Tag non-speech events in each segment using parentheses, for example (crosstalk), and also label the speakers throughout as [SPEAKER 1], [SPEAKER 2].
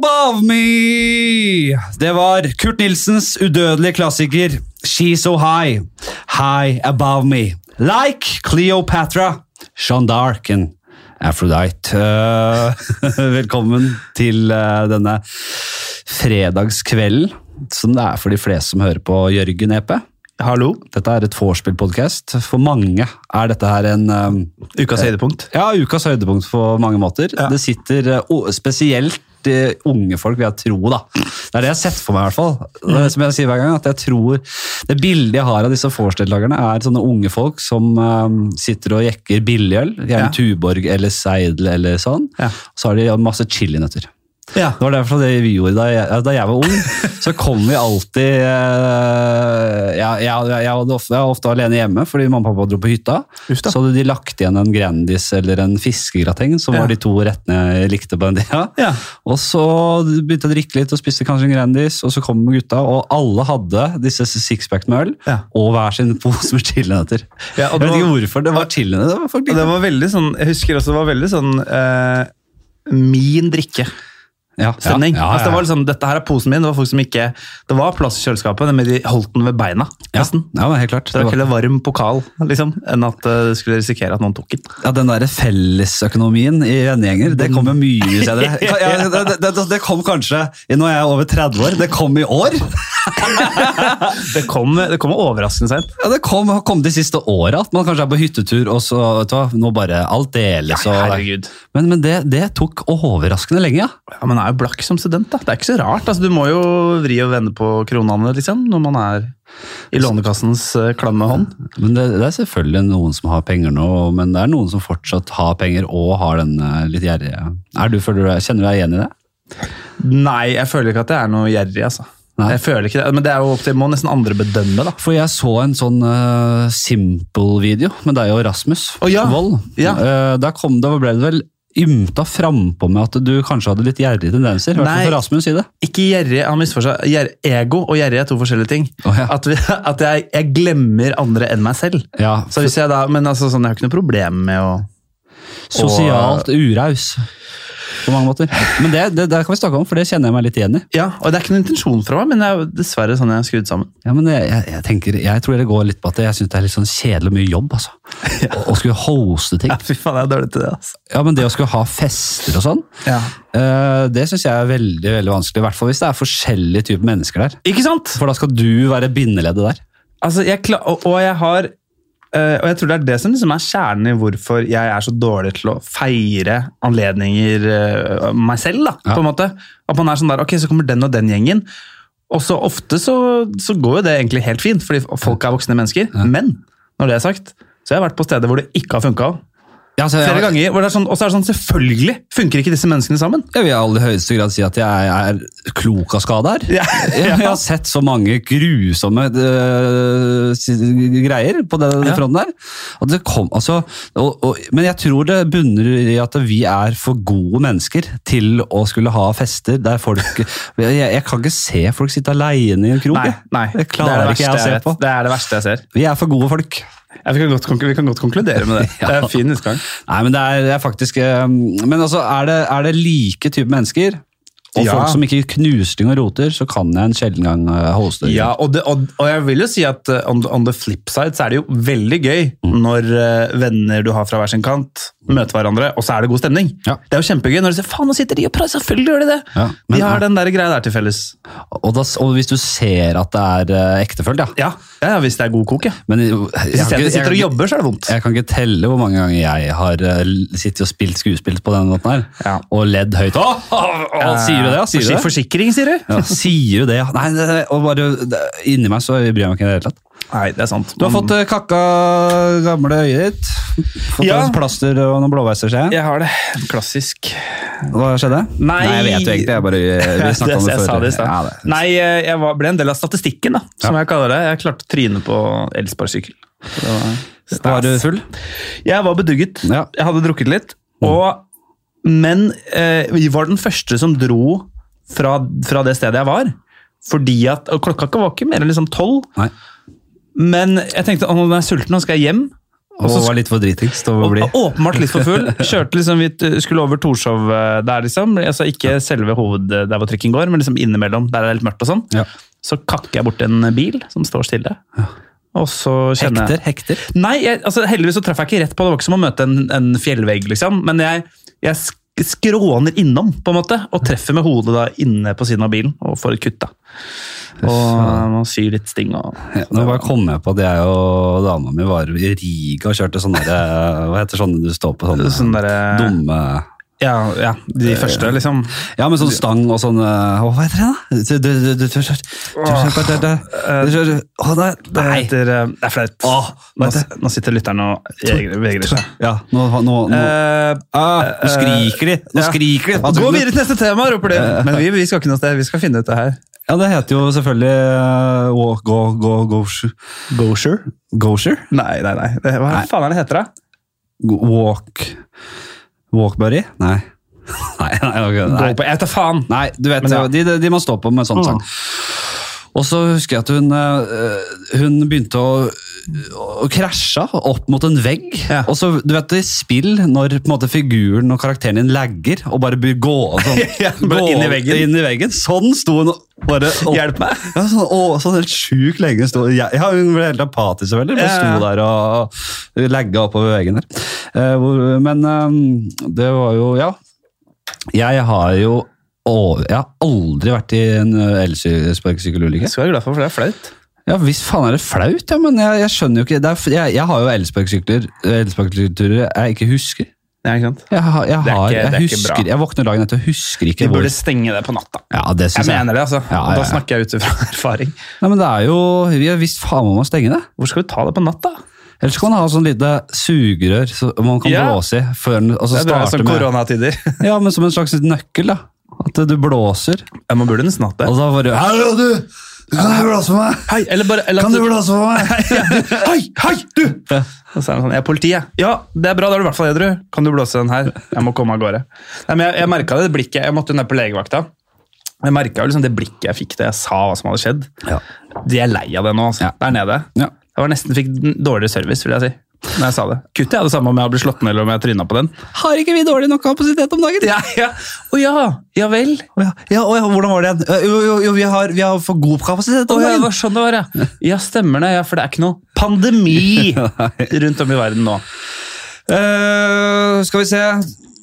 [SPEAKER 1] Love Me! Det var Kurt Nilsens udødelige klassiker She's So High, High Above Me. Like Cleopatra, Jeanne d'Arc and Aphrodite. Eh, (laughs) velkommen til eh, denne fredagskvelden, som det er for de fleste som hører på Jørgen Epe.
[SPEAKER 2] Hallo?
[SPEAKER 1] Dette er et vorspiel-podkast. For mange er dette her en eh,
[SPEAKER 2] Ukas høydepunkt.
[SPEAKER 1] ja, ukas høydepunkt på mange måter. Det sitter eh, o- spesielt eh, unge folk, vil jeg tro. da. Det er det jeg har sett for meg, i hvert fall. Det er Som jeg sier hver gang, at jeg tror Det bildet jeg har av disse Forstedt-lagerne, er sånne unge folk som eh, sitter og jekker billigøl. Gjerne
[SPEAKER 2] Ja.
[SPEAKER 1] Tuborg eller Seidel eller sånn.
[SPEAKER 2] Ja.
[SPEAKER 1] Så har de masse chilinøtter.
[SPEAKER 2] Ja.
[SPEAKER 1] Det var derfor det vi gjorde da jeg, da jeg var ung. Så kom vi alltid eh, ja, jeg, jeg, jeg, var ofte, jeg var ofte alene hjemme fordi mamma og pappa dro på hytta.
[SPEAKER 2] Uff da.
[SPEAKER 1] Så hadde de lagt igjen en Grandis eller en fiskegrateng, som
[SPEAKER 2] Ja.
[SPEAKER 1] var de to rettene jeg likte på den tida.
[SPEAKER 2] Ja.
[SPEAKER 1] Og så begynte jeg å drikke litt og spiste kanskje en Grandis, og så kom gutta, og alle hadde disse sixpack med øl
[SPEAKER 2] Ja.
[SPEAKER 1] og hver sin pose med chilinøtter.
[SPEAKER 2] Ja, og
[SPEAKER 1] jeg
[SPEAKER 2] det
[SPEAKER 1] vet ikke
[SPEAKER 2] var-
[SPEAKER 1] hvorfor. Det var chilinøtter. Det var folk
[SPEAKER 2] Og det
[SPEAKER 1] likte.
[SPEAKER 2] var veldig sånn, jeg husker også, det var veldig sånn eh, min drikke-stemning.
[SPEAKER 1] Ja, ja, ja, ja,
[SPEAKER 2] Altså, det
[SPEAKER 1] ja.
[SPEAKER 2] var liksom, dette her er posen min, det var folk som ikke, det var plass i kjøleskapet, men de holdt den ved beina, nesten.
[SPEAKER 1] Ja, men helt klart.
[SPEAKER 2] Det var ikke heller varm pokal, liksom, enn at eh, du skulle risikere at noen tok den.
[SPEAKER 1] Ja, Den der fellesøkonomien i vennegjenger, det kom jo mye
[SPEAKER 2] (laughs)
[SPEAKER 1] senere. Ka- Ja, det, det, det kom kanskje i- når jeg er over 30 år. Det kom i år!
[SPEAKER 2] Det kom, det kom overraskende sent.
[SPEAKER 1] Ja, Det kom, kom de siste åra at man kanskje er på hyttetur og så vet du hva, nå bare alt deles.
[SPEAKER 2] Ja,
[SPEAKER 1] og-
[SPEAKER 2] herregud.
[SPEAKER 1] Men, men det, det tok overraskende lenge, ja.
[SPEAKER 2] Ja, men er jo blakk som student, da. Det er ikke så rart. Altså, du må jo vri og vende på kronene, liksom, når man er i Lånekassens eh, klamme hånd.
[SPEAKER 1] Men det, det er selvfølgelig noen som har penger nå, men det er noen som fortsatt har penger og har den eh, litt gjerrige. Er du, føler du deg- Kjenner du deg igjen i det?
[SPEAKER 2] Nei, jeg føler ikke at jeg er noe gjerrig, altså.
[SPEAKER 1] Nei.
[SPEAKER 2] Jeg føler ikke det, Men det er jo opp til, må nesten andre bedømme, da.
[SPEAKER 1] For jeg så en sånn eh, simple-video med deg og Rasmus
[SPEAKER 2] Å, ja.
[SPEAKER 1] Wold.
[SPEAKER 2] Ja.
[SPEAKER 1] Eh, der kom det, ble det vel ymta frampå med at du kanskje hadde litt gjerrige tendenser. I hvert
[SPEAKER 2] Nei.
[SPEAKER 1] fall for Rasmus' side.
[SPEAKER 2] Ikke gjerrig, han misforstår. Gjer- Ego og gjerrig er to forskjellige ting.
[SPEAKER 1] Å, ja.
[SPEAKER 2] At, vi, (laughs) at jeg, jeg glemmer andre enn meg selv.
[SPEAKER 1] Ja,
[SPEAKER 2] Så hvis jeg da, Men altså, sånn, jeg har ikke noe problem med å
[SPEAKER 1] Sosialt uraus på mange måter. Men det, det, det kan vi snakke om, for det kjenner jeg meg litt igjen i.
[SPEAKER 2] Ja, og Det er ikke noen intensjon fra meg, men det er jo dessverre sånn jeg er skrudd sammen. (laughs)
[SPEAKER 1] Ja, men jeg, jeg, jeg, tenker, jeg tror det går litt på at jeg syns det er litt sånn kjedelig og mye jobb. altså. Å- Å skulle hoste ting.
[SPEAKER 2] Ja, Fy faen, jeg er dårlig til det. altså.
[SPEAKER 1] Ja, men det å skulle ha fester og sånn,
[SPEAKER 2] Ja.
[SPEAKER 1] eh, det syns jeg er veldig veldig vanskelig. I hvert fall hvis det er forskjellige typer mennesker der.
[SPEAKER 2] Ikke sant?
[SPEAKER 1] For da skal du være bindeleddet der.
[SPEAKER 2] Altså, jeg kla og, og jeg har eh, Og jeg tror det er det som liksom er kjernen i hvorfor jeg er så dårlig til å feire anledninger eh, meg selv, da,
[SPEAKER 1] Ja.
[SPEAKER 2] på en måte. At man er sånn der Ok, så kommer den og den gjengen. Og så ofte så, så går jo det egentlig helt fint, fordi folk er voksne mennesker. Men når det er sagt, så har jeg vært på steder hvor det ikke har funka.
[SPEAKER 1] Ja, altså,
[SPEAKER 2] Flere
[SPEAKER 1] jeg,
[SPEAKER 2] ganger. hvor det er sånn, og så er det sånn, selvfølgelig funker ikke disse menneskene sammen.
[SPEAKER 1] Jeg vil i aller høyeste grad si at jeg er klok av skade her.
[SPEAKER 2] Ja.
[SPEAKER 1] Jeg har sett så mange grusomme øh, s- greier på den
[SPEAKER 2] Ja.
[SPEAKER 1] fronten der. At det kom, altså, og, og, men jeg tror det bunner i at vi er for gode mennesker til å skulle ha fester der folk (laughs) Jeg, jeg kan ikke se folk sitte aleine i en krok.
[SPEAKER 2] (laughs) Nei,
[SPEAKER 1] jeg.
[SPEAKER 2] nei.
[SPEAKER 1] Det klarer ikke jeg å
[SPEAKER 2] verste
[SPEAKER 1] se
[SPEAKER 2] vet.
[SPEAKER 1] på.
[SPEAKER 2] Det er det verste jeg ser.
[SPEAKER 1] Vi er for gode folk.
[SPEAKER 2] Ja, vi, kan godt, konklu- vi kan godt konkludere (laughs) med det.
[SPEAKER 1] Ja.
[SPEAKER 2] Det er en fin utgang.
[SPEAKER 1] Nei, men det er, det er faktisk eh, Men altså, er det, er det like type mennesker? Og
[SPEAKER 2] Ja.
[SPEAKER 1] folk som ikke knusling og roter, så kan jeg en sjelden gang eh, hoste.
[SPEAKER 2] Ja, og, det, og, og jeg vil jo si at eh, on, the- on the flip side så er det jo veldig gøy
[SPEAKER 1] Mm.
[SPEAKER 2] når eh, venner du har fra hver sin kant, møter hverandre, og så er det god stemning.
[SPEAKER 1] Ja.
[SPEAKER 2] Det er jo kjempegøy når du sier 'faen, nå sitter de og prater', selvfølgelig gjør de det!
[SPEAKER 1] Ja, men-
[SPEAKER 2] de har den der greia der til felles.
[SPEAKER 1] Og, da, s- og hvis du ser at det er eh, ektefølt, ja.
[SPEAKER 2] Ja, ja, ja hvis det er god kok, ja.
[SPEAKER 1] Men eh, jeg,
[SPEAKER 2] Hvis
[SPEAKER 1] har
[SPEAKER 2] de
[SPEAKER 1] ikke-
[SPEAKER 2] sitter og jobber, så er det vondt.
[SPEAKER 1] jeg kan ikke telle hvor mange ganger jeg har eh, l- sittet og spilt skuespill på denne måten her,
[SPEAKER 2] Ja.
[SPEAKER 1] og ledd høyt. Åh, åh, åh, sier du det? ja? Sier du
[SPEAKER 2] Forsi-
[SPEAKER 1] det?
[SPEAKER 2] Forsikring, sier du?
[SPEAKER 1] Ja, sier du det? ja? Nei, det, det- og bare, det, inni meg så bryr jeg meg ikke i det hele tatt.
[SPEAKER 2] Nei, det er sant.
[SPEAKER 1] Du har fått eh, kakka gamle øyet ditt. Fått
[SPEAKER 2] Ja.
[SPEAKER 1] deg plaster og noen blåveiser, ser jeg.
[SPEAKER 2] Jeg har det. Klassisk.
[SPEAKER 1] Hva skjedde?
[SPEAKER 2] Nei.
[SPEAKER 1] Nei jeg vet jo egentlig. Jeg bare, eh,
[SPEAKER 2] (laughs)
[SPEAKER 1] vi
[SPEAKER 2] Jeg,
[SPEAKER 1] snakket om det før.
[SPEAKER 2] sa
[SPEAKER 1] Ja,
[SPEAKER 2] det i stad.
[SPEAKER 1] det-
[SPEAKER 2] Nei, eh, jeg var, ble en del av statistikken, da, som jeg kaller det. Jeg klarte å tryne på elsparkesykkel. Så det var stas.
[SPEAKER 1] Var du full?
[SPEAKER 2] Jeg var bedugget.
[SPEAKER 1] Ja. Mm.
[SPEAKER 2] Jeg hadde drukket litt. Og, men eh, vi var den første som dro fra, fra det stedet jeg var. Fordi at, og Klokka ikke var ikke mer enn liksom tolv.
[SPEAKER 1] Nei.
[SPEAKER 2] Men jeg tenkte at nå er jeg sulten, nå skal jeg hjem.
[SPEAKER 1] Og
[SPEAKER 2] så sk-
[SPEAKER 1] var litt for dritings til å bli.
[SPEAKER 2] Å- Åpenbart litt for full. Kjørte liksom, vi t- skulle over Torshov eh, der, liksom. Altså ikke selve hoved der hvor trikken går, men liksom innimellom der det er litt mørkt og sånn.
[SPEAKER 1] Ja.
[SPEAKER 2] Så kakker jeg bort en bil som står stille. Og så kjenner
[SPEAKER 1] Hekter,
[SPEAKER 2] jeg
[SPEAKER 1] hekter.
[SPEAKER 2] Nei, jeg, altså, heldigvis så traff jeg ikke rett på det. Det var ikke som å møte en, en fjellvegg, liksom. Men jeg, jeg sk skråner innom, på en måte, og treffer med hodet da inne på siden av bilen og får et kutt. da. Og man syr litt sting og
[SPEAKER 1] Ja, nå bare kom jeg på at jeg og dama mi var i Riga og kjørte sånne der, eh, Hva heter sånne du står på? Sånne,
[SPEAKER 2] Sånn derre-
[SPEAKER 1] dumme
[SPEAKER 2] ja, ja, de første, liksom.
[SPEAKER 1] Ja, med sånn stang og sånn eh, Hva heter det, da? Du- du- du- du- du- du- du- du- du- du- Å, nei,
[SPEAKER 2] Det
[SPEAKER 1] nei.
[SPEAKER 2] heter eh, Det er flaut.
[SPEAKER 1] Åh,
[SPEAKER 2] nå,
[SPEAKER 1] vet du.
[SPEAKER 2] s- nå sitter lytteren og jeg- vegrer seg.
[SPEAKER 1] Ja, nå, nå, nå.
[SPEAKER 2] Eh,
[SPEAKER 1] Ah, nå skriker de! Nå
[SPEAKER 2] ja.
[SPEAKER 1] skriker de! Hva
[SPEAKER 2] Gå
[SPEAKER 1] tror du?
[SPEAKER 2] videre til neste tema, roper de.
[SPEAKER 1] (laughs)
[SPEAKER 2] Men vi, vi skal ikke noe sted. Vi skal finne ut det her.
[SPEAKER 1] Ja, det heter jo selvfølgelig eh, walk, Go, go, go,
[SPEAKER 2] Gosher?
[SPEAKER 1] Gosher?
[SPEAKER 2] Nei, nei, nei. Det, hva
[SPEAKER 1] Nei.
[SPEAKER 2] faen er det heter, da?
[SPEAKER 1] Walk Walk buddy? Nei. (laughs) Nei, nei, ok, nei.
[SPEAKER 2] Gå på, jeg tar faen!
[SPEAKER 1] Nei, du vet,
[SPEAKER 2] Men ja. Mm.
[SPEAKER 1] de, de, de må stå på med sånn sang. Og så husker jeg at hun, eh, hun begynte å, å krasja opp mot en vegg.
[SPEAKER 2] Ja.
[SPEAKER 1] Og så, du vet, i spill, når på en måte, figuren og karakteren din lagger og bare blir gå sånn,
[SPEAKER 2] (laughs) Ja, bare
[SPEAKER 1] gå-
[SPEAKER 2] inn i veggen.
[SPEAKER 1] inn i veggen. Sånn sto hun og bare opp.
[SPEAKER 2] Hjelp meg!
[SPEAKER 1] Ja, sånn, å, sånn helt sjukt lenge hun sto jeg, ja, Hun ble helt apatisk, selvfølgelig. Bare
[SPEAKER 2] Ja,
[SPEAKER 1] sto
[SPEAKER 2] ja.
[SPEAKER 1] der og lagga oppover veggen der. Eh, hvor, men eh, det var jo Ja. Jeg har jo å, jeg har aldri vært i en eh, elsparkesykkelulykke.
[SPEAKER 2] Jeg skal være glad for, for det er flaut.
[SPEAKER 1] Ja, visst faen er det flaut, ja, men jeg, jeg skjønner jo ikke det er, f- jeg, jeg har jo elsparkesykler elsparkesykkelturer jeg ikke husker.
[SPEAKER 2] Ja, ikke sant?
[SPEAKER 1] Jeg, har, jeg,
[SPEAKER 2] Det
[SPEAKER 1] har,
[SPEAKER 2] er ikke- det er
[SPEAKER 1] jeg,
[SPEAKER 2] ikke bra.
[SPEAKER 1] husker jeg våkner dagen etter og husker
[SPEAKER 2] Vi
[SPEAKER 1] ikke hvor
[SPEAKER 2] burde stenge det på natta.
[SPEAKER 1] Ja, det
[SPEAKER 2] Jeg
[SPEAKER 1] syns jeg.
[SPEAKER 2] mener det, altså.
[SPEAKER 1] Ja,
[SPEAKER 2] Og
[SPEAKER 1] ja,
[SPEAKER 2] da
[SPEAKER 1] ja.
[SPEAKER 2] snakker jeg ut fra (laughs) erfaring.
[SPEAKER 1] Nei, men det er jo Vi har visst faen om å stenge det.
[SPEAKER 2] Hvor skal vi ta det på natta?
[SPEAKER 1] Ellers kan man ha sånn lite sugerør så man kan
[SPEAKER 2] Ja.
[SPEAKER 1] blåse i. Før, den- og så
[SPEAKER 2] Det er bra,
[SPEAKER 1] starte
[SPEAKER 2] sånn
[SPEAKER 1] med,
[SPEAKER 2] koronatider.
[SPEAKER 1] ja, men som en slags nøkkel, da. At du blåser.
[SPEAKER 2] (laughs) Ja, man burde nesten hatt det.
[SPEAKER 1] Og da bare Hallo, du! Du kan jo blåse på meg!
[SPEAKER 2] Hei, eller bare, eller at
[SPEAKER 1] Kan du
[SPEAKER 2] du-
[SPEAKER 1] blåse på meg?
[SPEAKER 2] Hei, hei, du! Og så er han sånn, jeg er politi, jeg. Ja, det er bra, da er du i hvert fall edru. Kan du blåse den her? Jeg må komme av gårde. Nei, men jeg, jeg merket det blikket, jeg måtte jo ned på legevakta. Jeg merket jo liksom det blikket jeg fikk da jeg sa hva som hadde skjedd.
[SPEAKER 1] Ja.
[SPEAKER 2] De er lei av det nå, altså.
[SPEAKER 1] Ja.
[SPEAKER 2] Der nede.
[SPEAKER 1] Ja.
[SPEAKER 2] Jeg var nesten fikk den dårligere service, vil jeg si. Når jeg sa det. Kuttet jeg det samme om jeg hadde blitt slått ned eller om jeg trynet på den.
[SPEAKER 1] Har ikke vi dårlig nok kapasitet om dagen?
[SPEAKER 2] Ja, ja. Å ja, ja vel.
[SPEAKER 1] Å ja, ja, å ja, hvordan var det igjen? Eh, Jo, jo, jo vi, har, vi har for god kapasitet
[SPEAKER 2] Å
[SPEAKER 1] om
[SPEAKER 2] ja, det
[SPEAKER 1] dagen.
[SPEAKER 2] var sånn det var, ja. Ja, stemmer det, ja, for det er ikke noe pandemi rundt om i verden
[SPEAKER 1] (laughs)
[SPEAKER 2] nå.
[SPEAKER 1] Eh, skal vi se.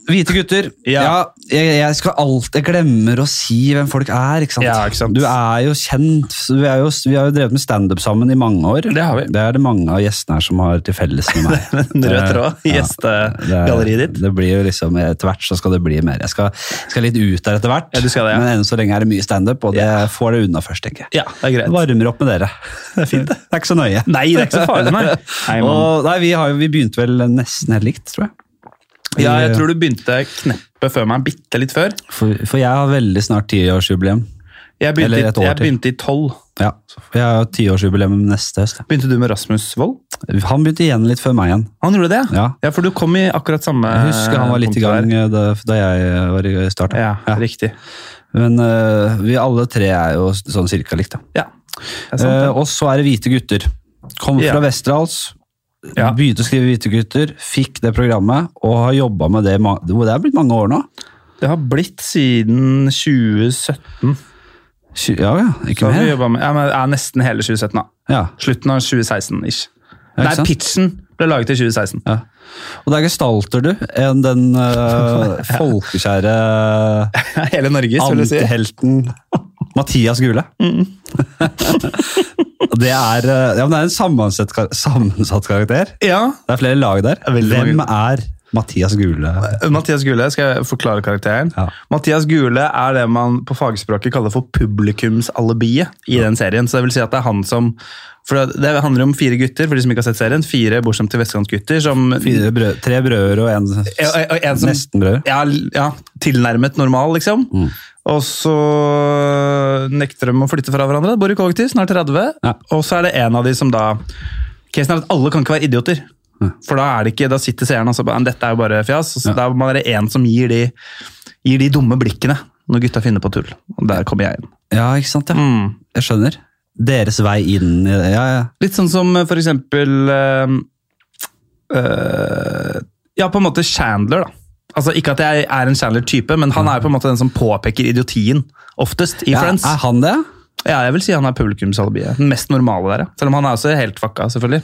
[SPEAKER 1] Hvite gutter.
[SPEAKER 2] Ja.
[SPEAKER 1] jeg, jeg skal alltid jeg glemmer å si hvem folk er. ikke sant?
[SPEAKER 2] Ja, ikke sant.
[SPEAKER 1] Du er jo kjent. så Vi, er jo, vi har jo drevet med standup sammen i mange år.
[SPEAKER 2] Det har vi.
[SPEAKER 1] Det er det mange av gjestene her som har til felles med
[SPEAKER 2] (laughs)
[SPEAKER 1] meg.
[SPEAKER 2] En rød
[SPEAKER 1] Ja,
[SPEAKER 2] tråd i
[SPEAKER 1] det er-
[SPEAKER 2] gjestegalleriet ditt.
[SPEAKER 1] Det blir jo liksom, Etter hvert så skal det bli mer. Jeg skal, skal litt ut der etter hvert,
[SPEAKER 2] Ja, du skal det, ja.
[SPEAKER 1] men ennå så lenge er det mye standup, og det får det unna først, tenker jeg.
[SPEAKER 2] Ja, det er greit.
[SPEAKER 1] Varmer opp med dere. Det er fint, (laughs) det. Det er ikke så nøye.
[SPEAKER 2] Nei, det er ikke så farlig, nei. Nei, man-
[SPEAKER 1] og, (laughs) nei vi, har, jo- vi begynte vel nesten helt likt, tror jeg.
[SPEAKER 2] Ja, jeg tror du begynte kneppet før meg, bitte litt før.
[SPEAKER 1] For, for jeg har veldig snart tiårsjubileum.
[SPEAKER 2] Jeg begynte,
[SPEAKER 1] Eller et år
[SPEAKER 2] jeg
[SPEAKER 1] til.
[SPEAKER 2] begynte i tolv.
[SPEAKER 1] Ja, jeg har tiårsjubileum neste høst.
[SPEAKER 2] Begynte du med Rasmus Wold?
[SPEAKER 1] Han begynte igjen litt før meg igjen.
[SPEAKER 2] Han gjorde det,
[SPEAKER 1] Ja.
[SPEAKER 2] ja for du kom i akkurat samme
[SPEAKER 1] Jeg husker han var litt i
[SPEAKER 2] punktet
[SPEAKER 1] gang
[SPEAKER 2] der.
[SPEAKER 1] eh, da, da jeg var i eh, starten.
[SPEAKER 2] Ja,
[SPEAKER 1] Ja.
[SPEAKER 2] riktig.
[SPEAKER 1] Men eh, vi alle tre er jo sånn cirka likt, da.
[SPEAKER 2] Ja, det er sant.
[SPEAKER 1] Eh, og så er det Hvite gutter. Kom fra
[SPEAKER 2] Ja.
[SPEAKER 1] Vesterålen.
[SPEAKER 2] Ja.
[SPEAKER 1] Begynte å skrive Hvite gutter, fikk det programmet og har jobba med det i ma- Det er blitt mange år nå.
[SPEAKER 2] Det har blitt siden 2017.
[SPEAKER 1] Tju- Ja, ja, ikke
[SPEAKER 2] Da har vi
[SPEAKER 1] mer.
[SPEAKER 2] jobbet med, ja, men det er nesten hele 2017 da.
[SPEAKER 1] Ja.
[SPEAKER 2] Slutten av 2016-ish.
[SPEAKER 1] Ja, ikke
[SPEAKER 2] Nei,
[SPEAKER 1] sant?
[SPEAKER 2] pitchen ble laget i 2016.
[SPEAKER 1] Ja. Og der gestalter du en, den eh, folkekjære
[SPEAKER 2] (laughs) Hele Norge, skulle du si.
[SPEAKER 1] antihelten Mathias Gule. Og (laughs) det, er, eh, ja, men det er en sammensatt, kar- sammensatt karakter.
[SPEAKER 2] Ja,
[SPEAKER 1] Det er flere lag der.
[SPEAKER 2] er veldig
[SPEAKER 1] Hvem er Mathias Gule?
[SPEAKER 2] Mathias Gule, skal jeg forklare karakteren?
[SPEAKER 1] Ja.
[SPEAKER 2] Mathias Gule er det man på fagspråket kaller for publikumsalibiet i den serien. Så det vil si at det er han som For det det handler om fire gutter, for de som ikke har sett serien. Fire bortskjemte vestkantgutter som
[SPEAKER 1] Fire brød, tre brødre og en,
[SPEAKER 2] Ja, og- og en som-
[SPEAKER 1] nesten brødre.
[SPEAKER 2] ja, l- ja, tilnærmet normal, liksom. Og så nekter de å flytte fra hverandre. Bor i kollektiv, snart 30.
[SPEAKER 1] Ja.
[SPEAKER 2] Og så er det en av de som da Casen er at alle kan ikke være idioter. For da, er det ikke, da sitter seeren og så bare, "Men dette er jo bare fjas. Og så Da må det være en som gir de, gir de dumme blikkene når gutta finner på tull. Og der kommer jeg inn. Mm.
[SPEAKER 1] Ja, ikke sant? Ja. Jeg skjønner. Deres vei inn i det. Ja, ja.
[SPEAKER 2] Litt sånn som eh, for eksempel eh, øh, Ja, på en måte Chandler, da. Altså, Ikke at jeg er en Chandler-type, men han er på en måte den som påpeker idiotien oftest i
[SPEAKER 1] Ja, ah.
[SPEAKER 2] Friends.
[SPEAKER 1] er han det?
[SPEAKER 2] Ja, jeg vil si han er publikumsalibiet. Den mest normale der, ja. Selv om han er også helt fucka, selvfølgelig.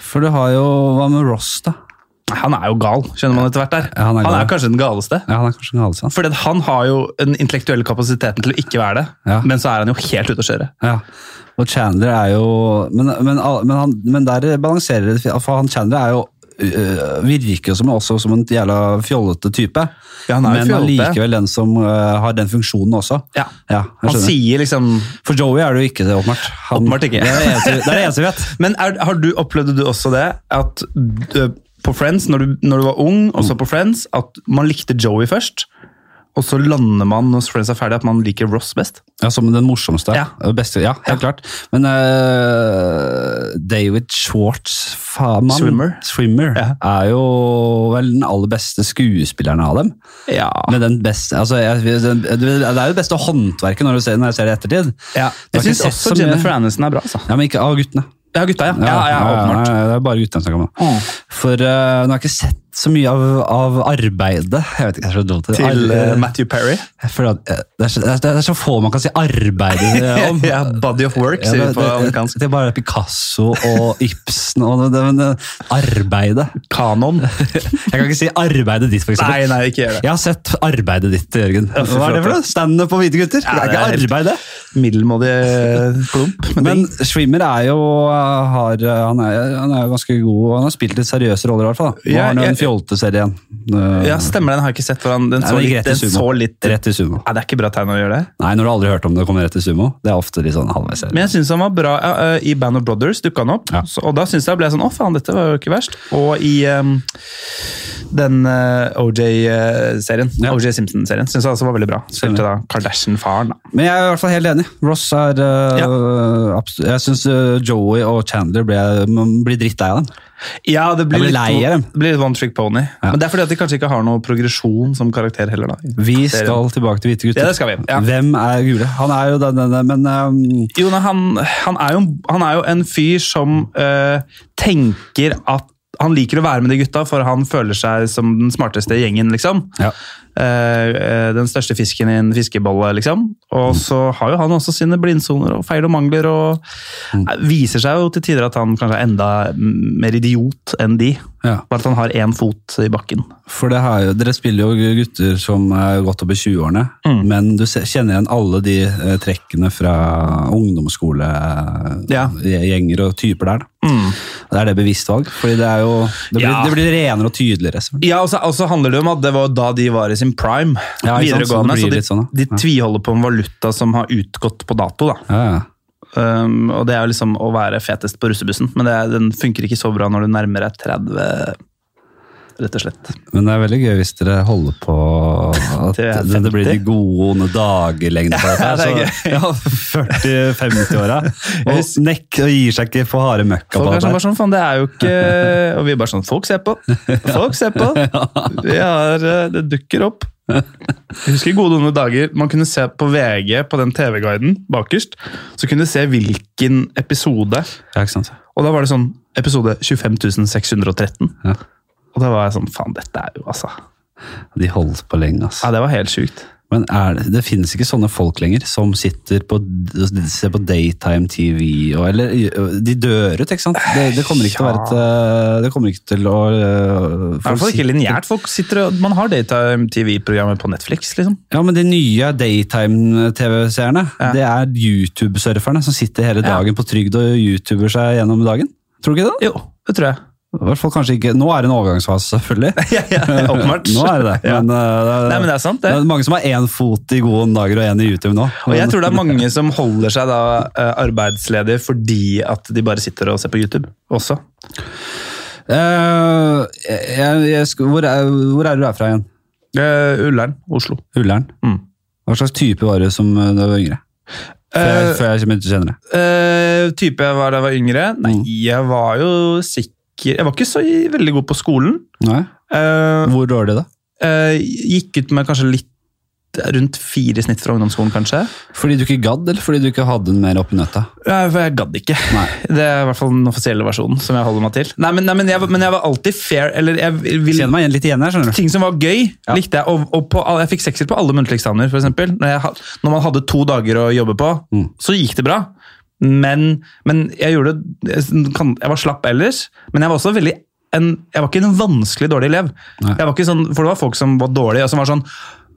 [SPEAKER 1] For du har jo Hva med Ross, da?
[SPEAKER 2] Nei, Han er jo gal, skjønner man etter hvert der.
[SPEAKER 1] Ja, han er
[SPEAKER 2] han
[SPEAKER 1] gal.
[SPEAKER 2] er kanskje den galeste.
[SPEAKER 1] Ja, han er kanskje en halesand.
[SPEAKER 2] Fordi at han har jo den intellektuelle kapasiteten til å ikke være det,
[SPEAKER 1] Ja.
[SPEAKER 2] men så er han jo helt ute å kjøre.
[SPEAKER 1] Ja. Og Chandler er jo Men, men, men, han, men der balanserer det fint, For han Chandler er jo øh, virker jo som, også som en jævla fjollete type.
[SPEAKER 2] Ja, han er jo
[SPEAKER 1] men
[SPEAKER 2] fjollete.
[SPEAKER 1] allikevel den som øh, har den funksjonen også.
[SPEAKER 2] Ja.
[SPEAKER 1] jeg
[SPEAKER 2] Han
[SPEAKER 1] skjønner.
[SPEAKER 2] sier liksom
[SPEAKER 1] For Joey er det jo ikke det, åpenbart. Han-
[SPEAKER 2] Åpenbart ikke.
[SPEAKER 1] Det er det eneste, det er det eneste vi
[SPEAKER 2] (laughs)
[SPEAKER 1] vet.
[SPEAKER 2] Men er, har du, opplevde du også det at ø, på Friends, når du, når du var ung og
[SPEAKER 1] Mm.
[SPEAKER 2] så på Friends, at man likte Joey først, og så lander man når Friends er ferdig at man liker Ross best?
[SPEAKER 1] Ja, Som den morsomste.
[SPEAKER 2] Ja.
[SPEAKER 1] og Beste, ja helt klart. Men øh, David Schwartz, faen mann.
[SPEAKER 2] Swimmer.
[SPEAKER 1] Swimmer
[SPEAKER 2] Ja.
[SPEAKER 1] er jo vel den aller beste skuespilleren av dem.
[SPEAKER 2] Ja.
[SPEAKER 1] Men den beste, altså, jeg, den, du- det er jo det beste håndverket når du ser, når jeg ser det i ettertid.
[SPEAKER 2] ja.
[SPEAKER 1] Du har ikke
[SPEAKER 2] Jeg syns
[SPEAKER 1] sett så
[SPEAKER 2] også
[SPEAKER 1] mye.
[SPEAKER 2] Jennifer Aniston er bra, altså.
[SPEAKER 1] Ja, men ikke av guttene.
[SPEAKER 2] Ja, gutta, ja. Ja, ja, åpenbart.
[SPEAKER 1] ja, det er bare guttene som kan det.
[SPEAKER 2] Mm.
[SPEAKER 1] For eh, nå har jeg ikke sett så mye av, av arbeidet. Jeg vet ikke, jeg er så dum til eh, det.
[SPEAKER 2] Til eh,
[SPEAKER 1] Ar-
[SPEAKER 2] ø, Matthew Perry.
[SPEAKER 1] jeg føler at, eh, det, er så, det, er, det er så få man kan si
[SPEAKER 2] (laughs)
[SPEAKER 1] arbeidet om.
[SPEAKER 2] ja, Body of Work,
[SPEAKER 1] Ja,
[SPEAKER 2] sier
[SPEAKER 1] det,
[SPEAKER 2] vi på
[SPEAKER 1] det,
[SPEAKER 2] amerikansk.
[SPEAKER 1] det er bare Picasso og Ibsen og det, det, men det, arbeidet.
[SPEAKER 2] Kanon.
[SPEAKER 1] Jeg kan ikke si arbeidet ditt, for eksempel.
[SPEAKER 2] Nei, nei, ikke gjør det.
[SPEAKER 1] Jeg har sett arbeidet ditt, Jørgen.
[SPEAKER 2] Ja, fy
[SPEAKER 1] Hva er det for
[SPEAKER 2] flate.
[SPEAKER 1] noe? Standup på hvite gutter?
[SPEAKER 2] Ja,
[SPEAKER 1] det er
[SPEAKER 2] det er helt-
[SPEAKER 1] ikke arbeidet.
[SPEAKER 2] Middelmådig eh, klump. Men,
[SPEAKER 1] Men Schwimmer er jo uh, har, uh, han, er, han er jo ganske god. Han har spilt litt seriøse roller, i hvert fall. da. Nå
[SPEAKER 2] Ja,
[SPEAKER 1] har han jo
[SPEAKER 2] jeg-
[SPEAKER 1] en fjolte serie igjen. Uh,
[SPEAKER 2] ja, stemmer det. Den har jeg ikke sett. for han- Den
[SPEAKER 1] Nei,
[SPEAKER 2] så
[SPEAKER 1] det gikk
[SPEAKER 2] litt,
[SPEAKER 1] rett i
[SPEAKER 2] den
[SPEAKER 1] sumo.
[SPEAKER 2] så litt
[SPEAKER 1] Rett i sumo.
[SPEAKER 2] Ja, Det er ikke bra tegn å gjøre det.
[SPEAKER 1] Nei, når du aldri har hørt om det, kommer rett i sumo. Det er ofte litt sånn halvveis serie.
[SPEAKER 2] Men jeg syns han var bra ja, eh, i Band of Brothers. dukket han opp.
[SPEAKER 1] Ja.
[SPEAKER 2] Så, og da syns jeg ble jeg sånn Å, faen, dette var jo ikke verst. Og i em, den eh, OJ-serien.
[SPEAKER 1] Ja.
[SPEAKER 2] OJ Simpson-serien syns jeg også var veldig bra. Spilte da Kardashian-faren. da.
[SPEAKER 1] Men jeg er i hvert fall helt enig. Ross er uh,
[SPEAKER 2] Ja.
[SPEAKER 1] absolutt Jeg syns uh, Joey og Chandler blir, blir drittlei av dem.
[SPEAKER 2] Ja, det
[SPEAKER 1] Jeg
[SPEAKER 2] blir,
[SPEAKER 1] blir
[SPEAKER 2] litt,
[SPEAKER 1] lei av dem.
[SPEAKER 2] det blir litt One Trick Pony. Men det er fordi at de kanskje ikke har noe progresjon som karakter heller. da.
[SPEAKER 1] Vi skal tilbake til Hvite gutter.
[SPEAKER 2] Ja, det skal vi, ja.
[SPEAKER 1] Hvem er gule? Han er jo den, den, den men um,
[SPEAKER 2] Jo, nei, han, han, er jo, han er jo en fyr som eh, tenker at han liker å være med de gutta, for han føler seg som den smarteste i gjengen, liksom.
[SPEAKER 1] Ja.
[SPEAKER 2] Eh, eh, den største fisken i en fiskebolle, liksom. Og så har jo han også sine blindsoner og feil og mangler, og eh, viser seg jo til tider at han kanskje er enda mer idiot enn de.
[SPEAKER 1] ja.
[SPEAKER 2] Bare at han har én fot i bakken.
[SPEAKER 1] For det har, jo- dere spiller jo gutter som er godt opp i 20-årene, men du se- kjenner igjen alle de eh, trekkene fra
[SPEAKER 2] Ja.
[SPEAKER 1] ungdomsskolegjenger og typer der. Da.
[SPEAKER 2] Mm.
[SPEAKER 1] Det er det bevisst valg, fordi det, er jo, det, blir,
[SPEAKER 2] Ja.
[SPEAKER 1] det blir renere og tydeligere. selvfølgelig.
[SPEAKER 2] Ja, og så, og så handler det om at det var da de var i sin prime.
[SPEAKER 1] Ja, ikke sant, så det
[SPEAKER 2] videregående,
[SPEAKER 1] blir
[SPEAKER 2] så, de,
[SPEAKER 1] litt sånn, ja.
[SPEAKER 2] de tviholder på en valuta som har utgått på dato. da.
[SPEAKER 1] Ja, ja.
[SPEAKER 2] Um, og det er jo liksom å være fetest på russebussen, men det, er- den funker ikke så bra når du nærmer deg 30, rett og slett.
[SPEAKER 1] Men det er veldig gøy hvis dere holder på at
[SPEAKER 2] Til jeg er
[SPEAKER 1] det, det blir de
[SPEAKER 2] 50.
[SPEAKER 1] gode onde dagelengder på dette.
[SPEAKER 2] Ja, det er
[SPEAKER 1] her, så- ja, 40-50-åra.
[SPEAKER 2] Jeg
[SPEAKER 1] Og nekk og gir seg ikke for harde møkka på
[SPEAKER 2] Folk er
[SPEAKER 1] dette. her.
[SPEAKER 2] sånn, bare sånn, faen, det er jo ikke Og vi er bare sånn, folk ser på! Folk ser
[SPEAKER 1] (laughs)
[SPEAKER 2] på! Vi har, eh, det dukker opp. Jeg husker i gode onde dager. Man kunne se på VG, på den TV-guiden bakerst, så kunne du se hvilken episode.
[SPEAKER 1] Ja, ikke sant?
[SPEAKER 2] Og da var det sånn episode 25613.
[SPEAKER 1] Ja.
[SPEAKER 2] Og da var jeg sånn, faen, dette er jo altså
[SPEAKER 1] De holdt på lenge, altså.
[SPEAKER 2] Ja, det var helt sjukt.
[SPEAKER 1] Men er det, det finnes ikke sånne folk lenger som sitter på, ser på daytime TV og eller, De dør ut, ikke sant? Det, det kommer ikke til å være et øh, Det kommer ikke til å øh,
[SPEAKER 2] I hvert fall ikke lineært. Folk sitter og, man har daytime-TV-programmet på Netflix, liksom.
[SPEAKER 1] Ja, men de nye daytime-TV-seerne,
[SPEAKER 2] Ja.
[SPEAKER 1] det er YouTube-surferne som sitter hele
[SPEAKER 2] Ja.
[SPEAKER 1] dagen på trygd og YouTuber seg gjennom dagen. Tror du ikke det?
[SPEAKER 2] Jo, det tror jeg.
[SPEAKER 1] I hvert fall kanskje ikke Nå er det en overgangsfase, selvfølgelig.
[SPEAKER 2] (laughs) ja, (laughs) ja, åpenbart.
[SPEAKER 1] Nå er det det.
[SPEAKER 2] Ja.
[SPEAKER 1] Men, øh, det, er-
[SPEAKER 2] Nei, men det er sant,
[SPEAKER 1] det
[SPEAKER 2] det.
[SPEAKER 1] er mange som har én fot i gode dager og én i YouTube nå.
[SPEAKER 2] Og jeg tror det er mange som holder seg da eh, arbeidsledige fordi at de bare sitter og ser på YouTube også.
[SPEAKER 1] Eh, jeg, jeg, sk- hvor, er, hvor er du herfra igjen?
[SPEAKER 2] Uh, Ullern, Oslo.
[SPEAKER 1] Ullern?
[SPEAKER 2] Mm.
[SPEAKER 1] Hva slags type var du som eh, da du var yngre? Før jeg,
[SPEAKER 2] Eh,
[SPEAKER 1] før jeg begynte å kjenne deg.
[SPEAKER 2] Eh, type jeg var da jeg var yngre? Nei,
[SPEAKER 1] Mm.
[SPEAKER 2] jeg var jo sikker Jeg var ikke så i- veldig god på skolen.
[SPEAKER 1] Nei?
[SPEAKER 2] Eh,
[SPEAKER 1] Hvor dårlig da?
[SPEAKER 2] eh, gikk ut med kanskje litt rundt fire i snitt fra ungdomsskolen, kanskje.
[SPEAKER 1] Fordi du ikke gadd, eller fordi du ikke hadde den mer oppi nøtta?
[SPEAKER 2] Ja, for jeg gadd ikke.
[SPEAKER 1] Nei.
[SPEAKER 2] Det er i hvert fall den offisielle versjonen som jeg holder meg til. Nei, men, nei, men, jeg, var- men jeg var alltid fair, eller jeg vil
[SPEAKER 1] Kjenner meg igjen litt igjen her, skjønner du.
[SPEAKER 2] Ting som var gøy, likte jeg. Og, og på, all- jeg fikk sekser på alle muntlige eksamener. For eksempel. når, jeg, had- når man hadde to dager å jobbe på,
[SPEAKER 1] Mm.
[SPEAKER 2] så gikk det bra. Men, men jeg gjorde jeg, kan, jeg var slapp ellers, men jeg var også veldig en, jeg var ikke en vanskelig dårlig elev.
[SPEAKER 1] Nei.
[SPEAKER 2] Jeg var ikke sånn, for det var folk som var dårlige, og som var sånn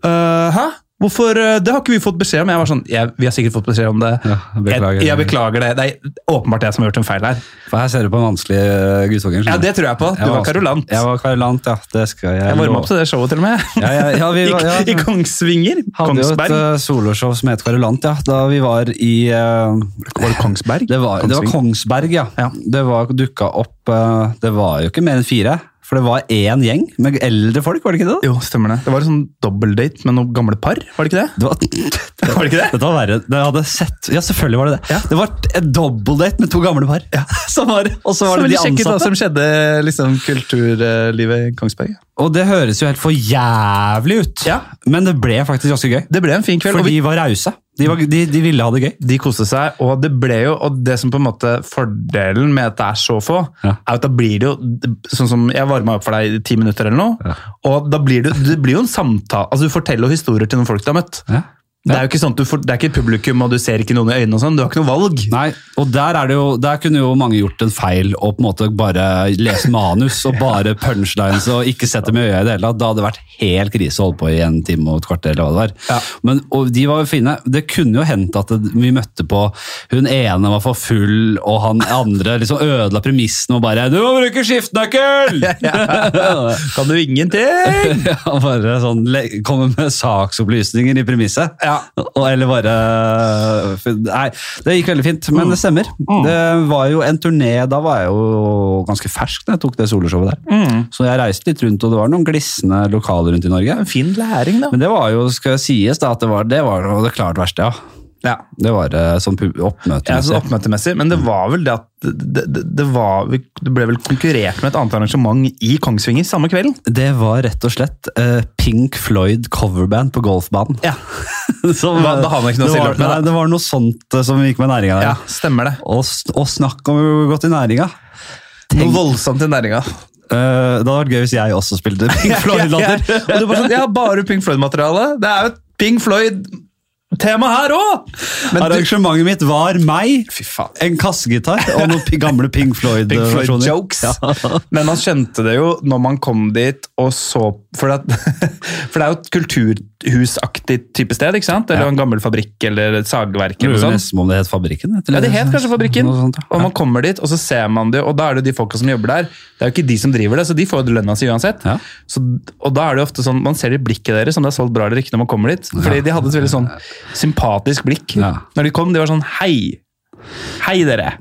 [SPEAKER 2] «Øh, Hæ? Hvorfor, øh, Det har ikke vi fått beskjed om. Jeg var sånn, jeg, Vi har sikkert fått beskjed om det.
[SPEAKER 1] Ja, beklager.
[SPEAKER 2] Jeg, jeg beklager det. Det er åpenbart jeg som har gjort en feil her.
[SPEAKER 1] For her ser du på den vanskelige eh, guttungen. skjønner
[SPEAKER 2] Ja,
[SPEAKER 1] du.
[SPEAKER 2] Det tror jeg på. Du
[SPEAKER 1] Jeg
[SPEAKER 2] var karolant.
[SPEAKER 1] Jeg var karolant, ja. Det skal jeg
[SPEAKER 2] Jeg varma
[SPEAKER 1] love.
[SPEAKER 2] opp til det showet, til og med.
[SPEAKER 1] Ja, ja, ja, vi var- ja.
[SPEAKER 2] (laughs) I, I Kongsvinger.
[SPEAKER 1] Hadde jo et
[SPEAKER 2] Kongsberg.
[SPEAKER 1] eh, soloshow som het Karolant, ja. Da vi var i eh,
[SPEAKER 2] var det Kongsberg?
[SPEAKER 1] det, var, det var Kongsberg, ja.
[SPEAKER 2] Ja.
[SPEAKER 1] Det var dukka opp eh, Det var jo ikke mer enn fire. For det var én gjeng med eldre folk, var det ikke det? da?
[SPEAKER 2] Jo, stemmer det. Det var en sånn dobbeldate med noen gamle par, var det ikke det?
[SPEAKER 1] Det var,
[SPEAKER 2] Var det ikke det?
[SPEAKER 1] Dette var verre. Det hadde sett. Ja, selvfølgelig var det det.
[SPEAKER 2] Ja.
[SPEAKER 1] Det var et double-date med to gamle par. (laughs) Som var, og så var det de ansatte.
[SPEAKER 2] som skjedde liksom, kulturlivet i Kongsberg.
[SPEAKER 1] Og det høres jo helt for jævlig ut,
[SPEAKER 2] Ja.
[SPEAKER 1] men det ble faktisk ganske gøy.
[SPEAKER 2] Det ble en fin kveld.
[SPEAKER 1] For
[SPEAKER 2] og vi-
[SPEAKER 1] de var rause. De, var, de, de ville ha det gøy.
[SPEAKER 2] de koste seg, og det ble jo og det som på en måte fordelen med at det er så få,
[SPEAKER 1] Ja.
[SPEAKER 2] er at da blir det jo sånn som jeg varma opp for deg i ti minutter eller noe,
[SPEAKER 1] Ja.
[SPEAKER 2] og da blir det, det blir jo en samtale altså du forteller jo historier til noen folk du har møtt
[SPEAKER 1] Ja.
[SPEAKER 2] det er jo ikke sånn at du får, det er ikke et publikum og du ser ikke noen i øynene og sånn, du har ikke noe valg
[SPEAKER 1] Nei, og der, er det jo, der kunne jo mange gjort en feil og på en måte bare lese manus og bare punchlines og ikke sett dem i øya i det hele tatt. Da hadde det vært helt krise å holde på i en time og et kvarter eller hva det var.
[SPEAKER 2] Ja.
[SPEAKER 1] Men, og de var jo fine. Det kunne jo hendt at det, vi møtte på hun ene var for full, og han andre liksom ødela premissen og bare 'Du må bruke (laughs) skiftenøkkel!'
[SPEAKER 2] kan du
[SPEAKER 1] (laughs)
[SPEAKER 2] ingenting
[SPEAKER 1] Og bare sånn le- komme med saksopplysninger i premisset.
[SPEAKER 2] Ja.
[SPEAKER 1] Og, eller bare Nei, det gikk veldig fint, men
[SPEAKER 2] Mm.
[SPEAKER 1] det stemmer. Det var jo en turné, da var jeg jo ganske fersk da jeg tok det soloshowet der.
[SPEAKER 2] Mm.
[SPEAKER 1] Så jeg reiste litt rundt, og det var noen glisne lokaler rundt i Norge.
[SPEAKER 2] en fin læring da
[SPEAKER 1] Men det var jo, skal sies, da, at det var det, var jo det klart verste, ja.
[SPEAKER 2] ja
[SPEAKER 1] Det var eh, sånn pub- oppmøte.
[SPEAKER 2] Ja, sånn oppmøtemessig, men det var vel det at det, det, det, var, det ble vel konkurrert med et annet arrangement i Kongsvinger samme kvelden.
[SPEAKER 1] Det var rett og slett eh, Pink Floyd coverband på golfbanen. (laughs)
[SPEAKER 2] Ja,
[SPEAKER 1] Som,
[SPEAKER 2] Da- da har man ikke noe å
[SPEAKER 1] det
[SPEAKER 2] stille
[SPEAKER 1] var-
[SPEAKER 2] opp med, da.
[SPEAKER 1] Nei, det var noe sånt eh, som gikk med næringa der.
[SPEAKER 2] ja stemmer det.
[SPEAKER 1] Og, s- og snakk om å gått i næringa.
[SPEAKER 2] Noe voldsomt i næringa.
[SPEAKER 1] Eh, det hadde vært gøy hvis jeg også spilte Pink Floyd-latter.
[SPEAKER 2] (laughs) Ja, ja. Og du bare sånn, Jeg har bare Pink Floyd-materiale. Det er jo et Pink Floyd-tema her òg! Men du,
[SPEAKER 1] Arrangementet mitt var meg,
[SPEAKER 2] fy faen.
[SPEAKER 1] en kassegitar og noen pi- gamle Pink
[SPEAKER 2] Pink Floyd
[SPEAKER 1] Floyd-versjoner.
[SPEAKER 2] jokes. (laughs) Men man skjønte det jo når man kom dit og så For, at, (laughs) for det er jo et kulturhusaktig type sted, ikke sant? Eller en gammel fabrikk eller et sagverk eller
[SPEAKER 1] Lurer
[SPEAKER 2] noe sånt.
[SPEAKER 1] nesten på om det het Fabrikken. vet du,
[SPEAKER 2] Ja, det
[SPEAKER 1] eller
[SPEAKER 2] het kanskje Fabrikken.
[SPEAKER 1] noe sånt, ja.
[SPEAKER 2] Og man kommer dit, og så ser man det, og da er det jo de folka som jobber der. Det er jo ikke de som driver det, så de får jo lønna si uansett.
[SPEAKER 1] Ja.
[SPEAKER 2] Så, og da er det jo ofte sånn, man ser det i blikket deres, om det er solgt bra eller ikke når man kommer dit. Fordi de hadde et veldig sånn sympatisk blikk.
[SPEAKER 1] Ja.
[SPEAKER 2] Når de kom, de var sånn hei. Hei, dere!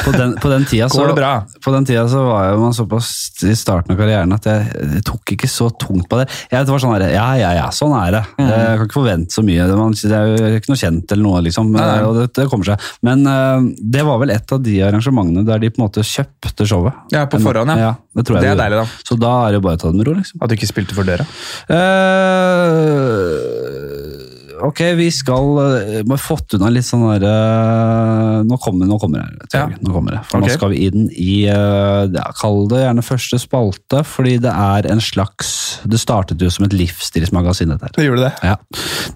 [SPEAKER 1] På den, på den tida så,
[SPEAKER 2] Går det bra?
[SPEAKER 1] På den tida så var jo man såpass i starten av karrieren at jeg, jeg tok ikke så tungt på det. Jeg var sånn her, ja, ja, ja, sånn er det.
[SPEAKER 2] Mm.
[SPEAKER 1] Jeg kan ikke forvente så mye. Det- Man, det er jo ikke noe kjent eller noe, liksom.
[SPEAKER 2] Nei, nei.
[SPEAKER 1] Og det, det kommer seg. Men eh, det var vel et av de arrangementene der de på en måte kjøpte showet.
[SPEAKER 2] Ja, på forhånd, ja.
[SPEAKER 1] det, tror jeg de
[SPEAKER 2] Det er
[SPEAKER 1] gjorde.
[SPEAKER 2] deilig, da.
[SPEAKER 1] Så da er det jo bare å ta det med ro, liksom.
[SPEAKER 2] At du ikke spilte for døra.
[SPEAKER 1] Eh, ok, vi skal eh, Må ha fått unna litt sånn der eh, Nå kommer nå kommer det her. tror jeg.
[SPEAKER 2] Ja.
[SPEAKER 1] Nå kommer det. For
[SPEAKER 2] Ok.
[SPEAKER 1] nå skal vi inn i eh, ja, Kall det gjerne første spalte, fordi det er en slags Det startet jo som et livsstilsmagasin, dette her.
[SPEAKER 2] Gjorde det?
[SPEAKER 1] Ja.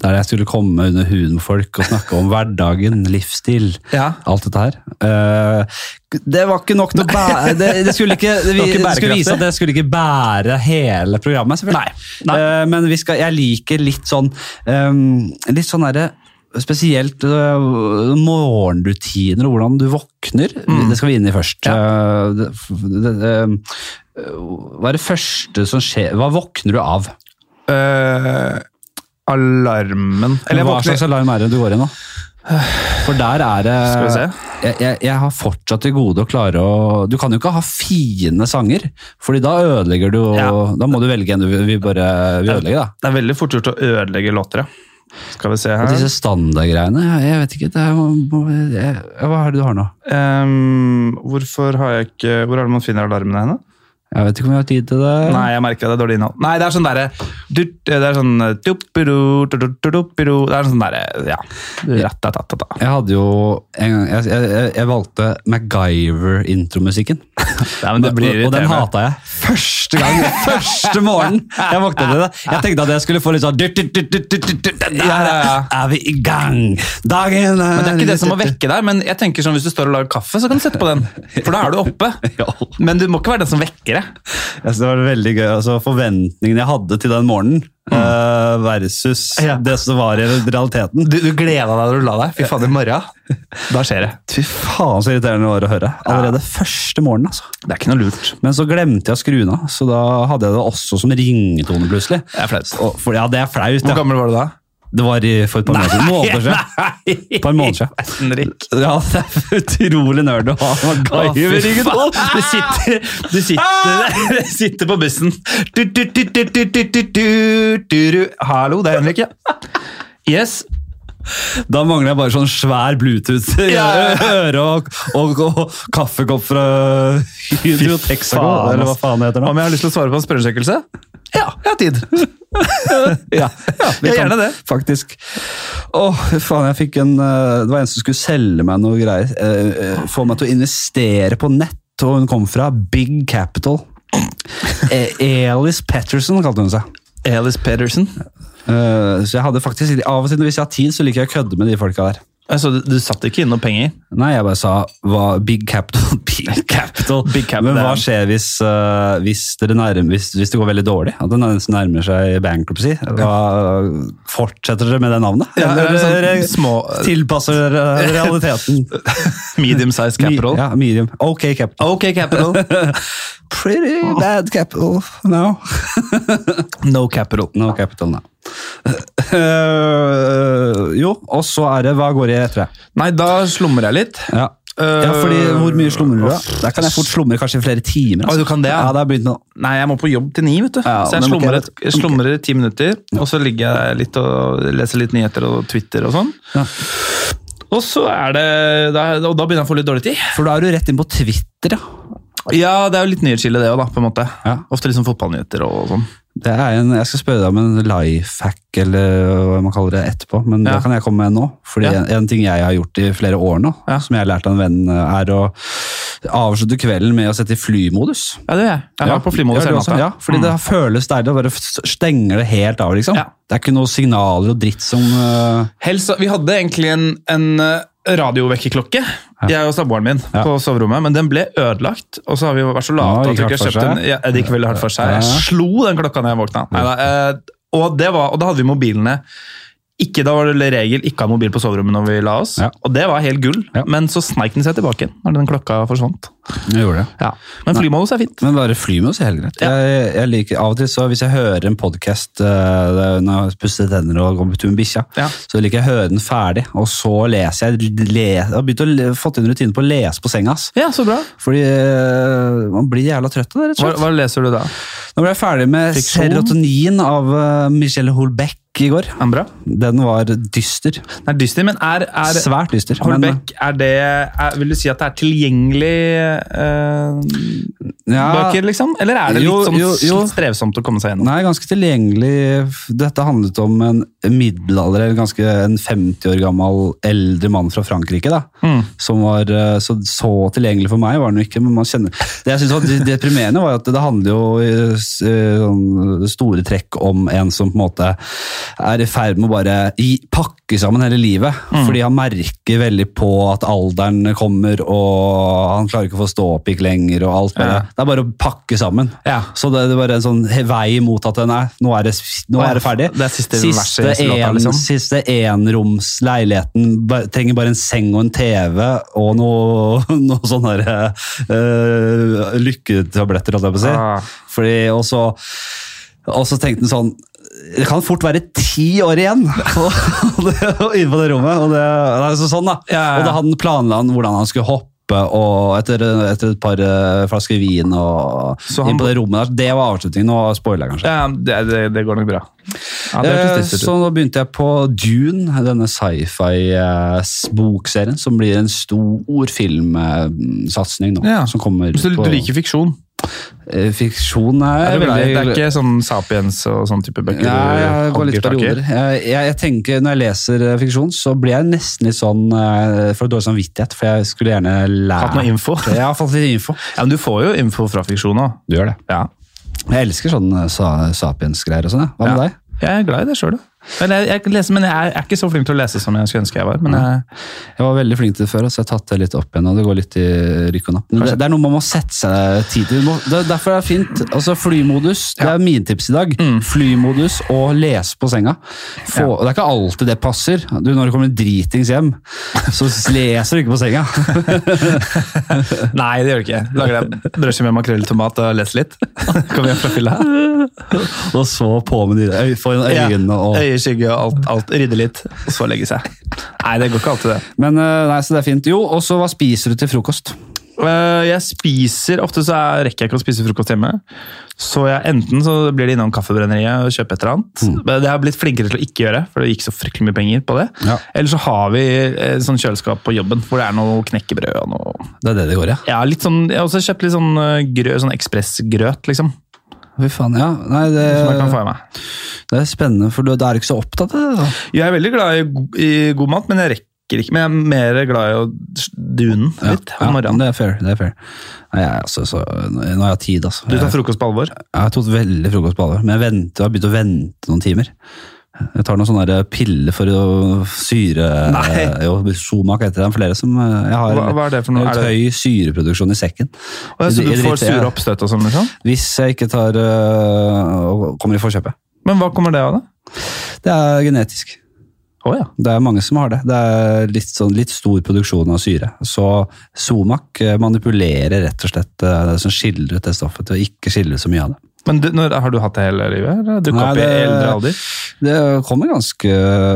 [SPEAKER 1] Der jeg skulle komme under huden med folk og snakke om hverdagen, livsstil,
[SPEAKER 2] Ja.
[SPEAKER 1] alt dette her. Eh, det var ikke nok til å
[SPEAKER 2] (laughs)
[SPEAKER 1] bære det, det, skulle ikke, det, vi,
[SPEAKER 2] var ikke
[SPEAKER 1] det skulle vise
[SPEAKER 2] bærekraftig.
[SPEAKER 1] at det skulle ikke bære hele programmet, selvfølgelig.
[SPEAKER 2] Nei,
[SPEAKER 1] Eh, men vi skal, jeg liker litt sånn eh, Litt sånn derre Spesielt eh, morgenrutiner og hvordan du våkner.
[SPEAKER 2] Mm.
[SPEAKER 1] Det skal vi inn i først. Eh, det, det, eh, hva er det første som skjer Hva våkner du av?
[SPEAKER 2] Eh, alarmen Eller jeg
[SPEAKER 1] hva
[SPEAKER 2] våkner
[SPEAKER 1] slags alarm er det du går i nå? For der er det
[SPEAKER 2] Skal vi se.
[SPEAKER 1] Jeg, jeg, jeg har fortsatt til gode å klare å Du kan jo ikke ha fine sanger, Fordi da ødelegger du
[SPEAKER 2] Ja.
[SPEAKER 1] Da må du velge en du vil vil bare vil ødelegge, da.
[SPEAKER 2] Det er veldig fort gjort å ødelegge låter, ja. Skal vi se
[SPEAKER 1] Og
[SPEAKER 2] her
[SPEAKER 1] disse standardgreiene, jeg, jeg vet ikke det er, må- jeg, Hva er det du har nå?
[SPEAKER 2] Ehm, hvorfor har jeg ikke Hvor er det man finner alarmene henne?
[SPEAKER 1] Jeg vet ikke om jeg har tid til det.
[SPEAKER 2] Nei, jeg merker det er dårlig innhold. Nei, det er sånn derre du- Det er sånn eh, tupiru, tututupiru. Det er sånn derre Ja. Rattatatata.
[SPEAKER 1] Jeg hadde jo en gang Jeg, jeg, jeg- jeg valgte MacGyver-intromusikken. (laughs)
[SPEAKER 2] Nei, men det blir
[SPEAKER 1] og, og den
[SPEAKER 2] irriterende.
[SPEAKER 1] hata jeg. Første gang, første morgen jeg våkna til det. Jeg tenkte at jeg skulle få litt sånn dyrt, dyrt, dyrt, dyrt, dyrt, dyrt, Der
[SPEAKER 2] Ja, ja, ja.
[SPEAKER 1] er vi i gang! Dagen
[SPEAKER 2] Men Det er ikke det som må vekke deg, men jeg tenker sånn, hvis du står og lager kaffe, så kan du sette på den. For da er du oppe. Men du må ikke være den som vekker deg.
[SPEAKER 1] Jeg synes det var veldig gøy. altså Forventningene jeg hadde til den morgenen eh, versus
[SPEAKER 2] Mm. Ja.
[SPEAKER 1] det som var i realiteten.
[SPEAKER 2] Du, du gleda deg da du la deg. Fy faen, i morgen. Da skjer det.
[SPEAKER 1] Fy faen, så irriterende det var å høre. Allerede første morgenen, altså.
[SPEAKER 2] Det er ikke noe lurt.
[SPEAKER 1] Men så glemte jeg å skru den av, så da hadde jeg det også som ringetone plutselig.
[SPEAKER 2] Det er flaut.
[SPEAKER 1] Og- For, ja, det er flaut.
[SPEAKER 2] Hvor
[SPEAKER 1] Ja.
[SPEAKER 2] gammel var du da?
[SPEAKER 1] Det var i, for et par måneder siden. Måneder siden.
[SPEAKER 2] (laughs) Nei!
[SPEAKER 1] Par måneder siden.
[SPEAKER 2] Henrik.
[SPEAKER 1] Ja, det er utrolig nerd å ha MacGyver-ringetone.
[SPEAKER 2] Du sitter, du
[SPEAKER 1] Ah!
[SPEAKER 2] sitter, du Ah! (laughs) sitter på bussen. Du, du, du, du, du, du, du, du, du, du. Hallo, det er Henrik, ja. Yes.
[SPEAKER 1] Da mangler jeg bare sånn svær bluetooth i
[SPEAKER 2] Ja.
[SPEAKER 1] (laughs) øre og, og, og kaffekopp fra Hydro Texaco,
[SPEAKER 2] faen,
[SPEAKER 1] eller hva
[SPEAKER 2] ass.
[SPEAKER 1] faen det heter
[SPEAKER 2] Om
[SPEAKER 1] nå.
[SPEAKER 2] jeg har lyst til å svare på en spørreundersøkelse? Ja, jeg har tid.
[SPEAKER 1] (laughs) Ja, ja
[SPEAKER 2] Ja, gjerne det.
[SPEAKER 1] Faktisk. Åh, faen, jeg fikk en eh, Det var en som skulle selge meg noe greier. eh, eh, Få meg til å investere på nett, og hun kom fra Big Capital. Eh, Alice Petterson kalte hun seg.
[SPEAKER 2] Alice Pedersen.
[SPEAKER 1] Eh, Så jeg hadde faktisk, av og til hvis jeg har tid, så liker jeg å kødde med de folka der.
[SPEAKER 2] Altså, du, du satt ikke inn noe penger?
[SPEAKER 1] Nei, jeg bare sa hva, Big Capital. (laughs) Big Capital.
[SPEAKER 2] Big Cap,
[SPEAKER 1] Men
[SPEAKER 2] det er-
[SPEAKER 1] hva skjer hvis, eh, hvis, dere nærmer, hvis, hvis det går veldig dårlig? At det nesten nærmer seg bankruptcy? Hva, fortsetter dere med det navnet?
[SPEAKER 2] Ja,
[SPEAKER 1] Eller
[SPEAKER 2] eller sånn
[SPEAKER 1] dere
[SPEAKER 2] små-
[SPEAKER 1] eh, tilpasser dere realiteten? (laughs)
[SPEAKER 2] Medium size capital.
[SPEAKER 1] Mi- Ja, medium. Ok capital.
[SPEAKER 2] Ok capital.
[SPEAKER 1] Oh, Pretty bad capital (laughs) now.
[SPEAKER 2] No (laughs) capital.
[SPEAKER 1] No capital now. Eh, jo, og så er det hva går i etter det?
[SPEAKER 2] Nei, da slumrer jeg litt.
[SPEAKER 1] Ja. ja, fordi hvor mye slumrer du? da? Der kan jeg fort slumre kanskje i flere timer. altså.
[SPEAKER 2] Å, du kan det, ja.
[SPEAKER 1] ja. ja det har begynt nå.
[SPEAKER 2] Nei, jeg må på jobb til ni, vet du.
[SPEAKER 1] Ja,
[SPEAKER 2] så jeg
[SPEAKER 1] men ok,
[SPEAKER 2] slumrer,
[SPEAKER 1] vet-
[SPEAKER 2] et- jeg slumrer i ti minutter, og så ligger jeg litt og leser litt nyheter og Twitter og sånn.
[SPEAKER 1] Ja.
[SPEAKER 2] Og så er det da, Og da begynner jeg å få litt dårlig tid.
[SPEAKER 1] For da er du rett inn på Twitter, ja.
[SPEAKER 2] Ja, det er jo litt nyhetskilde, det òg, da, på en måte.
[SPEAKER 1] Ja.
[SPEAKER 2] Ofte liksom fotballnyheter og sånn.
[SPEAKER 1] Det er en, jeg skal spørre deg om en life hack eller hva man kaller det etterpå, men det
[SPEAKER 2] Ja.
[SPEAKER 1] kan jeg komme med nå. Fordi
[SPEAKER 2] Ja.
[SPEAKER 1] en, en ting jeg har gjort i flere år nå,
[SPEAKER 2] Ja.
[SPEAKER 1] som jeg har lært av en venn, eh, er å avslutte kvelden med å sette i flymodus.
[SPEAKER 2] Ja, det gjør jeg. Jeg har vært på flymodus
[SPEAKER 1] Ja, du
[SPEAKER 2] hele
[SPEAKER 1] også.
[SPEAKER 2] natta. Mm.
[SPEAKER 1] Ja, fordi det føles deilig å bare f- stenge det helt av, liksom.
[SPEAKER 2] Ja.
[SPEAKER 1] Det er ikke noe signaler og dritt som øh,
[SPEAKER 2] Helst, vi hadde egentlig en, en eh, radiovekkerklokke, jeg og samboeren min,
[SPEAKER 1] Ja.
[SPEAKER 2] på soverommet, men den ble ødelagt. Og så har vi vært så
[SPEAKER 1] Ja,
[SPEAKER 2] late at vi
[SPEAKER 1] gikk hardt
[SPEAKER 2] ikke har
[SPEAKER 1] for
[SPEAKER 2] kjøpt en.
[SPEAKER 1] seg.
[SPEAKER 2] Ja, det gikk veldig hardt for seg.
[SPEAKER 1] Ja.
[SPEAKER 2] Jeg slo den klokka når jeg våkna. Neida, eh, og, det var, og da hadde vi mobilene ikke, Da var det regel ikke ha mobil på soverommet når vi la oss,
[SPEAKER 1] Ja.
[SPEAKER 2] og det var helt gull.
[SPEAKER 1] Ja.
[SPEAKER 2] Men så sneik den seg tilbake igjen når den klokka forsvant.
[SPEAKER 1] Jeg gjorde det.
[SPEAKER 2] Men flymodus er fint.
[SPEAKER 1] Men bare fly med oss er helt greit. Jeg, jeg liker, av og til så Hvis jeg hører en podkast når jeg har pusset tenner og går på tur med bikkja,
[SPEAKER 2] Ja.
[SPEAKER 1] så liker jeg å høre den ferdig, og så leser jeg. Le, jeg har begynt å le, fått inn rutinen på å lese på senga. ass.
[SPEAKER 2] Ja, så bra.
[SPEAKER 1] Fordi eh, man blir jævla trøtt av det, rett og
[SPEAKER 2] Hva,
[SPEAKER 1] slett.
[SPEAKER 2] hva leser du da?
[SPEAKER 1] Nå ble jeg ferdig med
[SPEAKER 2] Fiksjon?
[SPEAKER 1] Serotonin av eh, Michelle Holbeck i går.
[SPEAKER 2] Ambra?
[SPEAKER 1] Den var dyster.
[SPEAKER 2] Den er dyster, men er, er
[SPEAKER 1] Svært dyster. men- eh,
[SPEAKER 2] Holbæk, er det, er, vil du si at det er tilgjengelig eh,
[SPEAKER 1] Ja,
[SPEAKER 2] bøker, liksom? Eller er det litt
[SPEAKER 1] Jo,
[SPEAKER 2] sånn
[SPEAKER 1] jo, jo.
[SPEAKER 2] strevsomt å komme seg gjennom?
[SPEAKER 1] Nei, ganske tilgjengelig. Dette handlet om en middelalder, eller ganske en 50 år gammel eldre mann fra Frankrike. da,
[SPEAKER 2] Mm.
[SPEAKER 1] som var eh, så, så tilgjengelig for meg, var den jo ikke, men man kjenner Det jeg synes var de- deprimerende, var at det handler jo i s- eh, sånn store trekk om en som på en måte er i ferd med å bare gi, pakke sammen hele livet.
[SPEAKER 2] Mm.
[SPEAKER 1] Fordi han merker veldig på at alderen kommer, og han klarer ikke å få stå opp ikke lenger, og alt bare
[SPEAKER 2] Ja.
[SPEAKER 1] Det er bare å pakke sammen.
[SPEAKER 2] Ja.
[SPEAKER 1] Så det, det var en sånn he- vei mot at nei, nå er det, s- nå er det ferdig.
[SPEAKER 2] Det er siste verset i siste låta,
[SPEAKER 1] en-
[SPEAKER 2] liksom.
[SPEAKER 1] Siste enromsleiligheten ba- trenger bare en seng og en TV og noe, (laughs) noe sånne der, eh, lykketabletter, holdt jeg på å si.
[SPEAKER 2] Ah.
[SPEAKER 1] Fordi, og så, og så tenkte han sånn det kan fort være ti år igjen (laughs) og, og det, og inne på det rommet. Og det, det er så sånn da.
[SPEAKER 2] Ja, ja.
[SPEAKER 1] Og da hadde han planla han hvordan han skulle hoppe, og etter, etter et par eh, flasker vin og
[SPEAKER 2] Så han-
[SPEAKER 1] inn på det rommet der. Det var avslutningen. Nå spoiler jeg kanskje.
[SPEAKER 2] Ja, det, det, det går nok bra. Ja, det
[SPEAKER 1] Eh,
[SPEAKER 2] høres litt
[SPEAKER 1] Så
[SPEAKER 2] ut.
[SPEAKER 1] nå begynte jeg på Dune, denne eh, sci-fi-bokserien, som blir en stor filmsatsing nå.
[SPEAKER 2] Ja.
[SPEAKER 1] Som kommer
[SPEAKER 2] Så du,
[SPEAKER 1] på
[SPEAKER 2] du liker fiksjon?
[SPEAKER 1] Eh, Fiksjon er,
[SPEAKER 2] Det er, veldig, det
[SPEAKER 1] glad i-
[SPEAKER 2] er ikke sånn Sapiens og sånn type bøker?
[SPEAKER 1] Nei, jeg
[SPEAKER 2] du
[SPEAKER 1] går litt
[SPEAKER 2] hogger tak i?
[SPEAKER 1] perioder. Jeg, jeg, jeg tenker Når jeg leser eh, fiksjon, så blir jeg nesten litt sånn eh, for dårlig samvittighet, for jeg skulle gjerne lært
[SPEAKER 2] Hatt noe info?
[SPEAKER 1] Jeg har fått litt info.
[SPEAKER 2] Ja, men du får jo info fra fiksjon òg.
[SPEAKER 1] Du gjør det.
[SPEAKER 2] Ja.
[SPEAKER 1] Jeg elsker sånn eh, sa, sapiens-greier og sånn. jeg. Hva med
[SPEAKER 2] Ja.
[SPEAKER 1] deg?
[SPEAKER 2] Jeg er glad i det sjøl, men, jeg, jeg, leser, men jeg, er, jeg er ikke så flink til å lese som jeg skulle ønske jeg var. Men jeg,
[SPEAKER 1] Jeg var veldig flink til det før, så jeg har tatt det litt opp igjen. og Det går litt i rykk og napp. Men det, det er noe man må sette seg tid til. Du må- Det, derfor er det fint. Altså Flymodus det er mine tips i dag. Flymodus og lese på senga. Få, og Det er ikke alltid det passer. Du, Når du kommer dritings hjem, så leser du ikke på senga. (laughs)
[SPEAKER 2] nei, det gjør det ikke. Lager deg brødskive med makrell i tomat og leser litt. (laughs) Kommer hjem fra fylla.
[SPEAKER 1] Og så på med de øy, for
[SPEAKER 2] Ja.
[SPEAKER 1] øynene og
[SPEAKER 2] Øyeskygge og alt, alt. Rydde litt, og så legge seg. Nei, det går ikke alltid, det.
[SPEAKER 1] Men eh, nei, så det er fint. Jo, og så hva spiser du til frokost?
[SPEAKER 2] Øh, Jeg spiser, Ofte så er- rekker jeg ikke å spise frokost hjemme. Så jeg, enten så blir det innom Kaffebrenneriet og kjøper et eller annet.
[SPEAKER 1] Mm.
[SPEAKER 2] Men Det har jeg blitt flinkere til å ikke gjøre, for det gikk så fryktelig mye penger på det.
[SPEAKER 1] Ja.
[SPEAKER 2] Eller så har vi eh, sånn kjøleskap på jobben hvor det er noe knekkebrød og noe
[SPEAKER 1] Det er det det går i. Ja.
[SPEAKER 2] ja, litt sånn, Jeg har også kjøpt litt sånn eh, grø, sånn ekspressgrøt, liksom.
[SPEAKER 1] Fy faen, ja. Nei, det,
[SPEAKER 2] Som jeg kan få i
[SPEAKER 1] Eh.
[SPEAKER 2] meg.
[SPEAKER 1] det er spennende, for du da er du ikke så opptatt av det. da.
[SPEAKER 2] Jeg er veldig glad i, go- i god mat, men jeg rekker ikke. Men jeg er mer glad i å dune
[SPEAKER 1] Ja,
[SPEAKER 2] litt
[SPEAKER 1] ja,
[SPEAKER 2] om morgenen.
[SPEAKER 1] Det er fair. det er fair. Nei, jeg, altså, så, nå nå har jeg tid, altså.
[SPEAKER 2] Du
[SPEAKER 1] Jeg,
[SPEAKER 2] tar frokost på alvor?
[SPEAKER 1] jeg har tatt veldig frokost på alvor, men jeg, venter, jeg har begynt å vente noen timer. Jeg tar noen sånne der piller for å syre
[SPEAKER 2] Nei.
[SPEAKER 1] Jo, Somak heter det. Flere som eh, jeg har
[SPEAKER 2] Hva- hva er det for noe?
[SPEAKER 1] litt
[SPEAKER 2] Er det-
[SPEAKER 1] høy syreproduksjon i sekken.
[SPEAKER 2] Og jeg, så
[SPEAKER 1] Jeg
[SPEAKER 2] du
[SPEAKER 1] driter-
[SPEAKER 2] får sure oppstøt og sånn, liksom?
[SPEAKER 1] Hvis jeg ikke tar eh, og kommer i forkjøpet.
[SPEAKER 2] Men hva kommer det av, da?
[SPEAKER 1] Det er genetisk.
[SPEAKER 2] Å ja.
[SPEAKER 1] Det er mange som har det. Det er litt, sånn, litt stor produksjon av syre. Så Somak eh, manipulerer rett og slett eh, det som skiller ut det stoffet, til å ikke skille ut så mye av det.
[SPEAKER 2] Men du, når, har du hatt det hele livet? eller? Du kom
[SPEAKER 1] Nei,
[SPEAKER 2] opp i
[SPEAKER 1] det-
[SPEAKER 2] eldre alder?
[SPEAKER 1] Det kommer ganske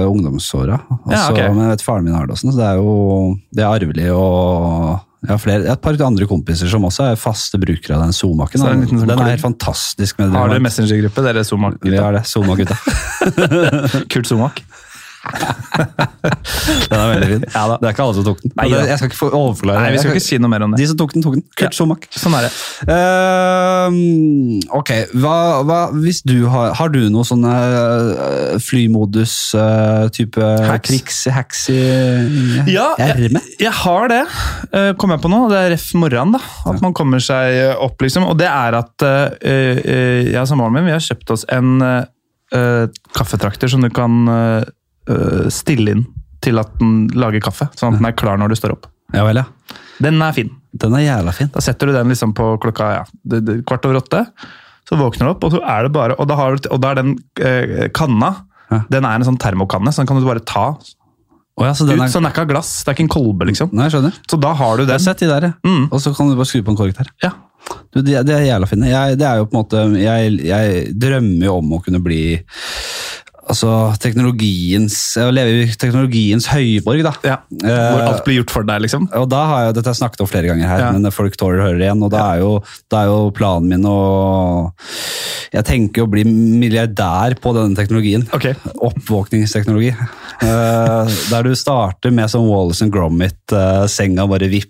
[SPEAKER 1] ungdomsåra. Altså,
[SPEAKER 2] Ja, ok.
[SPEAKER 1] Men jeg vet faren min har det også, så det er jo det er arvelig. og jeg har, flere, jeg har et par andre kompiser som også er faste brukere av den Somaken.
[SPEAKER 2] Så det er en liten sånn
[SPEAKER 1] den er
[SPEAKER 2] klubb.
[SPEAKER 1] helt fantastisk. med det.
[SPEAKER 2] Har dere messengergruppe, dere
[SPEAKER 1] Vi
[SPEAKER 2] Somak-gutta?
[SPEAKER 1] har det.
[SPEAKER 2] (laughs)
[SPEAKER 1] Somak-gutta.
[SPEAKER 2] Kurt Somak?
[SPEAKER 1] Den er veldig fin.
[SPEAKER 2] Ja da.
[SPEAKER 1] Det er ikke alle som tok den.
[SPEAKER 2] Nei
[SPEAKER 1] Men
[SPEAKER 2] da.
[SPEAKER 1] jeg skal ikke få- overforklare.
[SPEAKER 2] Nei, vi skal
[SPEAKER 1] Jeg
[SPEAKER 2] ikke si noe mer om det.
[SPEAKER 1] De som tok den, tok den. Kurt
[SPEAKER 2] Ja.
[SPEAKER 1] Somak.
[SPEAKER 2] Sånn er det.
[SPEAKER 1] Ehm, ok, hva, hva, hvis du har, har du noe sånne eh, flymodus-type
[SPEAKER 2] Hacks.
[SPEAKER 1] triks, hacks i i
[SPEAKER 2] Ja,
[SPEAKER 1] ermet?
[SPEAKER 2] Jeg har det. eh, Kom jeg på nå. Det er ref morgenen. da. At man kommer seg eh, opp, liksom. Og det er at eh, eh, jeg og samboeren min vi har kjøpt oss en eh, eh, kaffetrakter som du kan eh, eh, stille inn til at den lager kaffe. Sånn at den er klar når du står opp.
[SPEAKER 1] Ja vel, ja.
[SPEAKER 2] Den er fin.
[SPEAKER 1] Den er jævla fin.
[SPEAKER 2] Da setter du den liksom på klokka ja, det- det- kvart over åtte. Så våkner du opp, og så er det bare, og da, har, du- og da er den eh, kanna
[SPEAKER 1] Ja.
[SPEAKER 2] den er en sånn termokanne, så den kan du bare ta
[SPEAKER 1] Oh, ja, så
[SPEAKER 2] ut.
[SPEAKER 1] den er,
[SPEAKER 2] Så den er ikke av glass, det er ikke en kolbe. liksom.
[SPEAKER 1] Nei, jeg skjønner.
[SPEAKER 2] Så da har du
[SPEAKER 1] Jeg har
[SPEAKER 2] den.
[SPEAKER 1] sett de der, ja.
[SPEAKER 2] Mm.
[SPEAKER 1] Og så kan du bare skru på en kork der.
[SPEAKER 2] Ja.
[SPEAKER 1] Du, de, de er jævla fine. Jeg, det er jo på en måte, jeg, jeg drømmer jo om å kunne bli altså, teknologiens, å leve i teknologiens høyborg. da.
[SPEAKER 2] ja.
[SPEAKER 1] Eh,
[SPEAKER 2] Hvor alt blir gjort for deg, liksom.
[SPEAKER 1] Og da har jeg, Dette har jeg snakket om flere ganger her,
[SPEAKER 2] Ja.
[SPEAKER 1] men folk tåler å høre det igjen. og Da er jo, da er jo planen min å Jeg tenker å bli milliardær på denne teknologien.
[SPEAKER 2] Ok.
[SPEAKER 1] Oppvåkningsteknologi. Eh, der du starter med sånn Wallace and Gromit, eh, senga bare vippes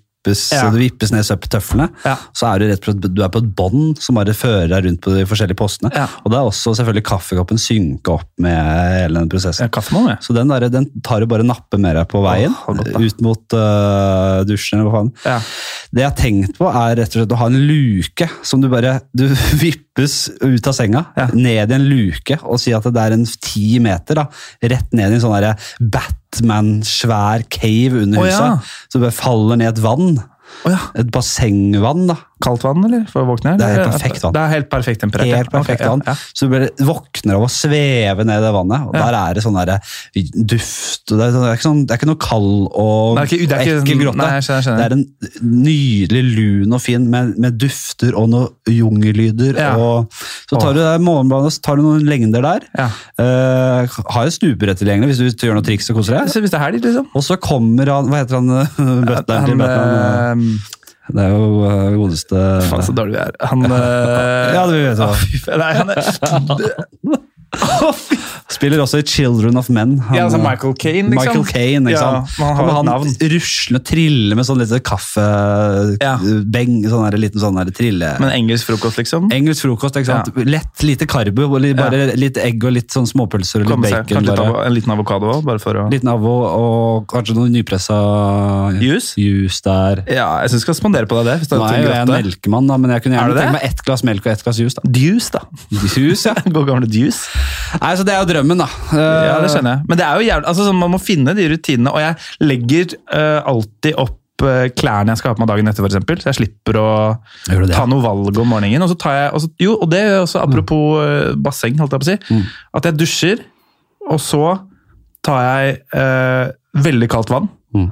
[SPEAKER 2] Ja.
[SPEAKER 1] så det vippes ned søppeltøflene.
[SPEAKER 2] Ja.
[SPEAKER 1] Så er du rett og slett du er på et bånd som bare fører deg rundt på de forskjellige postene.
[SPEAKER 2] Ja.
[SPEAKER 1] Og da er også selvfølgelig kaffekoppen synka opp med hele den prosessen.
[SPEAKER 2] Ja, Kaffe må man,
[SPEAKER 1] Så den, der, den tar du bare nappe med deg på veien,
[SPEAKER 2] Åh, godt da.
[SPEAKER 1] ut mot øh, dusjen eller hva faen.
[SPEAKER 2] ja.
[SPEAKER 1] Det jeg har tenkt på er rett og slett å ha en luke som du bare du (laughs) vippes ut av senga,
[SPEAKER 2] Ja.
[SPEAKER 1] ned i en luke, og si at det er en ti meter, da, rett ned i en sånn derre Batman-svær cave under
[SPEAKER 2] Å,
[SPEAKER 1] huset.
[SPEAKER 2] ja.
[SPEAKER 1] Så du bare faller ned et vann.
[SPEAKER 2] Å ja.
[SPEAKER 1] Et bassengvann, da.
[SPEAKER 2] Kaldt vann, eller? For å våkne?
[SPEAKER 1] Det er
[SPEAKER 2] eller?
[SPEAKER 1] helt perfekt vann.
[SPEAKER 2] Det er helt perfekt temperert. ja.
[SPEAKER 1] Helt perfekt
[SPEAKER 2] Ok, ja,
[SPEAKER 1] vann.
[SPEAKER 2] ja.
[SPEAKER 1] Så du bare våkner av å sveve ned i det vannet, og
[SPEAKER 2] Ja.
[SPEAKER 1] der er det sånn derre duft og det er, sånn- det, er ikke sånn, det er ikke noe kald og
[SPEAKER 2] Det er ikke- det er ikke-
[SPEAKER 1] ekkel grotte.
[SPEAKER 2] Nei, jeg skjønner, jeg skjønner.
[SPEAKER 1] Det er en nydelig lun og fin med, med dufter og noen jungellyder.
[SPEAKER 2] Ja.
[SPEAKER 1] Og, så tar
[SPEAKER 2] Åh.
[SPEAKER 1] du det er morgenbladet, og så tar du noen lengder der.
[SPEAKER 2] Ja.
[SPEAKER 1] Eh, har et stuebrett tilgjengelig hvis du gjør noe triks og koser deg.
[SPEAKER 2] Så hvis det er helg, liksom.
[SPEAKER 1] Og så kommer han Hva heter han? (laughs) Bøtteren til
[SPEAKER 2] Han,
[SPEAKER 1] Batman?
[SPEAKER 2] eh,
[SPEAKER 1] Det er jo eh, godeste
[SPEAKER 2] faen, så dårlig
[SPEAKER 1] (laughs)
[SPEAKER 2] vi er. Han
[SPEAKER 1] Ja, det vet du. (laughs)
[SPEAKER 2] Fy faen, Nei, han er Å, fy
[SPEAKER 1] Spiller også i Children of Men. Han,
[SPEAKER 2] Ja, altså
[SPEAKER 1] eh,
[SPEAKER 2] Michael Caine, liksom.
[SPEAKER 1] Michael Caine, ikke
[SPEAKER 2] Ja,
[SPEAKER 1] sant?
[SPEAKER 2] men han har
[SPEAKER 1] Og
[SPEAKER 2] et
[SPEAKER 1] han
[SPEAKER 2] navn.
[SPEAKER 1] rusler og triller med sånn lite
[SPEAKER 2] Ja.
[SPEAKER 1] kaffebeng, sånn der, liten sånn der trille...
[SPEAKER 2] Men engelsk frokost, liksom.
[SPEAKER 1] Engelsk frokost, ikke sant? Lett, lite karbo, og li- bare litt egg og litt sånn småpølser og litt
[SPEAKER 2] Komme seg,
[SPEAKER 1] bacon.
[SPEAKER 2] kanskje litt
[SPEAKER 1] Bare.
[SPEAKER 2] av, en liten avokado òg, bare for å
[SPEAKER 1] Liten avå og kanskje noe nypressa
[SPEAKER 2] Juice?
[SPEAKER 1] juice der.
[SPEAKER 2] Ja, jeg syns du skal spandere på deg det. Hvis det
[SPEAKER 1] Nå er
[SPEAKER 2] er
[SPEAKER 1] jo jeg en
[SPEAKER 2] gratte.
[SPEAKER 1] melkemann, da, men jeg kunne
[SPEAKER 2] Er du
[SPEAKER 1] gjerne
[SPEAKER 2] det?
[SPEAKER 1] tenkt meg ett glass melk og ett glass juice. da.
[SPEAKER 2] Deuce, da.
[SPEAKER 1] Juice, ja.
[SPEAKER 2] (laughs)
[SPEAKER 1] Eh.
[SPEAKER 2] God gamle deuce.
[SPEAKER 1] Nei, så Det er jo drømmen, da.
[SPEAKER 2] Ja, det skjønner jeg. Men det er jo jævlig, altså, sånn, man må finne de rutinene, og jeg legger eh, alltid opp eh, klærne jeg skal ha på meg dagen etter, for eksempel, så jeg slipper å
[SPEAKER 1] Gjør du det?
[SPEAKER 2] ta noe valg om morgenen. Og så tar jeg, og så, jo, og det er også apropos eh, basseng, holdt jeg på å si,
[SPEAKER 1] Mm.
[SPEAKER 2] at jeg dusjer, og så tar jeg eh, veldig kaldt vann,
[SPEAKER 1] Mm.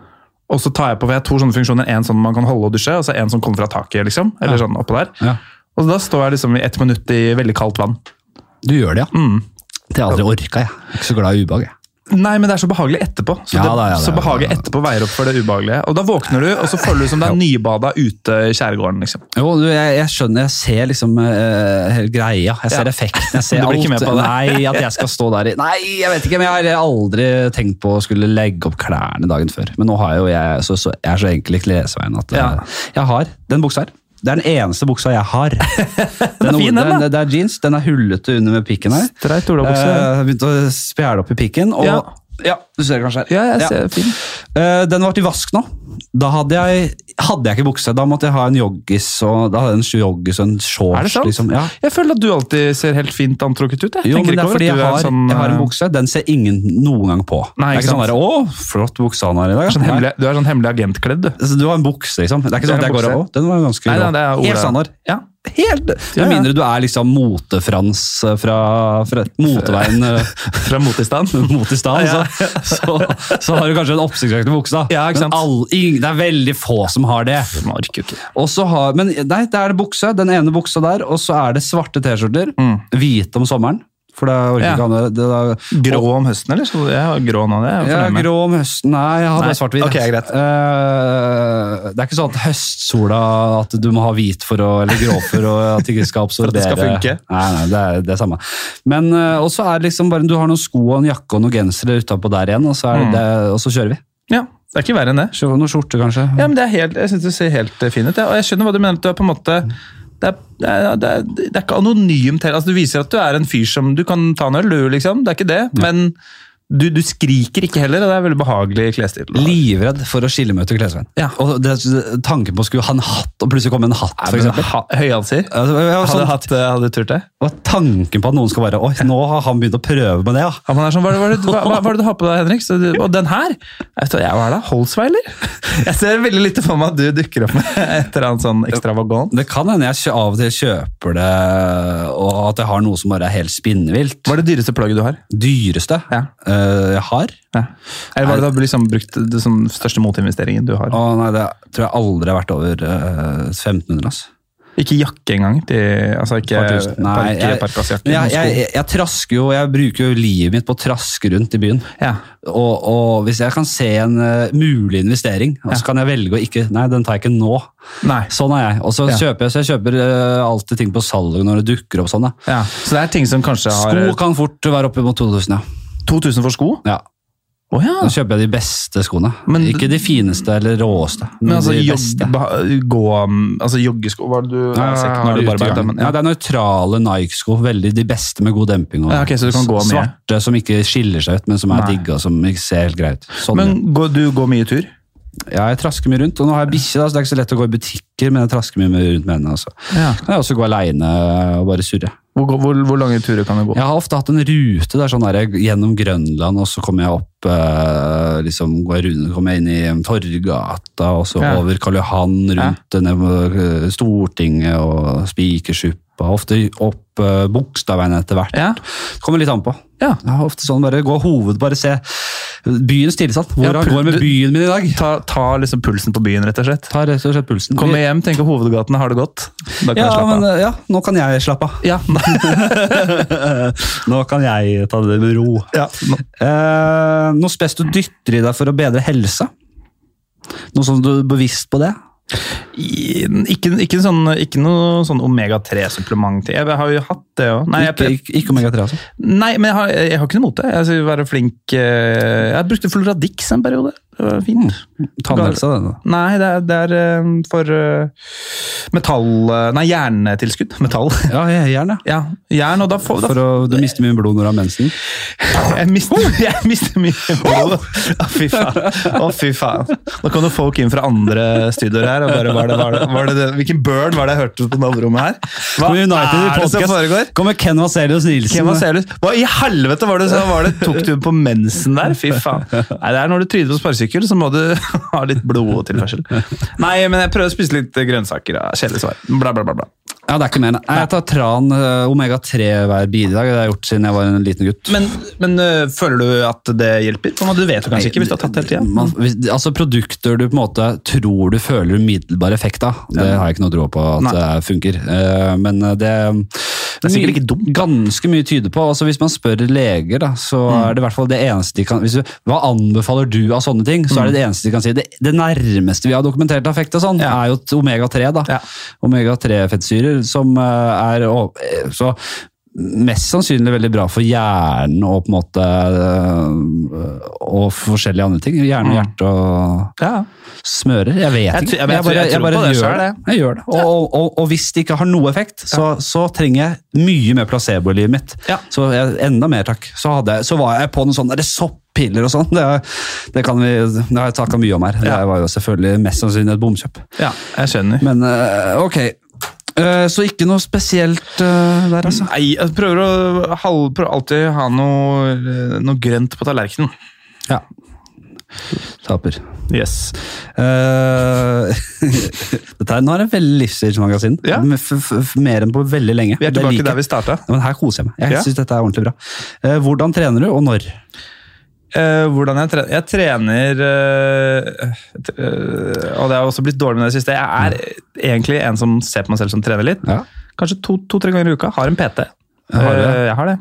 [SPEAKER 2] og så tar jeg på, for jeg har to sånne funksjoner, en sånn man kan holde og dusje, og så en som kommer fra taket, liksom, eller sånn oppå der.
[SPEAKER 1] Ja.
[SPEAKER 2] Og da står jeg liksom i ett minutt i veldig kaldt vann. Mm.
[SPEAKER 1] Du gjør det, ja. Det har jeg aldri orka, jeg. Jeg er ikke så glad i ubehag, jeg.
[SPEAKER 2] Nei, men det er så behagelig etterpå. Så,
[SPEAKER 1] Ja,
[SPEAKER 2] det,
[SPEAKER 1] da, ja, det
[SPEAKER 2] så
[SPEAKER 1] er det.
[SPEAKER 2] behaget etterpå veier opp for det ubehagelige. Og da våkner du, og så føler du som det er nybada ute i skjærgården. liksom.
[SPEAKER 1] Jo, du, jeg, jeg skjønner, jeg ser liksom eh, hele greia. Jeg ser
[SPEAKER 2] Ja.
[SPEAKER 1] effekten,
[SPEAKER 2] (laughs)
[SPEAKER 1] jeg ser
[SPEAKER 2] Du
[SPEAKER 1] alt.
[SPEAKER 2] blir ikke med på det.
[SPEAKER 1] Nei, at jeg skal stå der i Nei, jeg vet ikke, men jeg har aldri tenkt på å skulle legge opp klærne dagen før. Men nå har jeg jo jeg så, så, jeg er så enkel i klesveien at eh,
[SPEAKER 2] Ja.
[SPEAKER 1] jeg har den buksa her. Det er den eneste buksa jeg
[SPEAKER 2] (laughs)
[SPEAKER 1] har. Den
[SPEAKER 2] fin, den, da.
[SPEAKER 1] Det er jeans, den er hullete under med pikken her.
[SPEAKER 2] Streit olabukse.
[SPEAKER 1] Eh, Jeg begynte å spjæle opp i pikken, og
[SPEAKER 2] Ja.
[SPEAKER 1] Ja, du ser det kanskje her.
[SPEAKER 2] Ja, jeg ser fin.
[SPEAKER 1] Eh, den var til vask nå. Da hadde jeg, hadde jeg ikke bukse. Da måtte jeg ha en joggis og da hadde jeg en joggis og en shorts.
[SPEAKER 2] Er det sant?
[SPEAKER 1] Liksom. Ja.
[SPEAKER 2] Jeg føler at du alltid ser helt fint antrukket ut. Jeg
[SPEAKER 1] Jo,
[SPEAKER 2] Tenker
[SPEAKER 1] men det er
[SPEAKER 2] ikke over at
[SPEAKER 1] fordi jeg
[SPEAKER 2] du er
[SPEAKER 1] har,
[SPEAKER 2] sånn,
[SPEAKER 1] jeg har en
[SPEAKER 2] eh,
[SPEAKER 1] bukse. Den ser ingen noen gang på.
[SPEAKER 2] Nei,
[SPEAKER 1] det er
[SPEAKER 2] ikke
[SPEAKER 1] ikke sånn
[SPEAKER 2] sant.
[SPEAKER 1] der, Å, flott bukse han har i dag.
[SPEAKER 2] sånn
[SPEAKER 1] Nei.
[SPEAKER 2] hemmelig, du er sånn hemmelig agentkledd, du.
[SPEAKER 1] Altså, du har en bukse, liksom. Det er ikke
[SPEAKER 2] Det er
[SPEAKER 1] sånn at
[SPEAKER 2] en
[SPEAKER 1] jeg går
[SPEAKER 2] bukse.
[SPEAKER 1] av. Den var ganske
[SPEAKER 2] Nei,
[SPEAKER 1] rå.
[SPEAKER 2] nei, det er ordet.
[SPEAKER 1] Helt standard.
[SPEAKER 2] Ja.
[SPEAKER 1] Helt,
[SPEAKER 2] Ja,
[SPEAKER 1] Med
[SPEAKER 2] ja.
[SPEAKER 1] mindre du er liksom mote-Frans eh, fra, fra moteveien
[SPEAKER 2] (laughs)
[SPEAKER 1] eh,
[SPEAKER 2] (laughs) Fra motestand.
[SPEAKER 1] (laughs) mot i stad,
[SPEAKER 2] Ja.
[SPEAKER 1] så, så, så har du kanskje en oppsiktsvekkende bukse. da.
[SPEAKER 2] Ja, ikke sant?
[SPEAKER 1] Men all, ingen, det er veldig få som har det.
[SPEAKER 2] Man orker jo ikke.
[SPEAKER 1] Og så har, men nei, det er det bukse, den ene buksa der, og så er det svarte T-skjorter.
[SPEAKER 2] Mm.
[SPEAKER 1] Hvite om sommeren, for det orker
[SPEAKER 2] Ja.
[SPEAKER 1] ikke han det- det da-
[SPEAKER 2] Grå om høsten, eller? Så jeg har grå nå, det er jeg
[SPEAKER 1] Ja,
[SPEAKER 2] fornøyd med.
[SPEAKER 1] grå om høsten. Nei, jeg har
[SPEAKER 2] Nei,
[SPEAKER 1] bare svart-hvit.
[SPEAKER 2] ok, greit.
[SPEAKER 1] Eh, det er ikke sånn at høstsola At du må ha hvit for å, eller grå for å, at det ikke skal
[SPEAKER 2] (laughs) at det
[SPEAKER 1] absorbere
[SPEAKER 2] skal funke.
[SPEAKER 1] Nei, nei, det er det er samme. Men eh, og så er det liksom bare Du har noen sko og en jakke og noen gensere utapå der igjen, og så,
[SPEAKER 2] Mm.
[SPEAKER 1] er det, det, og så kjører vi.
[SPEAKER 2] Ja, det er ikke verre enn det.
[SPEAKER 1] Kjører Noen skjorter, kanskje.
[SPEAKER 2] Ja, men det er helt, Jeg syns det ser helt eh, fin ut. Ja. Og jeg skjønner hva du mener. at Du er på en måte det er, det, er, det, er, det er ikke anonymt heller. Altså, du viser at du er en fyr som du kan ta en øl, du, liksom. Det er ikke det. Men du, du skriker ikke heller, og det er veldig behagelig klesstil. du har.
[SPEAKER 1] Livredd for å skillemøte klesvenn.
[SPEAKER 2] Ja.
[SPEAKER 1] Og det, tanken på å skulle ha en hatt, og plutselig komme en hatt, for eksempel.
[SPEAKER 2] Ha- Høyhalser.
[SPEAKER 1] Altså, jeg var
[SPEAKER 2] Hadde,
[SPEAKER 1] sånn,
[SPEAKER 2] hatt, eh, hadde du turt det?
[SPEAKER 1] og tanken på at noen skal bare Oi, nå har han begynt å prøve med det, ja.
[SPEAKER 2] Ja, men det er sånn, hva, er det- hva, er det- hva, hva, hva er det du har på deg, Henrik? Så, du- og den her? Jeg vet, hva er det? Holzweiler? (laughs) Jeg ser veldig lite for meg at du dukker opp med et eller annet sånn ekstravagant.
[SPEAKER 1] Det kan hende jeg kjø- av og til kjøper det, og at jeg har noe som bare er helt spinnvilt.
[SPEAKER 2] Hva er det dyreste plagget du har?
[SPEAKER 1] Dyreste
[SPEAKER 2] Ja.
[SPEAKER 1] eh, jeg har?
[SPEAKER 2] Ja. Eller hva er det du har liksom brukt det som største motinvesteringen du har?
[SPEAKER 1] Å nei, det tror jeg aldri har vært over eh, 1500, altså.
[SPEAKER 2] Ikke jakke engang? De, altså ikke
[SPEAKER 1] Par tusen. Nei,
[SPEAKER 2] park-
[SPEAKER 1] jeg-
[SPEAKER 2] parkasjakke?
[SPEAKER 1] Jeg,
[SPEAKER 2] noen sko.
[SPEAKER 1] jeg, jeg, jeg trasker jo, jeg bruker jo livet mitt på å traske rundt i byen.
[SPEAKER 2] ja.
[SPEAKER 1] Og, og hvis jeg kan se en eh, mulig investering, og så kan jeg velge å ikke Nei, den tar jeg ikke nå.
[SPEAKER 2] Nei.
[SPEAKER 1] Sånn er jeg. Og så
[SPEAKER 2] Ja.
[SPEAKER 1] kjøper jeg så jeg kjøper eh, alltid ting på salg når det dukker opp sånn. da.
[SPEAKER 2] Ja. Så det er ting som kanskje har
[SPEAKER 1] Sko kan fort være oppimot 2000, ja.
[SPEAKER 2] 2000 for sko?
[SPEAKER 1] ja.
[SPEAKER 2] Å ja.
[SPEAKER 1] Da kjøper jeg de beste skoene.
[SPEAKER 2] Men-
[SPEAKER 1] ikke de fineste eller råeste.
[SPEAKER 2] Men altså,
[SPEAKER 1] de
[SPEAKER 2] jog,
[SPEAKER 1] beste.
[SPEAKER 2] ba- gå, altså joggesko Hva er det du
[SPEAKER 1] Ja,
[SPEAKER 2] jeg ser ikke når du bare
[SPEAKER 1] utegang.
[SPEAKER 2] beiter, men,
[SPEAKER 1] ja.
[SPEAKER 2] ja.
[SPEAKER 1] det er nøytrale Nike-sko. veldig De beste med god demping. Og
[SPEAKER 2] Ja, ok, så du kan gå mye.
[SPEAKER 1] Svarte som ikke skiller seg ut, men som er
[SPEAKER 2] Nei.
[SPEAKER 1] digge og som ikke ser helt greie ut. Sånn,
[SPEAKER 2] men går, du går mye tur?
[SPEAKER 1] ja, jeg trasker mye rundt, og nå har jeg bikkje, da, så det er ikke så lett å gå i butikker, men jeg trasker mye rundt med henne. Altså.
[SPEAKER 2] Ja.
[SPEAKER 1] Kan jeg også gå aleine og bare surre.
[SPEAKER 2] Hvor, går- hvor, hvor lange turer kan du gå?
[SPEAKER 1] Jeg har ofte hatt en rute der, sånn der jeg- gjennom Grønland, og så kommer jeg opp eh, liksom, går jeg rundt, kommer jeg inn i Torgata, og så
[SPEAKER 2] Ja.
[SPEAKER 1] over Karl Johan, rundt ned mot, eh, Stortinget og Spikersuppa. Ofte opp eh, Bogstadveien etter hvert.
[SPEAKER 2] Ja.
[SPEAKER 1] Kommer litt an på.
[SPEAKER 2] Ja.
[SPEAKER 1] Jeg har ofte sånn bare gå hoved, bare se byens tilstand.
[SPEAKER 2] Ja,
[SPEAKER 1] Hvordan
[SPEAKER 2] pul-
[SPEAKER 1] går det med
[SPEAKER 2] du-
[SPEAKER 1] byen min i dag?
[SPEAKER 2] Ta, ta liksom pulsen på byen, rett og slett.
[SPEAKER 1] Tar rett og slett pulsen.
[SPEAKER 2] Kommer hjem, tenker hovedgatene har det godt. Da kan
[SPEAKER 1] ja,
[SPEAKER 2] jeg slappe
[SPEAKER 1] men,
[SPEAKER 2] av.
[SPEAKER 1] eh, ja, nå kan jeg slappe av.
[SPEAKER 2] Ja,
[SPEAKER 1] (laughs)
[SPEAKER 2] (laughs)
[SPEAKER 1] Nå kan jeg ta det med ro.
[SPEAKER 2] ja. nå-
[SPEAKER 1] Eh, noe spes du dytter i deg for å bedre helsa? Noe sånn du er bevisst på det?
[SPEAKER 2] I- Ikke, ikke, en sånn, ikke noe sånn omega-3-supplement til. Jeg har jo hatt det òg. Nei, jeg-
[SPEAKER 1] Ikke, ikke, ikke omega-3, altså.
[SPEAKER 2] nei, men jeg har, jeg har ikke noe mot det. Jeg skal være flink eh, Jeg brukte Floradix en periode. Det var fint.
[SPEAKER 1] Tannhelsa, det. da.
[SPEAKER 2] Nei, det er, det er eh, for eh, metall eh, Nei, hjernetilskudd. (laughs) Metall.
[SPEAKER 1] Ja, jeg- gjerne.
[SPEAKER 2] Ja, jern, og da får da,
[SPEAKER 1] For å, du mister mye blod når du har mensen.
[SPEAKER 2] Jeg mister, (laughs) jeg mister mye blod. Å, fy faen. Å, fy faen. Nå kom det folk inn fra andre studioer her. og bare, var det, var det, var det, det, Hvilken burn var det jeg hørte på naborommet her? Hva
[SPEAKER 1] Kommer United i
[SPEAKER 2] er det som
[SPEAKER 1] podcast,
[SPEAKER 2] foregår?
[SPEAKER 1] Kommer Ken Vaselius Nielsen.
[SPEAKER 2] Hvem var Selus? Hva i helvete var det som var det? Tok du på mensen der? Fy faen. Nei, det er når du tryner på sparkesykkel, så må du (laughs) ha litt blodtilførsel. Nei, men jeg prøver å spise litt grønnsaker. da. Kjedelig svar. Bla, bla, bla. bla.
[SPEAKER 1] Ja, det er ikke mer. enn- Jeg tar tran eh, omega-3 hver bidrag. Det har jeg gjort siden jeg var en liten gutt.
[SPEAKER 2] Men, men øh, føler du at det hjelper? På en måte, Du vet jo kanskje ikke hvis du har tatt det hele tiden.
[SPEAKER 1] Man, hvis, altså Produkter du på en måte tror du føler umiddelbar effekt av, det har jeg ikke noe tro på at
[SPEAKER 2] Nei.
[SPEAKER 1] det funker. Eh, Men det, det
[SPEAKER 2] er sikkert ikke dumt,
[SPEAKER 1] Ganske mye tyder på. Altså Hvis man spør leger, da, så
[SPEAKER 2] Mm.
[SPEAKER 1] er det i hvert fall det eneste de kan hvis du, Hva anbefaler du av sånne ting? Så
[SPEAKER 2] Mm.
[SPEAKER 1] er det det eneste de kan si. Det, det nærmeste vi har dokumentert effekt av sånn,
[SPEAKER 2] Ja.
[SPEAKER 1] er jo et omega-3. da.
[SPEAKER 2] Ja.
[SPEAKER 1] Omega-3-fettsyrer som eh, er å- eh, så mest sannsynlig veldig bra for hjernen og på en måte eh, og forskjellige andre ting. Hjerne og
[SPEAKER 2] Mm.
[SPEAKER 1] hjerte og
[SPEAKER 2] Ja.
[SPEAKER 1] smører. Jeg vet
[SPEAKER 2] Jeg
[SPEAKER 1] ikke.
[SPEAKER 2] tr- jeg- jeg tror- jeg tror på det
[SPEAKER 1] gjør
[SPEAKER 2] selv, jeg.
[SPEAKER 1] Jeg gjør det. Og, og, og, og hvis det ikke har noe effekt, så, så trenger jeg mye mer placebo i livet mitt.
[SPEAKER 2] Ja.
[SPEAKER 1] Så jeg, enda mer, takk. Så, hadde jeg, så var jeg på noen sånne der soppiller og sånn. Det, er- det, kan vi, det har jeg snakka mye om her.
[SPEAKER 2] Ja.
[SPEAKER 1] Det var jo selvfølgelig mest sannsynlig et bomkjøp.
[SPEAKER 2] ja, jeg skjønner.
[SPEAKER 1] Men eh, ok. Eh, så ikke noe spesielt eh, der, altså.
[SPEAKER 2] Nei, jeg prøver å halv- prøver alltid å ha noe, øh, noe grønt på tallerkenen.
[SPEAKER 1] Ja. Taper.
[SPEAKER 2] Yes.
[SPEAKER 1] Eh, (laughs) Dette her, nå er det veldig livsstilsmagasin.
[SPEAKER 2] Ja.
[SPEAKER 1] M- f- f- f- Mer enn på veldig lenge.
[SPEAKER 2] Vi er
[SPEAKER 1] Det
[SPEAKER 2] tilbake
[SPEAKER 1] liker
[SPEAKER 2] der vi
[SPEAKER 1] jeg.
[SPEAKER 2] starta.
[SPEAKER 1] Ja, Men her koser jeg meg. Jeg
[SPEAKER 2] Ja.
[SPEAKER 1] synes dette er ordentlig bra. Eh, hvordan trener du, og når?
[SPEAKER 2] Eh, hvordan jeg trener Jeg trener eh, t- eh, Og det har også blitt dårlig med det siste. Jeg er egentlig en som ser på meg selv som trener litt.
[SPEAKER 1] Ja.
[SPEAKER 2] Kanskje to- to-tre ganger i uka. Har en PT.
[SPEAKER 1] Har du det?
[SPEAKER 2] Eh, jeg har det.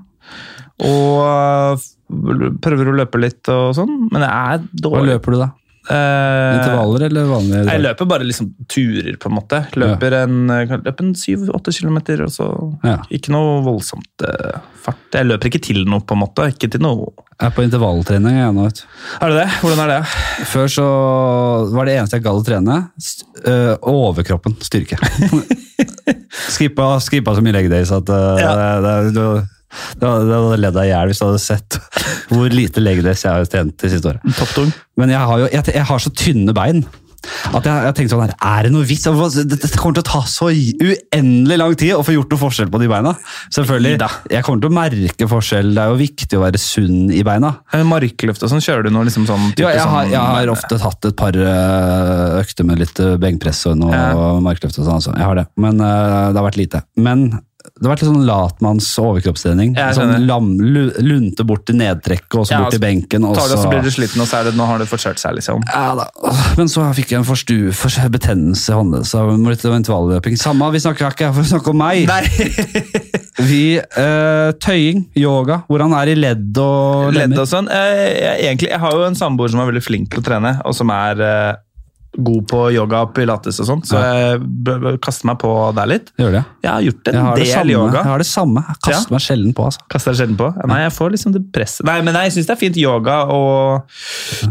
[SPEAKER 2] Og eh, prøver å løpe litt og sånn, men jeg er
[SPEAKER 1] Hva
[SPEAKER 2] dårlig.
[SPEAKER 1] løper du, da?
[SPEAKER 2] Eh,
[SPEAKER 1] Intervaller eller vanlige?
[SPEAKER 2] Jeg løper bare liksom turer, på en måte. Løper en, eh, kan- løper en syv-åtte kilometer, og så
[SPEAKER 1] Ja.
[SPEAKER 2] ikke noe voldsomt eh, fart. Jeg løper ikke til noe, på en måte. Ikke til noe
[SPEAKER 1] Jeg er på intervalltrening. Jeg, nå, vet du.
[SPEAKER 2] Er det det? Hvordan er det?
[SPEAKER 1] Før så var det eneste jeg gadd å trene, st eh, overkroppen. Styrke.
[SPEAKER 2] (laughs)
[SPEAKER 1] skripa, skripa så mye leg days at eh, det, det, det, det hadde ledd deg i hjel hvis du hadde sett hvor lite leg days jeg har trent de siste årene.
[SPEAKER 2] Topptung.
[SPEAKER 1] Men jeg har jo jeg, jeg har så tynne bein at jeg, jeg tenkte sånn her, er det noe vits? Altså, Det, det kommer til å ta så uendelig lang tid å få gjort noe forskjell på de beina. Selvfølgelig,
[SPEAKER 2] Ida.
[SPEAKER 1] Jeg kommer til å merke forskjell. Det er jo viktig å være sunn i beina.
[SPEAKER 2] Eh, Markløft og sånn, kjører du noe liksom sånn? type
[SPEAKER 1] Ja, jeg, har,
[SPEAKER 2] sånn-
[SPEAKER 1] jeg har ofte tatt et par eh, økter med litt eh, benkpress og noe
[SPEAKER 2] Ja.
[SPEAKER 1] markløft og sånn. Altså. Jeg har det, men eh, det har vært lite. Men det har vært litt sånn latmanns overkroppstrening.
[SPEAKER 2] Jeg
[SPEAKER 1] Sånn
[SPEAKER 2] skjønner.
[SPEAKER 1] lam, lu- lunte bort til nedtrekket, og så
[SPEAKER 2] Ja,
[SPEAKER 1] bort til
[SPEAKER 2] altså,
[SPEAKER 1] benken. Og
[SPEAKER 2] Tar det, og så
[SPEAKER 1] så-
[SPEAKER 2] blir du sliten, og så er det, nå har det forkjørt seg, liksom.
[SPEAKER 1] Ja da, men så fikk jeg en forstu, for betennelse i hånden, så jeg må litt om intervalløping. Samme, vi snakker ikke her for å snakke om meg. (laughs) Vi, eh, tøying, yoga, hvordan er det i ledd og
[SPEAKER 2] Ledd
[SPEAKER 1] lemmer?
[SPEAKER 2] og sånn. Eh, Jeg, egentlig, jeg har jo en samboer som er veldig flink til å trene, og som er eh, god på yoga og pilates og sånn, så jeg b- b- kaster meg på der litt.
[SPEAKER 1] Gjør det?
[SPEAKER 2] Jeg har gjort en
[SPEAKER 1] Jeg har det
[SPEAKER 2] del
[SPEAKER 1] samme.
[SPEAKER 2] yoga.
[SPEAKER 1] Jeg har det samme. Jeg kaster
[SPEAKER 2] Ja.
[SPEAKER 1] meg sjelden på, altså.
[SPEAKER 2] Kaster deg sjelden på. Nei, jeg får liksom det presset. Nei, men nei, jeg syns det er fint yoga og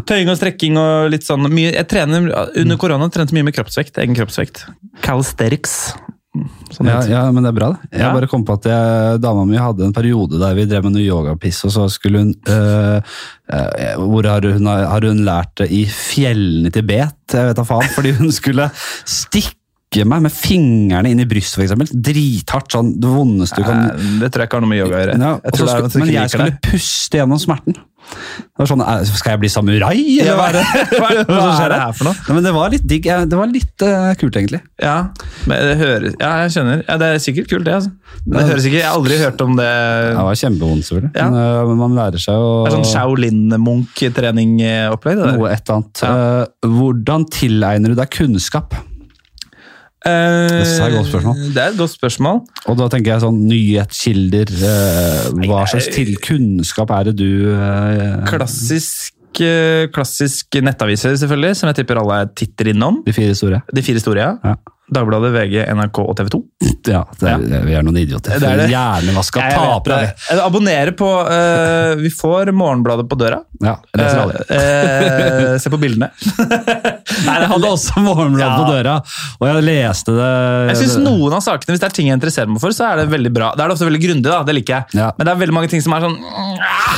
[SPEAKER 2] tøying og strekking og litt sånn mye. Jeg trener,
[SPEAKER 1] Mm.
[SPEAKER 2] Under korona trente jeg mye med kroppsvekt. Egen kroppsvekt. Calisterics. Sånn
[SPEAKER 1] Ja,
[SPEAKER 2] heter det.
[SPEAKER 1] ja, men det er bra, det. Jeg
[SPEAKER 2] Ja.
[SPEAKER 1] bare kom på at jeg, dama mi hadde en periode der vi drev med noe yogapiss, og så skulle hun øh, øh, Hvor har hun, har hun lært det? I fjellene i Tibet? Jeg vet da faen. Fordi hun skulle stikke meg med fingrene inn i brystet, f.eks. Drithardt. Sånn det vondeste du kan
[SPEAKER 2] Nei, det tror jeg ikke har noe med yoga å gjøre.
[SPEAKER 1] ja,
[SPEAKER 2] Eh, jeg
[SPEAKER 1] og så
[SPEAKER 2] tror det er
[SPEAKER 1] skulle,
[SPEAKER 2] noen
[SPEAKER 1] men jeg
[SPEAKER 2] teknikker
[SPEAKER 1] skulle
[SPEAKER 2] der.
[SPEAKER 1] puste gjennom smerten. Det var sånn, er- Skal jeg bli samurai, eller (laughs) hva er det?
[SPEAKER 2] hva, er- hva er det her for noe?
[SPEAKER 1] Nei, men det var litt digg. eh, Det var litt eh, kult, egentlig.
[SPEAKER 2] Ja, men det hører, ja, jeg skjønner. Ja, det er sikkert kult, det. altså. Det høres ikke, Jeg har aldri hørt om det.
[SPEAKER 1] Det var kjempevondt, selvfølgelig.
[SPEAKER 2] Ja.
[SPEAKER 1] Men øh, man lærer seg å
[SPEAKER 2] Det er sånn Shaolin-munk-trening-opplegg. det der.
[SPEAKER 1] Noe et eller annet. Eh, hvordan tilegner du deg kunnskap?
[SPEAKER 2] Eh,
[SPEAKER 1] Det er et godt spørsmål.
[SPEAKER 2] Det er et godt spørsmål.
[SPEAKER 1] Og da tenker jeg sånn nyhetskilder. eh, hva slags til kunnskap er det du eh,
[SPEAKER 2] Klassisk eh, klassisk nettaviser, selvfølgelig, som jeg tipper alle titter innom.
[SPEAKER 1] De fire store.
[SPEAKER 2] De fire store, ja.
[SPEAKER 1] Ja.
[SPEAKER 2] Dagbladet, VG, NRK og TV 2.
[SPEAKER 1] Ja, det er, Vi er noen idioter.
[SPEAKER 2] Det er det.
[SPEAKER 1] Hjernevaska tapere.
[SPEAKER 2] Abonnere på eh, Vi får Morgenbladet på døra.
[SPEAKER 1] Ja, jeg leser aldri.
[SPEAKER 2] Eh, eh, se på
[SPEAKER 1] (laughs)
[SPEAKER 2] bildene.
[SPEAKER 1] Nei, det (laughs) hadde også morgenblad på døra, og jeg leste det
[SPEAKER 2] Jeg synes noen av sakene, Hvis det er ting jeg interesserer meg for, så er det veldig bra. Da er det ofte veldig grundig, da. Det liker jeg.
[SPEAKER 1] Ja.
[SPEAKER 2] Men det er veldig mange ting som er sånn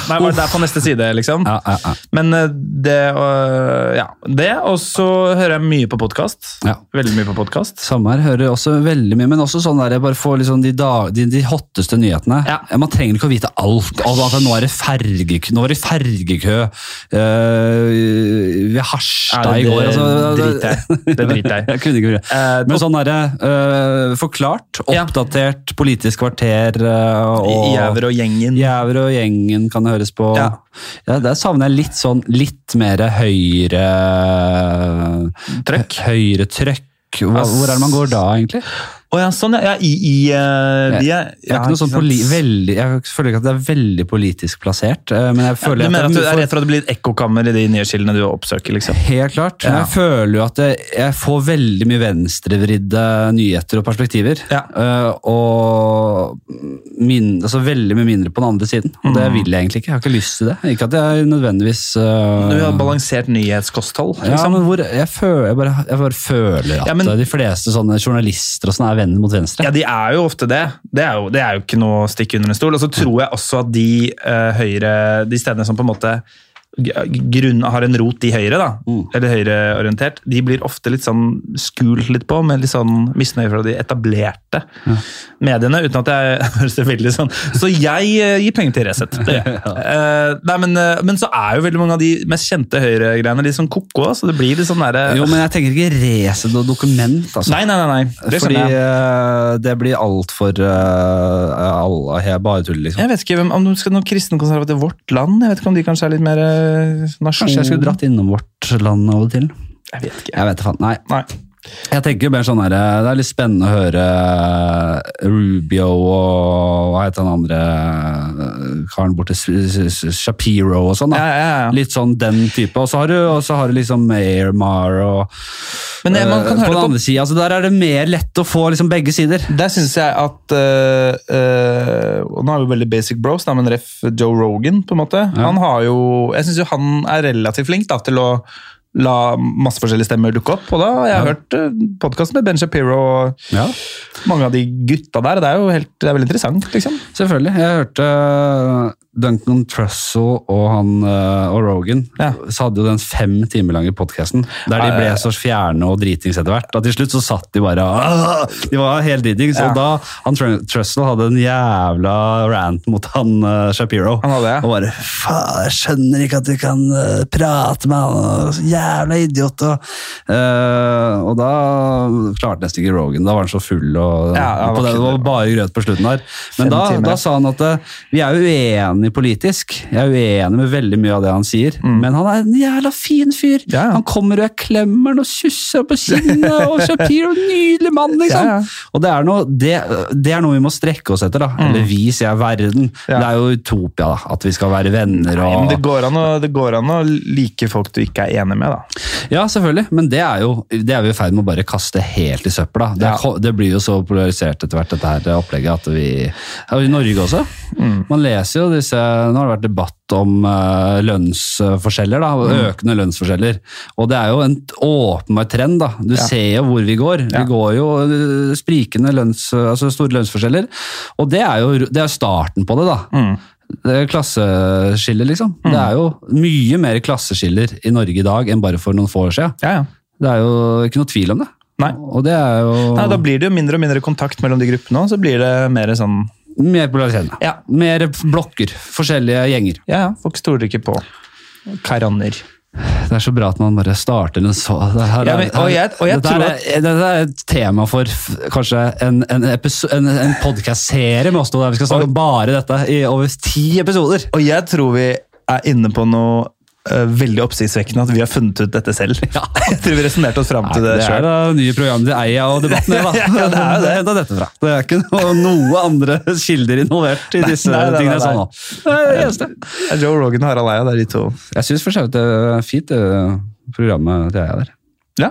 [SPEAKER 2] Nei, var det der på neste side, liksom?
[SPEAKER 1] Ja, ja, ja.
[SPEAKER 2] Men eh, det øh, Ja. Det, og så hører jeg mye på podkast.
[SPEAKER 1] Ja.
[SPEAKER 2] Veldig mye på podkast.
[SPEAKER 1] Samme her, hører også veldig mye, men også sånn der jeg bare får liksom de, dag, de, de hotteste nyhetene.
[SPEAKER 2] Ja.
[SPEAKER 1] Man trenger ikke å vite alt. Og at nå er det fergekø, nå er det fergekø eh, ved Harstad i går. altså,
[SPEAKER 2] det driter jeg i. Det driter jeg i.
[SPEAKER 1] (laughs) Jeg kunne ikke gjøre det.
[SPEAKER 2] Eh,
[SPEAKER 1] Men sånn derre eh, forklart,
[SPEAKER 2] Ja.
[SPEAKER 1] oppdatert, politisk kvarter eh, og
[SPEAKER 2] Gjæver og gjengen.
[SPEAKER 1] Jæver og gjengen kan det høres på.
[SPEAKER 2] Ja.
[SPEAKER 1] Ja. der savner jeg litt sånn litt mer høyre
[SPEAKER 2] Trøkk?
[SPEAKER 1] Høyre trøkk. Hvor,
[SPEAKER 2] Ass.
[SPEAKER 1] hvor er det man går da, egentlig?
[SPEAKER 2] Å ja, sånn, ja. ja i, i, eh, de er,
[SPEAKER 1] Det er ikke noe sånn poli veldig, jeg føler ikke at det er veldig politisk plassert, eh, men jeg
[SPEAKER 2] Du
[SPEAKER 1] føler
[SPEAKER 2] mener at
[SPEAKER 1] at,
[SPEAKER 2] du
[SPEAKER 1] det
[SPEAKER 2] er redd for at det blir et ekkokammer i de nye kildene du oppsøker? liksom?
[SPEAKER 1] Helt klart. Men
[SPEAKER 2] Ja.
[SPEAKER 1] jeg føler jo at jeg, jeg får veldig mye venstrevridde nyheter og perspektiver.
[SPEAKER 2] Ja.
[SPEAKER 1] Eh, og min, altså veldig mye mindre på den andre siden. Og
[SPEAKER 2] Mm.
[SPEAKER 1] det vil jeg egentlig ikke. Jeg har ikke lyst til det. Ikke at jeg nødvendigvis eh,
[SPEAKER 2] Du har balansert nyhetskosthold.
[SPEAKER 1] Ja,
[SPEAKER 2] liksom.
[SPEAKER 1] men hvor, jeg, føler, jeg, bare, jeg bare føler at
[SPEAKER 2] Ja, men-
[SPEAKER 1] de fleste sånne journalister og sånne er venner mot venstre.
[SPEAKER 2] Ja, de er jo ofte det. Det er jo, det er jo ikke noe å stikke under en stol. Og så tror jeg også at de eh, høyre, de stedene som på en måte g- grunn, har en rot i høyre, da,
[SPEAKER 1] Mm.
[SPEAKER 2] eller høyreorientert, de blir ofte litt sånn skult litt på, med litt sånn misnøye fra de etablerte mediene, uten at jeg (laughs) høres det veldig sånn. Så jeg eh, gir penger til Resett. Det gjør
[SPEAKER 1] (laughs)
[SPEAKER 2] jeg. Eh, nei, men, eh, men så er jo veldig mange av de mest kjente høyregreiene litt sånn ko-ko, så det blir litt sånn derre
[SPEAKER 1] Jo, men jeg tenker ikke rese noe dokument, altså.
[SPEAKER 2] Nei, nei, nei. nei. Det
[SPEAKER 1] Fordi
[SPEAKER 2] skjønner jeg.
[SPEAKER 1] eh, det blir altfor uh, alle, jeg bare tuller, liksom.
[SPEAKER 2] Jeg vet ikke hvem, om du skal noen kristenkonservativ Vårt Land? Jeg vet ikke om de kanskje er litt mer eh, nasjon...
[SPEAKER 1] Kanskje jeg skulle dratt innom vårt land av og til?
[SPEAKER 2] Jeg vet ikke.
[SPEAKER 1] Jeg vet da faen. Nei.
[SPEAKER 2] Nei.
[SPEAKER 1] Jeg tenker jo mer sånn her eh, Det er litt spennende å høre eh, Rubio og hva heter han andre eh, karen borte S- S- S- Shapiro og sånn.
[SPEAKER 2] Ja,
[SPEAKER 1] da.
[SPEAKER 2] ja, ja.
[SPEAKER 1] Litt sånn den type. Og så har du, og så har du liksom Airmar og
[SPEAKER 2] Men det, man
[SPEAKER 1] Eh,
[SPEAKER 2] kan
[SPEAKER 1] på
[SPEAKER 2] høre
[SPEAKER 1] den
[SPEAKER 2] på,
[SPEAKER 1] andre siden, altså Der er det mer lett å få liksom begge sider.
[SPEAKER 2] Der syns jeg at eh, eh, og Nå er vi veldig basic bros, da, men ref Joe Rogan, på en måte. Han har jo, jeg syns jo han er relativt flink da, til å la masse forskjellige stemmer dukke opp. Og da har jeg hørt uh, podkasten med Ben Shapiro og mange av de gutta der. og Det er jo helt, det er veldig interessant, liksom.
[SPEAKER 1] Selvfølgelig. Jeg hørte eh, Duncan Trussell og, han, eh, og Rogan
[SPEAKER 2] Ja.
[SPEAKER 1] så hadde jo den fem timer lange podkasten der de ble så fjerne og dritings etter hvert. at Til slutt så satt de bare «Åh!» De var helt dritings.
[SPEAKER 2] Ja.
[SPEAKER 1] Og da han Tr- Trussell hadde en jævla rant mot han eh, Shapiro.
[SPEAKER 2] Han hadde det.
[SPEAKER 1] Og bare faen, jeg skjønner ikke at du kan eh, prate med han, og så jævla idiot. Og, eh, og da klarte nesten ikke Rogan, da var han så full. Og,
[SPEAKER 2] Ja, han var
[SPEAKER 1] på det, det
[SPEAKER 2] ikke-
[SPEAKER 1] var bare grøt på slutten der. Men
[SPEAKER 2] Fem
[SPEAKER 1] da,
[SPEAKER 2] timer, ja.
[SPEAKER 1] da sa han at eh, vi er uenige politisk. Jeg er uenig med veldig mye av det han sier, men han er en jævla fin fyr.
[SPEAKER 2] Mm. Ja, ja.
[SPEAKER 1] Han kommer og jeg klemmer han og kysser på
[SPEAKER 2] (laughs)
[SPEAKER 1] kinnet, og Shapiro, nydelig mann, liksom.
[SPEAKER 2] Ja, ja.
[SPEAKER 1] Og det er, noe, det, det er noe vi må strekke oss etter, da. Eller vi, sier jeg, verden.
[SPEAKER 2] Mm. Ja.
[SPEAKER 1] Det er jo utopia, da. At vi skal være venner
[SPEAKER 2] Nei, men
[SPEAKER 1] og
[SPEAKER 2] det går, an å, det går an å like folk du ikke er enig med, da.
[SPEAKER 1] Ja, selvfølgelig. Men det er jo det er vi i ferd med å bare kaste helt i søpla. Det, er
[SPEAKER 2] Ja.
[SPEAKER 1] ko- det blir jo så polarisert etter hvert, dette her opplegget, at vi ja, I Norge også.
[SPEAKER 2] Mm.
[SPEAKER 1] Man leser jo disse Nå har det vært debatt om eh, lønnsforskjeller, da.
[SPEAKER 2] Mm.
[SPEAKER 1] Økende lønnsforskjeller. Og det er jo en t- åpenbar trend, da. Du ser jo hvor vi går.
[SPEAKER 2] Ja.
[SPEAKER 1] Vi går jo eh, sprikende lønns... Altså store lønnsforskjeller. Og det er jo det er starten på det, da.
[SPEAKER 2] Mm.
[SPEAKER 1] Det er klasseskiller, liksom. Det er jo mye mer klasseskiller i Norge i dag enn bare for noen få år siden.
[SPEAKER 2] Ja, ja.
[SPEAKER 1] Det er jo ikke noe tvil om det.
[SPEAKER 2] Nei.
[SPEAKER 1] Og det er jo
[SPEAKER 2] Nei, Da blir det jo mindre og mindre kontakt mellom de gruppene, og så blir det mer sånn
[SPEAKER 1] mer polariserende.
[SPEAKER 2] Ja.
[SPEAKER 1] Mer blokker. Forskjellige gjenger.
[SPEAKER 2] Ja, ja, folk stoler ikke på karanner.
[SPEAKER 1] Det er så bra at man bare starter en så det her,
[SPEAKER 2] Ja, men- og jeg- og jeg
[SPEAKER 1] dette,
[SPEAKER 2] tror
[SPEAKER 1] er, dette er et tema for f- kanskje en, en, episo- en, en podcast-serie med oss to, der vi skal snakke om bare dette i over ti episoder.
[SPEAKER 2] Og jeg tror vi er inne på noe eh, veldig oppsiktsvekkende at vi har funnet ut dette (laughs) selv. Jeg tror vi resonnerte oss fram til
[SPEAKER 1] Det
[SPEAKER 2] det
[SPEAKER 1] er
[SPEAKER 2] sjøl.
[SPEAKER 1] da nye program til Eia og Debatten, da.
[SPEAKER 2] (laughs) Ja, det er jo det.
[SPEAKER 1] Henta dette fra. (laughs) Det er ikke noe, noe andre kilder involvert i disse
[SPEAKER 2] nei, nei,
[SPEAKER 1] tingene.
[SPEAKER 2] nei,
[SPEAKER 1] jeg sa
[SPEAKER 2] nei.
[SPEAKER 1] nå. Det er det eneste.
[SPEAKER 2] Joe Rogan og Harald Eia, det er de to.
[SPEAKER 1] Jeg syns for så vidt det er fint, det programmet til Eia der.
[SPEAKER 2] Ja,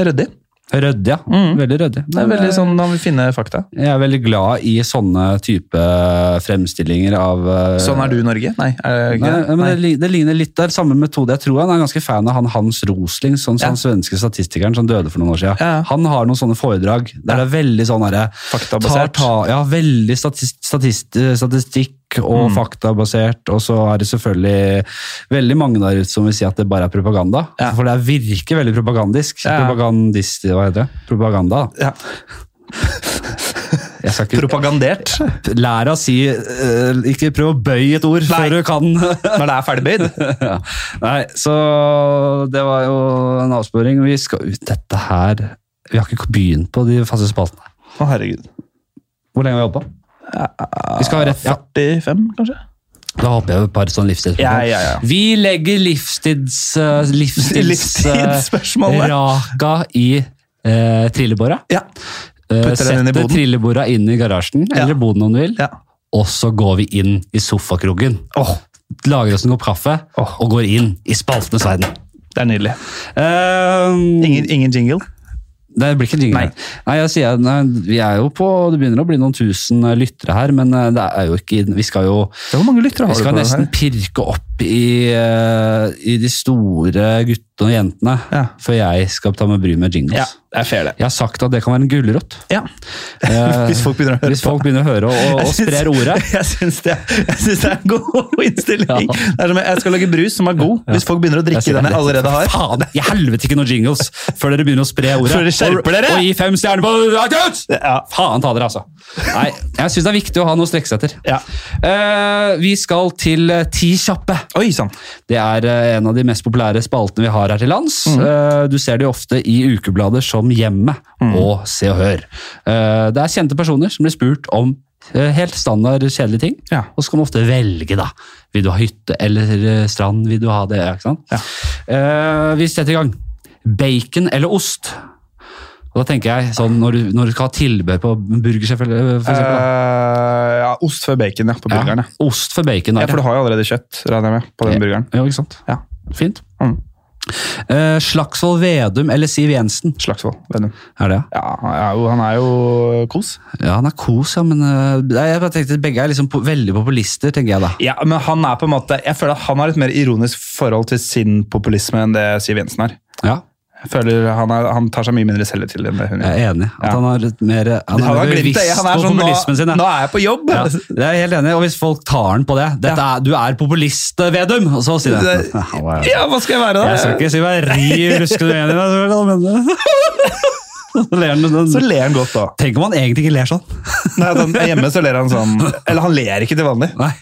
[SPEAKER 2] Ryddig.
[SPEAKER 1] Ryddig, ja.
[SPEAKER 2] Mm.
[SPEAKER 1] Veldig ryddig.
[SPEAKER 2] Det er
[SPEAKER 1] Men,
[SPEAKER 2] veldig
[SPEAKER 1] eh,
[SPEAKER 2] sånn han vil finne fakta.
[SPEAKER 1] Jeg er veldig glad i sånne type eh, fremstillinger av eh,
[SPEAKER 2] Sånn er du i Norge? Nei. Er det
[SPEAKER 1] Nei,
[SPEAKER 2] ikke det?
[SPEAKER 1] men
[SPEAKER 2] Nei.
[SPEAKER 1] det, li- det ligner litt der, samme metode. Jeg tror han er ganske fan av han Hans Rosling, sånn,
[SPEAKER 2] Ja.
[SPEAKER 1] sånn svenske statistikeren som døde for noen år siden.
[SPEAKER 2] Ja, ja.
[SPEAKER 1] Han har noen sånne foredrag der det er veldig sånn herre
[SPEAKER 2] Faktabasert.
[SPEAKER 1] Ta, ta, ja, veldig statist, statist, statistikk
[SPEAKER 2] Mm.
[SPEAKER 1] og faktabasert. Og så er det selvfølgelig veldig mange der ute som vil si at det bare er propaganda.
[SPEAKER 2] Ja.
[SPEAKER 1] For det er- virker veldig propagandisk.
[SPEAKER 2] Ja.
[SPEAKER 1] Propagandist, hva heter det? Propaganda. da.
[SPEAKER 2] Ja.
[SPEAKER 1] Jeg skal ikke
[SPEAKER 2] Propagandert (laughs)
[SPEAKER 1] lære å si eh, Ikke prøv å bøye et ord
[SPEAKER 2] Nei.
[SPEAKER 1] før du kan (laughs)
[SPEAKER 2] når det er ferdigbøyd.
[SPEAKER 1] ja. Nei, så det var jo en avsporing. Vi skal ut dette her. Vi har ikke begynt på de faste spaltene.
[SPEAKER 2] Å, herregud.
[SPEAKER 1] Hvor lenge har vi holdt på? Vi skal ha rett, ja.
[SPEAKER 2] 45, kanskje?
[SPEAKER 1] Da hopper jeg over et par sånne livstidsspørsmål.
[SPEAKER 2] Ja, ja, ja.
[SPEAKER 1] Vi legger livstids... eh, livstids... eh,
[SPEAKER 2] Livstidsspørsmålet.
[SPEAKER 1] raka i uh, trillebåra.
[SPEAKER 2] Ja.
[SPEAKER 1] Uh,
[SPEAKER 2] Putter den inn i
[SPEAKER 1] setter
[SPEAKER 2] boden.
[SPEAKER 1] trillebåra inn i garasjen,
[SPEAKER 2] Ja.
[SPEAKER 1] eller boden om du vil.
[SPEAKER 2] ja.
[SPEAKER 1] Og så går vi inn i sofakrogen.
[SPEAKER 2] Åh,
[SPEAKER 1] Lager oss en kopp kaffe,
[SPEAKER 2] Åh.
[SPEAKER 1] og går inn i spaltenes verden.
[SPEAKER 2] det er nydelig.
[SPEAKER 1] Eh,
[SPEAKER 2] Ingen, ingen jingle.
[SPEAKER 1] Det blir ikke jingle.
[SPEAKER 2] Ehm, Nei.
[SPEAKER 1] Nei. nei, jeg sier, nei, vi er jo på, Det begynner å bli noen tusen eh, lyttere her, men eh, det er jo ikke Vi skal jo
[SPEAKER 2] Hvor mange lyttere
[SPEAKER 1] vi
[SPEAKER 2] har du
[SPEAKER 1] skal
[SPEAKER 2] på den
[SPEAKER 1] nesten
[SPEAKER 2] her?
[SPEAKER 1] pirke opp i, eh, i de store guttene og jentene
[SPEAKER 2] Ja.
[SPEAKER 1] før jeg skal ta meg bry med jingles.
[SPEAKER 2] Ja, det er fair, det.
[SPEAKER 1] Jeg har sagt at det kan være en
[SPEAKER 2] (laughs)
[SPEAKER 1] gulrot.
[SPEAKER 2] Ja.
[SPEAKER 1] Eh,
[SPEAKER 2] Hvis folk begynner å høre
[SPEAKER 1] Hvis folk begynner å høre og, og, og
[SPEAKER 2] Jeg (laughs)
[SPEAKER 1] sprer
[SPEAKER 2] syns-
[SPEAKER 1] ordet.
[SPEAKER 2] Jeg syns det, jeg syns det er en god (laughs) innstilling.
[SPEAKER 1] Ja.
[SPEAKER 2] Det er som, jeg skal lage brus som er god, hvis folk begynner å
[SPEAKER 1] Jeg
[SPEAKER 2] drikke
[SPEAKER 1] sier
[SPEAKER 2] den
[SPEAKER 1] det.
[SPEAKER 2] jeg allerede har.
[SPEAKER 1] Faen, i helvete ikke noen jingles før dere begynner å spre ordet.
[SPEAKER 2] Før dere skjerper
[SPEAKER 1] Og-
[SPEAKER 2] dere!
[SPEAKER 1] Og gi fem stjerner på
[SPEAKER 2] Ja.
[SPEAKER 1] Faen ta dere, altså. Nei, jeg syns det er viktig å ha noe å strekke seg etter.
[SPEAKER 2] Ja.
[SPEAKER 1] Eh, vi skal til eh, Ti kjappe.
[SPEAKER 2] Oi sånn. sann.
[SPEAKER 1] Det er eh, en av de mest populære spaltene vi har her til lands. Eh, du ser det jo ofte i ukeblader som Hjemmet og Se og Hør. Eh, det er kjente personer som blir spurt om eh, helt standard kjedelige ting.
[SPEAKER 2] Ja.
[SPEAKER 1] Og så kan man ofte velge, da. Vil du ha hytte eller eh, strand? Vil du ha det? Ikke sant?
[SPEAKER 2] Ja.
[SPEAKER 1] Eh, vi setter i gang. Bacon eller ost? Og da tenker jeg sånn, Når du, når du skal ha tilbehør på burger, selvfølgelig. For eksempel, da.
[SPEAKER 2] Eh, ja, ost før bacon ja, på burgeren.
[SPEAKER 1] ja.
[SPEAKER 2] Ja.
[SPEAKER 1] Ost for bacon. da.
[SPEAKER 2] Ja, for du har jo allerede kjøtt, regner jeg med, på den
[SPEAKER 1] Ja.
[SPEAKER 2] burgeren.
[SPEAKER 1] Ja, ikke sant?
[SPEAKER 2] Ja.
[SPEAKER 1] Fint.
[SPEAKER 2] Mm.
[SPEAKER 1] Eh, Slagsvold Vedum eller Siv Jensen?
[SPEAKER 2] Slagsvold. Vedum.
[SPEAKER 1] Er det,
[SPEAKER 2] Ja, han er jo, han er jo kos.
[SPEAKER 1] ja? Ja, han er kos, ja, men eh, nei, jeg bare tenkte at begge er liksom po veldig populister, tenker jeg da.
[SPEAKER 2] Ja, men han er på en måte Jeg føler at han har et mer ironisk forhold til sin populisme enn det Siv Jensen har.
[SPEAKER 1] Ja,
[SPEAKER 2] Jeg føler han, er, han tar seg mye mindre selv til enn det hun gjør.
[SPEAKER 1] jeg er enig. At
[SPEAKER 2] Ja.
[SPEAKER 1] han har et mer Han er
[SPEAKER 2] har
[SPEAKER 1] mer
[SPEAKER 2] glemt det.
[SPEAKER 1] bevisst
[SPEAKER 2] Han er
[SPEAKER 1] på
[SPEAKER 2] sånn, nå,
[SPEAKER 1] populismen sin.
[SPEAKER 2] nå
[SPEAKER 1] Ja.
[SPEAKER 2] er jeg på jobb!
[SPEAKER 1] Ja, (laughs) det er jeg helt enig, i, og hvis folk tar han på det Dette er, Du er populist, Vedum! Og så sier de
[SPEAKER 2] Det-
[SPEAKER 1] «Halla, ja.
[SPEAKER 2] (laughs) Ja, hva skal jeg være, da?
[SPEAKER 1] Jeg skal ikke si meg riv ruskende enig i deg, selvfølgelig, da, men (laughs) Så ler han
[SPEAKER 2] Så
[SPEAKER 1] sånn.
[SPEAKER 2] ler han godt, da.
[SPEAKER 1] Tenk om han egentlig ikke ler sånn.
[SPEAKER 2] Nei, at han, hjemme så ler han sånn Eller han ler ikke til vanlig. (laughs)
[SPEAKER 1] Nei.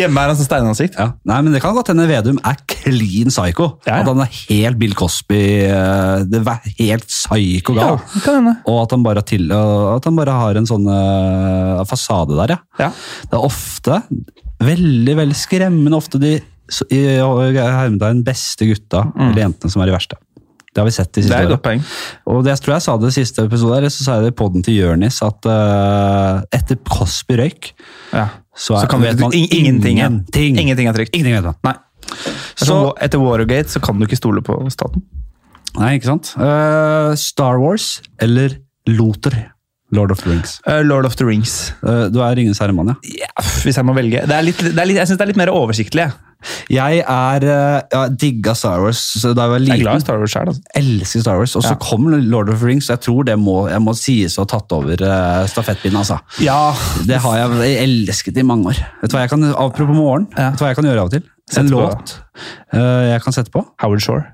[SPEAKER 2] Hjemme er han sånn steinansikt.
[SPEAKER 1] Ja. Nei, men Det kan godt hende Vedum er clean psycho.
[SPEAKER 2] Ja, ja.
[SPEAKER 1] At han er helt Bill Cosby, eh, det er helt psycho gal.
[SPEAKER 2] det kan hende.
[SPEAKER 1] Og at han, bare har til, og at han bare har en sånn eh, fasade der, ja.
[SPEAKER 2] Ja.
[SPEAKER 1] Det er ofte, veldig veldig skremmende ofte, de så- i i hermetegn beste gutta eller jentene som er de verste. Det har vi sett de
[SPEAKER 2] Mm. Det
[SPEAKER 1] siste
[SPEAKER 2] er et
[SPEAKER 1] årene.
[SPEAKER 2] godt poeng.
[SPEAKER 1] Og det, jeg tror jeg sa det i siste episode, her, så sa jeg det i poden til Jørnis, at eh, etter Cosby røyk,
[SPEAKER 2] Ja.
[SPEAKER 1] så, er,
[SPEAKER 2] Så kan du,
[SPEAKER 1] vet man
[SPEAKER 2] in- ingenting, ja.
[SPEAKER 1] ingenting.
[SPEAKER 2] ingenting er trygt.
[SPEAKER 1] Ingenting vet man.
[SPEAKER 2] Nei. Det er
[SPEAKER 1] Så-
[SPEAKER 2] sånn, etter Watergate så kan du ikke stole på staten.
[SPEAKER 1] Nei, ikke sant? Eh, Star Wars eller Luther? Lord of the Rings.
[SPEAKER 2] Eh, Lord of the Rings.
[SPEAKER 1] Eh, du er Ringenes herre, mann, ja.
[SPEAKER 2] Ja, pff, hvis jeg må velge. Det er litt, det er litt, jeg syns det er litt mer oversiktlig. jeg.
[SPEAKER 1] Jeg er eh, jeg digga Star Wars så da jeg var
[SPEAKER 2] Jeg er
[SPEAKER 1] liten.
[SPEAKER 2] glad i Star Wars sjøl. Altså.
[SPEAKER 1] elsker Star Wars, og så
[SPEAKER 2] Ja.
[SPEAKER 1] kom Lord of the Rings. og Jeg tror det må, jeg må sies å ha tatt over eh, stafettpinnen. altså.
[SPEAKER 2] Ja.
[SPEAKER 1] Det har jeg jeg elsket i mange år. Vet du hva jeg kan, Apropos morgen,
[SPEAKER 2] Ja.
[SPEAKER 1] vet du hva jeg kan gjøre av og til?
[SPEAKER 2] Sette
[SPEAKER 1] en
[SPEAKER 2] på.
[SPEAKER 1] låt eh, jeg kan sette på.
[SPEAKER 2] Howard Shore.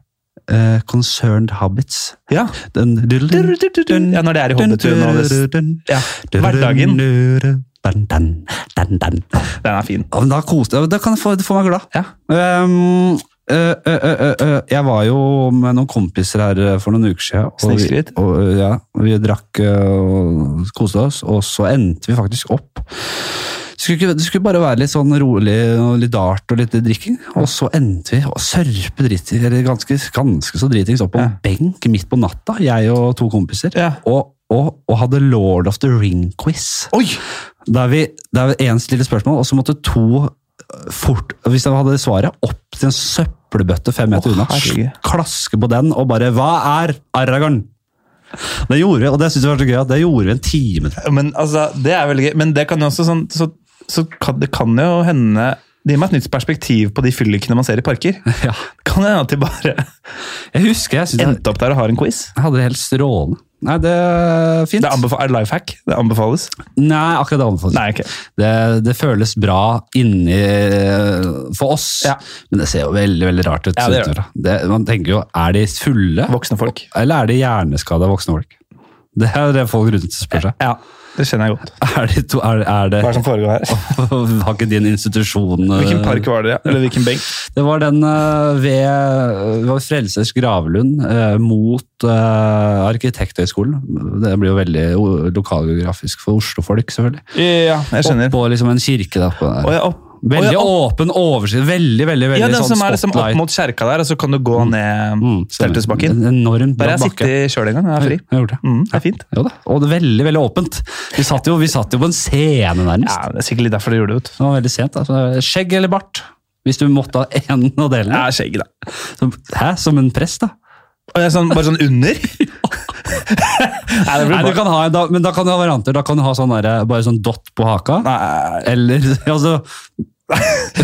[SPEAKER 1] Eh, Concerned Habits.
[SPEAKER 2] Ja.
[SPEAKER 1] Den,
[SPEAKER 2] ja, når det er i Hobbitun og det, ja. Hverdagen.
[SPEAKER 1] Dun, dun, dun, dun.
[SPEAKER 2] Den er fin.
[SPEAKER 1] Ja, men Da koste jeg Da kan jeg få, få meg glad.
[SPEAKER 2] Ja.
[SPEAKER 1] Ehm, ø, ø, ø, ø, ø. Jeg var jo med noen kompiser her ø, for noen uker siden. og vi-
[SPEAKER 2] Snikskritt.
[SPEAKER 1] Og, ø, ja, vi drakk ø, og koste oss, og så endte vi faktisk opp Det skulle, ikke, det skulle bare være litt sånn rolig og litt dart og litt drikking. Og så endte vi å sørpe dritt, eller ganske, ganske så dritings opp på en benk midt på natta, jeg og to kompiser,
[SPEAKER 2] Ja.
[SPEAKER 1] og, og, og hadde Lord of the Ring-quiz.
[SPEAKER 2] Oi!
[SPEAKER 1] Der vi, der én stiller spørsmål, og så måtte to eh, fort, hvis de hadde svaret, opp til en søppelbøtte fem meter
[SPEAKER 2] Å,
[SPEAKER 1] unna.
[SPEAKER 2] herregud.
[SPEAKER 1] Klaske på den og bare Hva er Aragorn? Det gjorde vi, og det synes jeg var så gøy at det gjorde vi en time, tror jeg.
[SPEAKER 2] Men altså, det er veldig gøy. Men det kan jo også sånn Så, så kan, det kan jo hende Det gir meg et nytt perspektiv på de fyllikene man ser i (laughs) parker.
[SPEAKER 1] Ja.
[SPEAKER 2] Kan det hende at de bare
[SPEAKER 1] Jeg husker jeg synes jeg
[SPEAKER 2] endte opp der og har en quiz?
[SPEAKER 1] Jeg hadde det helt strålende. Nei, det er fint.
[SPEAKER 2] Det anbefales, er det life hack? Det anbefales?
[SPEAKER 1] Nei, akkurat det anbefales.
[SPEAKER 2] Nei, ok.
[SPEAKER 1] Det, det føles bra inni eh, for oss,
[SPEAKER 2] Ja.
[SPEAKER 1] men det ser jo veldig veldig rart ut.
[SPEAKER 2] Ja, det gjør det.
[SPEAKER 1] utenfra. det, man tenker jo, er de fulle,
[SPEAKER 2] Voksne folk.
[SPEAKER 1] eller er de hjerneskada voksne folk? Det er det folk rundt spør seg.
[SPEAKER 2] Ja, det kjenner jeg godt.
[SPEAKER 1] Er de to, er, er det, (laughs)
[SPEAKER 2] Hva er det som foregår her?
[SPEAKER 1] Har ikke din institusjon eh,
[SPEAKER 2] (laughs) Hvilken park var det? ja? Eller hvilken benk?
[SPEAKER 1] Det var den eh, ved, ved Frelsers gravlund eh, mot eh, Arkitekthøgskolen. Det blir jo veldig o- lokalgeografisk for Oslo-folk, selvfølgelig.
[SPEAKER 2] Ja, jeg skjønner.
[SPEAKER 1] Oppå liksom en kirke der. På der.
[SPEAKER 2] Å, ja, opp. Å,
[SPEAKER 1] Veldig
[SPEAKER 2] ja, opp.
[SPEAKER 1] åpen oversikt. Veldig, veldig, veldig
[SPEAKER 2] Ja, den
[SPEAKER 1] sånn
[SPEAKER 2] som er liksom opp
[SPEAKER 1] spotlight.
[SPEAKER 2] mot kjerka der, og så kan du gå
[SPEAKER 1] Mm,
[SPEAKER 2] ned
[SPEAKER 1] stemmer.
[SPEAKER 2] Steltesbakken.
[SPEAKER 1] En enorm
[SPEAKER 2] Der har
[SPEAKER 1] bratt
[SPEAKER 2] jeg
[SPEAKER 1] bakke.
[SPEAKER 2] sittet sjøl en gang, jeg er fri.
[SPEAKER 1] Jeg har gjort det.
[SPEAKER 2] Mm, det er fint.
[SPEAKER 1] Jo da. Og det er veldig, veldig åpent. Vi satt jo, vi satt jo på en scene, nærmest.
[SPEAKER 2] Ja, Det er sikkert litt derfor du gjorde det. vet du.
[SPEAKER 1] Det var veldig sent. Altså. Skjegg eller bart? Hvis du måtte ha en av
[SPEAKER 2] Det
[SPEAKER 1] delene.
[SPEAKER 2] er skjegg, da.
[SPEAKER 1] Som, hæ? Som en prest, da?
[SPEAKER 2] Og jeg er sånn, bare sånn under? Nei, det
[SPEAKER 1] Nei,
[SPEAKER 2] blir
[SPEAKER 1] du
[SPEAKER 2] bare...
[SPEAKER 1] kan ha, en- da, men da kan du ha varianter. Da kan du ha sånn der, bare sånn dott på haka.
[SPEAKER 2] Nei,
[SPEAKER 1] Eller (laughs) altså,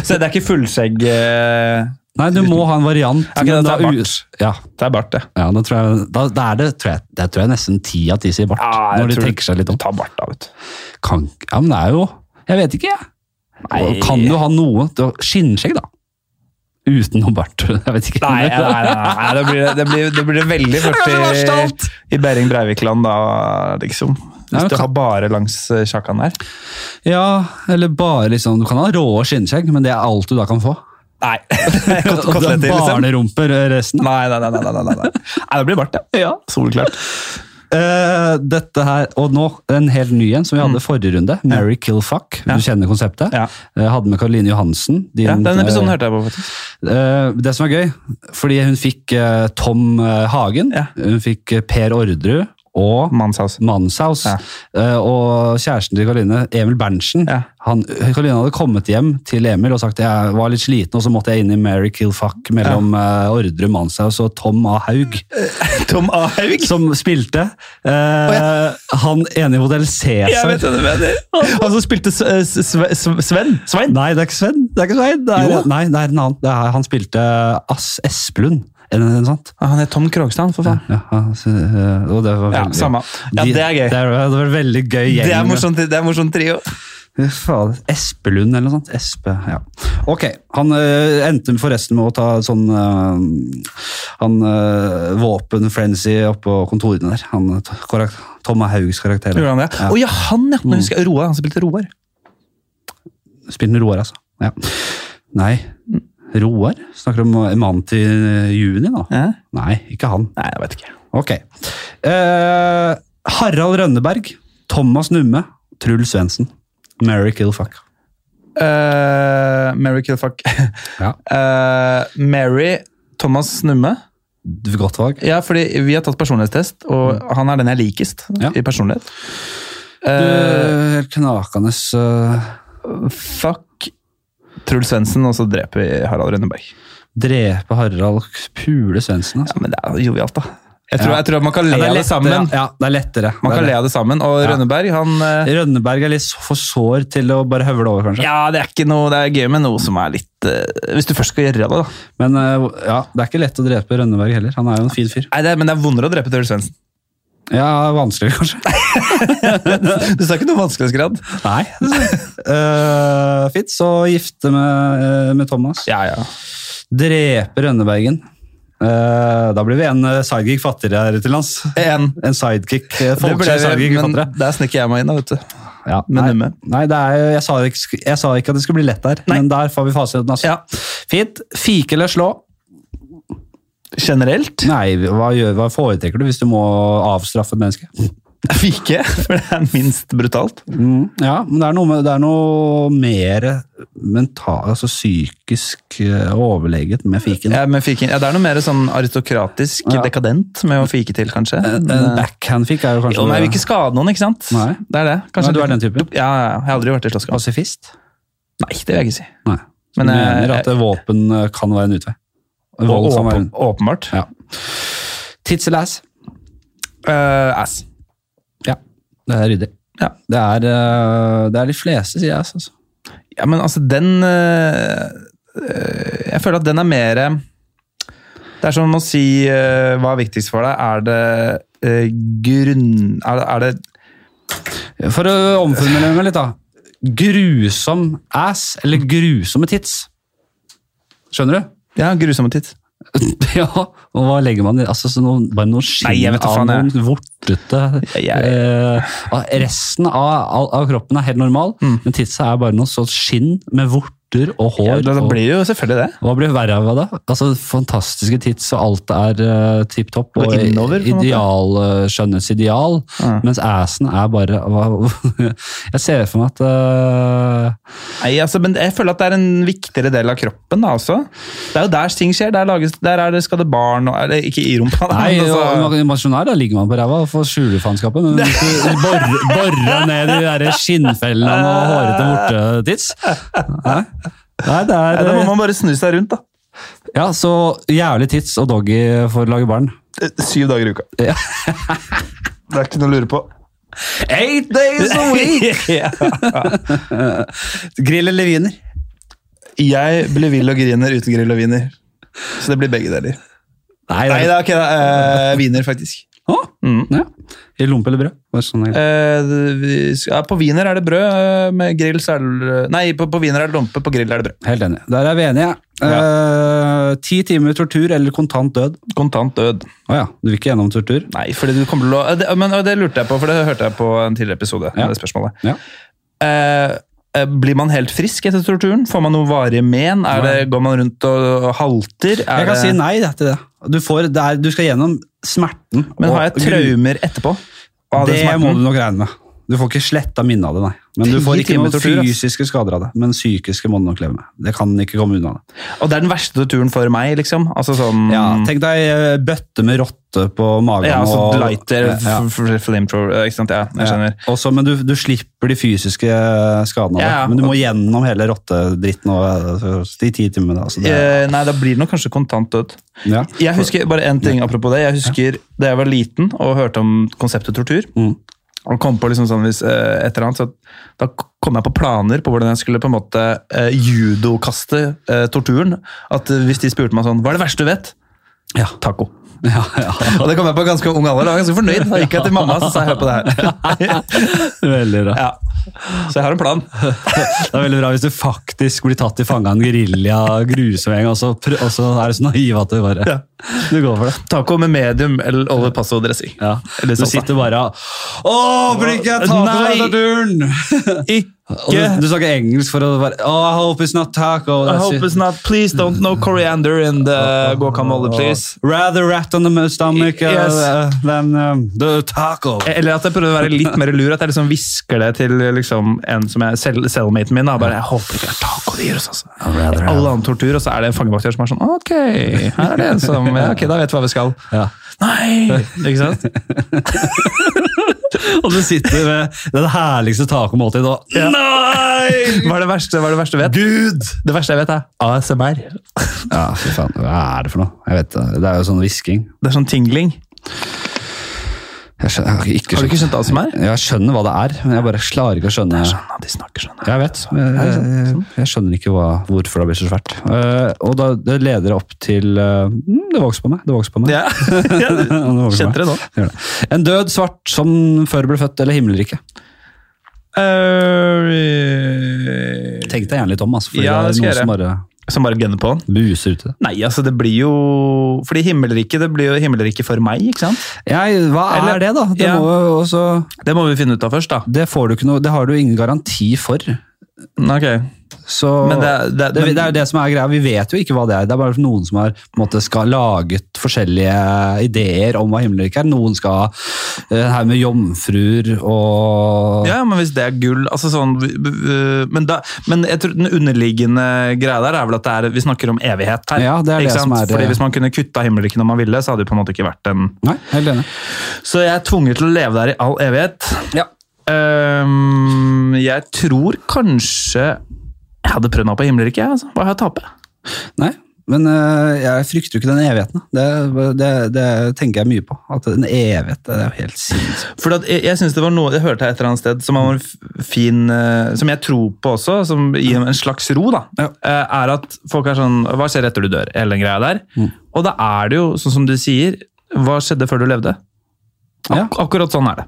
[SPEAKER 2] så det er ikke fullskjegg eh,
[SPEAKER 1] Nei, du må ha en variant.
[SPEAKER 2] Ok, da
[SPEAKER 1] men
[SPEAKER 2] tar
[SPEAKER 1] da
[SPEAKER 2] jeg
[SPEAKER 1] u-
[SPEAKER 2] bart.
[SPEAKER 1] Ja,
[SPEAKER 2] Det er bart, det.
[SPEAKER 1] ja da tror jeg, da, da er det, tror jeg, det tror jeg nesten ti av ti sier bart.
[SPEAKER 2] Ja, jeg
[SPEAKER 1] når de
[SPEAKER 2] tror-
[SPEAKER 1] tenker seg litt om.
[SPEAKER 2] Ta bart, da, vet du.
[SPEAKER 1] Kan, ja, men det er jo Jeg vet ikke, jeg.
[SPEAKER 2] Nei.
[SPEAKER 1] Kan du ha noe du har Skinnskjegg, da. Uten noe bart. (laughs) Jeg vet ikke.
[SPEAKER 2] Nei, nei, nei, nei, nei det, blir, det, blir, det blir (laughs) veldig
[SPEAKER 1] Det er det verste av alt.
[SPEAKER 2] fort i, i Behring Breivik-land, da, liksom.
[SPEAKER 1] Nei,
[SPEAKER 2] Hvis
[SPEAKER 1] men
[SPEAKER 2] du
[SPEAKER 1] kan-
[SPEAKER 2] har bare langs eh, kjakan der.
[SPEAKER 1] Ja, eller bare liksom Du kan ha rå skinnskjegg, men det er alt du da kan få.
[SPEAKER 2] (laughs) Nei.
[SPEAKER 1] Og
[SPEAKER 2] Kot-
[SPEAKER 1] det er
[SPEAKER 2] Koteletter, liksom.
[SPEAKER 1] Barnerumper eh, resten.
[SPEAKER 2] Nei, nei, nei. nei, nei, nei, nei. nei det blir bart, ja.
[SPEAKER 1] Ja.
[SPEAKER 2] Solklart.
[SPEAKER 1] Eh, dette her, og nå en helt ny en som vi hadde forrige runde. Mary Kill Fuck.
[SPEAKER 2] Mm. Ja.
[SPEAKER 1] Du kjenner konseptet.
[SPEAKER 2] Ja.
[SPEAKER 1] Eh, hadde med Caroline Johansen. din,
[SPEAKER 2] Ja, den episoden
[SPEAKER 1] eh,
[SPEAKER 2] hørte jeg på, faktisk.
[SPEAKER 1] eh, det som er gøy, fordi hun fikk eh, Tom eh, Hagen,
[SPEAKER 2] Ja.
[SPEAKER 1] hun fikk eh, Per Orderud og
[SPEAKER 2] Mannshaus.
[SPEAKER 1] Manshaus.
[SPEAKER 2] Ja.
[SPEAKER 1] Eh, og kjæresten til Caroline, Emil Berntsen.
[SPEAKER 2] Ja.
[SPEAKER 1] Han, Caroline hadde kommet hjem til Emil og sagt jeg var litt sliten, og så måtte jeg inn i Mary Kill Fuck mellom eh, Orderud, Manshaus og Tom A. Haug
[SPEAKER 2] Tom Ahaug.
[SPEAKER 1] som spilte. Eh, Han ene i Modell
[SPEAKER 2] (laughs) Jeg vet
[SPEAKER 1] Cæsar.
[SPEAKER 2] hva du mener. (laughs) Han som spilte S- S- Sve- Sve- Sven. Svein.
[SPEAKER 1] Nei, det er ikke Sven. Det er ikke Svein. Det er,
[SPEAKER 2] Jo.
[SPEAKER 1] nei, det er en annen. Det er, han spilte Ass Espelund. Er det noe sånt?
[SPEAKER 2] Ah, Han er Tom Krogstad, for faen.
[SPEAKER 1] Ja, han- så, eh, og det var
[SPEAKER 2] Ja,
[SPEAKER 1] veldig,
[SPEAKER 2] samme. Ja,
[SPEAKER 1] De-
[SPEAKER 2] det er gøy.
[SPEAKER 1] Det, var- det var en veldig gøy gjeng.
[SPEAKER 2] Det er morsomt, det er morsom trio.
[SPEAKER 1] Fy faen, Espelund eller noe sånt. Espe, ja. Ok, han eh, endte forresten med å ta sånn eh, han eh, våpen-frenzy oppå kontorene der. Han, eh, to- karak- Tom Haugs karakter.
[SPEAKER 2] Gjorde han det? Å ja, han, ja!
[SPEAKER 1] Mm.
[SPEAKER 2] Nå husker jeg Roar. Han spilte Roar.
[SPEAKER 1] Spiller med Roar, altså. Ja. Nei. Roar? Snakker om eh, mannen til juni, da?
[SPEAKER 2] Ja.
[SPEAKER 1] Nei, ikke han.
[SPEAKER 2] Nei, jeg vet ikke.
[SPEAKER 1] Ok. Eh, Harald Rønneberg, Thomas Numme, Truls Svendsen. Mary Kill Fuck.
[SPEAKER 2] Eh, Mary Kill Fuck.
[SPEAKER 1] (laughs) Ja.
[SPEAKER 2] Eh, Mary Thomas Numme.
[SPEAKER 1] Godt valg.
[SPEAKER 2] Ja, fordi vi har tatt personlighetstest, og han er den jeg likest
[SPEAKER 1] Mm. Ja.
[SPEAKER 2] i personlighet.
[SPEAKER 1] Du,
[SPEAKER 2] Eh,
[SPEAKER 1] Helt knakende eh,
[SPEAKER 2] fuck Truls Svendsen, og så dreper vi Harald Rønneberg.
[SPEAKER 1] Drepe Harald, pule Svendsen, altså.
[SPEAKER 2] Ja, men det er jovialt, da. Jeg tror,
[SPEAKER 1] Ja.
[SPEAKER 2] jeg tror man kan le av det sammen.
[SPEAKER 1] Ja, det er lettere.
[SPEAKER 2] Man kan le av det sammen, og
[SPEAKER 1] Ja.
[SPEAKER 2] Rønneberg, han eh,
[SPEAKER 1] Rønneberg er litt for sår til å bare høvle over, kanskje.
[SPEAKER 2] Ja, det er ikke noe Det er gøy med noe som er litt eh, Hvis du først skal gjøre det, da.
[SPEAKER 1] Men eh, ja, det er ikke lett å drepe Rønneberg heller. Han er jo en fin fyr.
[SPEAKER 2] Nei, det er, Men det er vondere å drepe Truls Svendsen. (laughs)
[SPEAKER 1] Ja, vanskeligere, kanskje.
[SPEAKER 2] Du sa ikke noe vanskelighetsgrad.
[SPEAKER 1] (laughs) Nei. uh, fint, så gifte med, eh, med Thomas.
[SPEAKER 2] Ja, ja.
[SPEAKER 1] Drepe Rønnebergen. Eh, da blir vi en eh, sidekick fattigere her til lands.
[SPEAKER 2] En.
[SPEAKER 1] En sidekick. eh,
[SPEAKER 2] Det ble,
[SPEAKER 1] Folkeskjær sidekick
[SPEAKER 2] men
[SPEAKER 1] fattigere.
[SPEAKER 2] der sniker jeg meg inn, da, vet du.
[SPEAKER 1] Ja,
[SPEAKER 2] men
[SPEAKER 1] nei,
[SPEAKER 2] numme.
[SPEAKER 1] nei det er, jo- jeg, sa ikke, sk- jeg sa ikke at det skulle bli lett der, men der får vi fasiten. Altså.
[SPEAKER 2] Ja.
[SPEAKER 1] Fint. Fike eller slå?
[SPEAKER 2] Generelt? (laughs)
[SPEAKER 1] Nei, hva, gjør, hva foretrekker du hvis du må avstraffe et menneske?
[SPEAKER 2] Jeg fikk ikke, for det er minst brutalt.
[SPEAKER 1] Mm, ja, men det er noe, med, det er noe mer mental, altså psykisk eh, overleget med fiken.
[SPEAKER 2] Ja, men fiken, ja, det er noe mer sånn aristokratisk,
[SPEAKER 1] Ja.
[SPEAKER 2] dekadent med å fike til, kanskje.
[SPEAKER 1] En en backhand-fikk er Eh, jo kanskje
[SPEAKER 2] Jo, men jeg vil ikke skade noen, ikke sant?
[SPEAKER 1] Nei.
[SPEAKER 2] Det er det.
[SPEAKER 1] Nei, du
[SPEAKER 2] det-
[SPEAKER 1] er den typen?
[SPEAKER 2] Ja, ja, ja. jeg har aldri vært i slåsskamp.
[SPEAKER 1] pasifist.
[SPEAKER 2] Nei, det vil jeg ikke si.
[SPEAKER 1] Nei.
[SPEAKER 2] Men,
[SPEAKER 1] Men, du
[SPEAKER 2] eh,
[SPEAKER 1] mener at eh, våpen eh, kan være en utvei. Vold kan være
[SPEAKER 2] Åpen,
[SPEAKER 1] en
[SPEAKER 2] åpenbart.
[SPEAKER 1] ja. Tits eller ass?
[SPEAKER 2] Eh, ass.
[SPEAKER 1] Ja, det er ryddig.
[SPEAKER 2] Ja.
[SPEAKER 1] Det er, eh, det er de fleste, sier jeg. Altså.
[SPEAKER 2] Ja, men altså, den eh, eh, Jeg føler at den er mer eh, Det er som å si eh, hva er viktigst for deg. Er det eh, grunn... Er, det- er det
[SPEAKER 1] For å omformulere meg litt, da. Grusom ass eller grusomme tits? Skjønner du? (laughs)
[SPEAKER 2] Ja, grusomme titt.
[SPEAKER 1] Ja, og hva legger man i? Altså, så noen, bare noen skinn
[SPEAKER 2] Nei, jeg vet da
[SPEAKER 1] av
[SPEAKER 2] faen, jeg.
[SPEAKER 1] noen vortete
[SPEAKER 2] (laughs) Jeg-
[SPEAKER 1] eh, og Resten av, av, av kroppen er helt normal, men titsa er bare noe sånt skinn med vorter og hår.
[SPEAKER 2] Mm. Ja, da
[SPEAKER 1] og,
[SPEAKER 2] blir det jo selvfølgelig det.
[SPEAKER 1] hva blir verre av det? Altså, fantastiske tits, og alt er uh, tipp topp.
[SPEAKER 2] Og innover, på en måte.
[SPEAKER 1] ideal, eh, skjønnhetsideal.
[SPEAKER 2] Ja.
[SPEAKER 1] Mens assen er bare (laughs) hva- Jeg ser for meg at eh,
[SPEAKER 2] Nei, altså, men jeg føler at det er en viktigere del av kroppen da, også. Det er jo der ting skjer. Der, lages, der er det, skal det barn og eller, Ikke i rumpa, da,
[SPEAKER 1] Nei,
[SPEAKER 2] men altså,
[SPEAKER 1] og emosjonær da ligger man på ræva og får skjulefanskapet, men hvis
[SPEAKER 2] (laughs)
[SPEAKER 1] du borer, borer ned i de der skinnfellene og hårete vortetits Nei, Nei, det
[SPEAKER 2] Nei, Da
[SPEAKER 1] er
[SPEAKER 2] må
[SPEAKER 1] eh,
[SPEAKER 2] man bare snu seg rundt, da.
[SPEAKER 1] Ja, så jævlig tits og doggy for å lage barn.
[SPEAKER 2] Eh, Syv dager i uka.
[SPEAKER 1] Ja.
[SPEAKER 2] Det er ikke noe å lure på.
[SPEAKER 1] Eight days a week!
[SPEAKER 2] (laughs)
[SPEAKER 1] Grill eller viner?
[SPEAKER 2] Jeg blir vill og griner uten grill og viner. Så det blir begge deler.
[SPEAKER 1] (laughs) Nei,
[SPEAKER 2] Nei,
[SPEAKER 1] det er
[SPEAKER 2] da, ok, da. eh, viner, faktisk.
[SPEAKER 1] Å,
[SPEAKER 2] Mm.
[SPEAKER 1] ja. I lompe eller brød? Bare sånn, jeg-
[SPEAKER 2] Eh, vi skal- ja, på viner er det brød. eh, Med grill så er det Nei, på, på viner er det lompe, på grill er det brød.
[SPEAKER 1] Helt enig. Der er vi enige. Eh, ti timer tortur eller kontant død?
[SPEAKER 2] Kontant død.
[SPEAKER 1] Å ja, du vil ikke gjennom tortur?
[SPEAKER 2] Nei, fordi du kommer til å Eh, det, men, og det lurte jeg på, for det hørte jeg på en tidligere episode.
[SPEAKER 1] Ja.
[SPEAKER 2] Det spørsmålet.
[SPEAKER 1] Ja.
[SPEAKER 2] Eh, eh, blir man helt frisk etter torturen? Får man noe varige men? Er det, går man rundt og halter? Er
[SPEAKER 1] Jeg kan
[SPEAKER 2] det,
[SPEAKER 1] si nei da, til det. Du, får, det er, du skal gjennom smerten.
[SPEAKER 2] men har
[SPEAKER 1] og
[SPEAKER 2] jeg traumer etterpå? Av
[SPEAKER 1] Det
[SPEAKER 2] den smerten?
[SPEAKER 1] må du nok regne med. Du får ikke sletta minnet av det, nei. Men du
[SPEAKER 2] Ti
[SPEAKER 1] får ikke
[SPEAKER 2] timer
[SPEAKER 1] noen
[SPEAKER 2] tortur, ass.
[SPEAKER 1] fysiske skader av det. Men psykiske må du nok leve med. Det kan ikke komme unna. det.
[SPEAKER 2] Og det er den verste torturen for meg, liksom? Altså sånn
[SPEAKER 1] Ja, tenk deg eh, bøtte med rotte på magen.
[SPEAKER 2] ja, altså
[SPEAKER 1] og-
[SPEAKER 2] lighter,
[SPEAKER 1] Ja, ja.
[SPEAKER 2] f- f- flamethrower eh, Ikke sant, ja, jeg skjønner.
[SPEAKER 1] Ja. Også, men du, du slipper de fysiske skadene av det.
[SPEAKER 2] Ja, ja.
[SPEAKER 1] Men du må gjennom hele rottedritten og, eh, de ti timene. Altså, det,
[SPEAKER 2] Eh, nei, da blir det nok kanskje kontant død.
[SPEAKER 1] ja.
[SPEAKER 2] Jeg husker bare en ting apropos det. Jeg husker da jeg var liten og hørte om konseptet tortur.
[SPEAKER 1] Mm.
[SPEAKER 2] Og kom på liksom sånn hvis eh, et eller annet, så Da kom jeg på planer på hvordan jeg skulle på en måte eh, judokaste eh, torturen. At eh, Hvis de spurte meg sånn Hva er det verste du vet?
[SPEAKER 1] Ja.
[SPEAKER 2] Taco.
[SPEAKER 1] (laughs) Ja, ja.
[SPEAKER 2] Og det kom jeg på ganske ung alder. Da var jeg ganske fornøyd. Da gikk jeg til mamma og sa hør på det her. (laughs)
[SPEAKER 1] Veldig bra.
[SPEAKER 2] ja. Så jeg har en
[SPEAKER 1] (laughs)
[SPEAKER 2] plan.
[SPEAKER 1] Det er veldig bra hvis du faktisk blir tatt til fange av en gerilja grusveng, og så, pr- og så er du (laughs) så naiv at du bare Du går for det.
[SPEAKER 2] Taco med medium eller olje, passo og dressing.
[SPEAKER 1] Ja.
[SPEAKER 2] Eller
[SPEAKER 1] Du
[SPEAKER 2] salsa.
[SPEAKER 1] sitter bare og Å, blir ikke jeg taco
[SPEAKER 2] Nei!
[SPEAKER 1] fra turen? (laughs) Og
[SPEAKER 2] Ikke
[SPEAKER 1] du, du snakker engelsk for å være oh, I hope it's not taco.
[SPEAKER 2] I hope it's not. Please don't know coriander in the guacamole, please.
[SPEAKER 1] Rather rat on the stomach uh,
[SPEAKER 2] Yes.
[SPEAKER 1] than um, Eh, the taco.
[SPEAKER 2] Eller at jeg prøvde å være litt mer lur, at jeg liksom hvisker det til liksom en som er cell cellmaten min. Da. Bare, jeg håper ikke det er taco det gir oss, altså.
[SPEAKER 1] rather
[SPEAKER 2] Alle annen tortur, og så er det en fangevaktør som er sånn Ok, her er det en som ja, Ok, da vet vi hva vi skal.
[SPEAKER 1] Ja.
[SPEAKER 2] Nei! Ikke sant?
[SPEAKER 1] Og du sitter med den herligste tacomåltidet og Nei!
[SPEAKER 2] Hva er det verste, hva er det verste du vet? Gud! Det verste jeg vet, er ASMR.
[SPEAKER 1] Ja, fy faen. Hva er det for noe? Jeg vet Det Det er jo sånn hvisking.
[SPEAKER 2] Det er sånn tingling.
[SPEAKER 1] Jeg skjønner, jeg har ikke
[SPEAKER 2] Har du
[SPEAKER 1] skjønt.
[SPEAKER 2] ikke skjønt ASMR?
[SPEAKER 1] Jeg skjønner hva det er, men jeg bare klarer ikke å skjønne
[SPEAKER 2] Skjønner at de snakker sånn.
[SPEAKER 1] Jeg vet. Jeg, jeg, jeg skjønner ikke hva, hvorfor det blir så svært. Eh, og da, det leder opp til eh, mm, Det vokser på meg. Det vokser på meg.
[SPEAKER 2] Ja. (laughs) ja.
[SPEAKER 1] (laughs) Det vokser på
[SPEAKER 2] Kjente det nå.
[SPEAKER 1] meg. Gjør det. En død svart som før ble født, eller himmelrike.
[SPEAKER 2] Eh,
[SPEAKER 1] Tenk deg gjerne litt om, altså, for
[SPEAKER 2] Ja, det
[SPEAKER 1] det
[SPEAKER 2] skal
[SPEAKER 1] er noen
[SPEAKER 2] jeg
[SPEAKER 1] som bare
[SPEAKER 2] som bare gunner på den.
[SPEAKER 1] buser ut i det.
[SPEAKER 2] Nei, altså det blir jo Fordi himmelriket, det blir jo himmelriket for meg, ikke sant?
[SPEAKER 1] Jeg, hva er
[SPEAKER 2] Eller-
[SPEAKER 1] det, da? Det,
[SPEAKER 2] Ja.
[SPEAKER 1] må jo også,
[SPEAKER 2] Det må vi finne ut av først, da.
[SPEAKER 1] det, får du ikke noe, det har du ingen garanti for.
[SPEAKER 2] Ok.
[SPEAKER 1] Så
[SPEAKER 2] Men
[SPEAKER 1] Mm, det,
[SPEAKER 2] det- det-
[SPEAKER 1] det,
[SPEAKER 2] men-
[SPEAKER 1] er jo det som er greia. Vi vet jo ikke hva det er. Det er bare noen som har på en måte, skal laget forskjellige ideer om hva himmelriket er. Noen skal eh, her med jomfruer og
[SPEAKER 2] Ja, men hvis det er gull altså sånn, v- v- men, da, men jeg tror den underliggende greia der er vel at det er, vi snakker om evighet her.
[SPEAKER 1] Ja, det er det
[SPEAKER 2] ikke sant?
[SPEAKER 1] som er det.
[SPEAKER 2] Fordi Hvis man kunne kutta himmelriket når man ville, så hadde det på en måte ikke vært en
[SPEAKER 1] Nei, helt enig.
[SPEAKER 2] Så jeg er tvunget til å leve der i all evighet.
[SPEAKER 1] Ja.
[SPEAKER 2] Ehm, jeg tror kanskje jeg hadde prøvd meg på himmelriket. jeg, Altså. Hva har jeg å tape?
[SPEAKER 1] Nei, men eh, jeg frykter jo ikke den evigheten. da. Det, det, det tenker jeg mye på. At en evighet det er jo helt sinnssykt.
[SPEAKER 2] For at jeg, jeg synes det var noe jeg hørte her et eller annet sted som var en f- fin eh, Som jeg tror på også, som gir en slags ro, da.
[SPEAKER 1] Ja.
[SPEAKER 2] eh, Er at folk er sånn Hva skjer etter du dør? Hele den greia der. Og da er det jo, sånn som du sier, hva skjedde før du levde? Ak
[SPEAKER 1] Ja.
[SPEAKER 2] Akkurat sånn er det.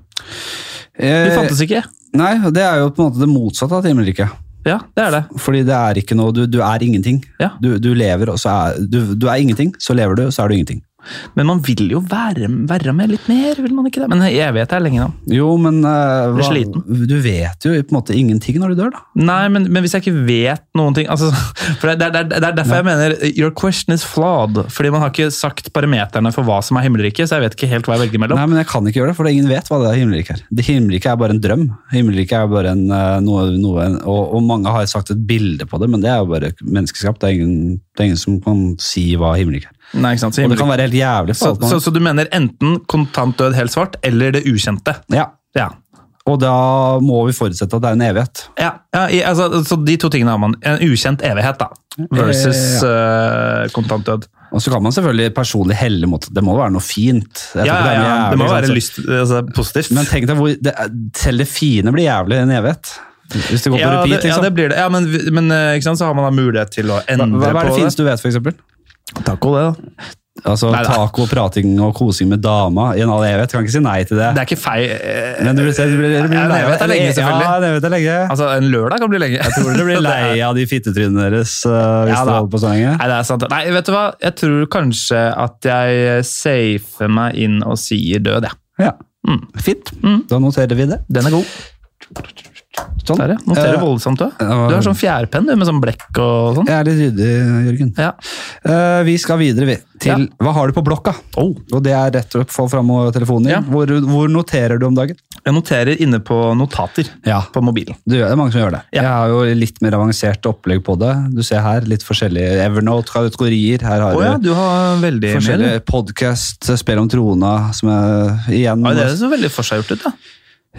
[SPEAKER 2] Vi
[SPEAKER 1] Eh,
[SPEAKER 2] fantes ikke.
[SPEAKER 1] Nei, og det er jo på en måte det motsatte av himmelriket.
[SPEAKER 2] Ja, det er det.
[SPEAKER 1] Fordi det er ikke noe, du, du er ingenting.
[SPEAKER 2] Ja.
[SPEAKER 1] Du, du lever, og så er du, du er ingenting, så lever du, og så er du ingenting.
[SPEAKER 2] Men man vil jo være, være med litt mer, vil man ikke det? Men jeg vet det er lenge nå.
[SPEAKER 1] Jo, men eh,
[SPEAKER 2] Blir
[SPEAKER 1] hva- du vet jo på en måte ingenting når du dør, da.
[SPEAKER 2] Nei, men, men hvis jeg ikke vet noen ting altså, (laughs) for det, er- det, er- det er derfor jeg mener your question is flawed. Fordi man har ikke sagt parameterne for hva som er himmelriket, så jeg vet ikke helt hva jeg velger mellom.
[SPEAKER 1] Nei, men jeg kan ikke gjøre det, for ingen vet hva det er himmelriket er. Det himmelriket er bare en drøm. Himmelriket er bare en, eh, noe, noe og, og mange har sagt et bilde på det, men det er jo bare menneskeskapt. Det er ingen, det er ingen som kan si hva himmelriket er.
[SPEAKER 2] Nei, ikke sant? Så,
[SPEAKER 1] Og det
[SPEAKER 2] himmelriket-
[SPEAKER 1] kan være helt jævlig for
[SPEAKER 2] så,
[SPEAKER 1] alt man
[SPEAKER 2] så, så du mener enten kontant død helt svart, eller det ukjente?
[SPEAKER 1] Ja,
[SPEAKER 2] Ja.
[SPEAKER 1] og da må vi forutsette at det er en evighet.
[SPEAKER 2] ja, ja i, altså, så de to tingene har man. En ukjent evighet da, versus eh, kontant død.
[SPEAKER 1] Og så kan man selvfølgelig personlig helle mot det. Det må være noe fint. Jeg tror
[SPEAKER 2] Ja, ja,
[SPEAKER 1] ikke det er
[SPEAKER 2] ja,
[SPEAKER 1] noe
[SPEAKER 2] det må
[SPEAKER 1] jævlig,
[SPEAKER 2] være
[SPEAKER 1] sant?
[SPEAKER 2] lyst, altså, positivt.
[SPEAKER 1] Men tenk deg hvor det, er- Selv det fine blir jævlig i en evighet. Hvis det går på
[SPEAKER 2] ja,
[SPEAKER 1] repeat,
[SPEAKER 2] det, ja,
[SPEAKER 1] liksom.
[SPEAKER 2] det blir det. Ja, men, vi- men eh, ikke sant, så har man da mulighet til å endre
[SPEAKER 1] hva, hva er det
[SPEAKER 2] på
[SPEAKER 1] fineste du vet, for eksempel?
[SPEAKER 2] Taco, det, da.
[SPEAKER 1] Altså,
[SPEAKER 2] Nei, nei.
[SPEAKER 1] taco, prating og kosing med dama i en all evighet. Kan ikke si nei til det.
[SPEAKER 2] Det er ikke feil eh,
[SPEAKER 1] Men du blir, du blir, du blir
[SPEAKER 2] Ja, en
[SPEAKER 1] lei av
[SPEAKER 2] evighet er lenge, selvfølgelig.
[SPEAKER 1] Ja, en evighet er lenge.
[SPEAKER 2] Altså, en lørdag kan bli lenge. Jeg
[SPEAKER 1] Tror du du blir
[SPEAKER 2] (laughs)
[SPEAKER 1] lei av de fittetrynene deres øh, hvis
[SPEAKER 2] Ja,
[SPEAKER 1] du
[SPEAKER 2] da.
[SPEAKER 1] holder på så lenge?
[SPEAKER 2] Nei, det er sant. Nei, vet du hva? Jeg tror kanskje at jeg eh, safer meg inn og sier død, jeg.
[SPEAKER 1] Ja.
[SPEAKER 2] Mm.
[SPEAKER 1] Fint. Da noterer vi det.
[SPEAKER 2] Den er god.
[SPEAKER 1] Sånn.
[SPEAKER 2] Der, ja. Noterer
[SPEAKER 1] Eh,
[SPEAKER 2] voldsomt, du.
[SPEAKER 1] ja.
[SPEAKER 2] Du har sånn fjærpenn du, med sånn blekk og sånn.
[SPEAKER 1] Jeg er litt ryddig, Jørgen.
[SPEAKER 2] Ja.
[SPEAKER 1] Eh, vi skal videre vi, til Hva har du på blokka?
[SPEAKER 2] Oh.
[SPEAKER 1] Og det er rett og slett få fram telefonen din.
[SPEAKER 2] Ja.
[SPEAKER 1] Hvor, hvor noterer du om dagen?
[SPEAKER 2] Jeg noterer inne på notater
[SPEAKER 1] Ja,
[SPEAKER 2] på mobilen.
[SPEAKER 1] Det gjør- det er mange som gjør det.
[SPEAKER 2] Ja.
[SPEAKER 1] Jeg har jo litt mer avansert opplegg på det. Du ser her, litt forskjellige Evernote-kategorier. Her har
[SPEAKER 2] Å ja,
[SPEAKER 1] du
[SPEAKER 2] du har veldig mye. du.
[SPEAKER 1] forskjellige podcast, Spill om trona, som er igjen,
[SPEAKER 2] Ja, det er så veldig forseggjort ut, da.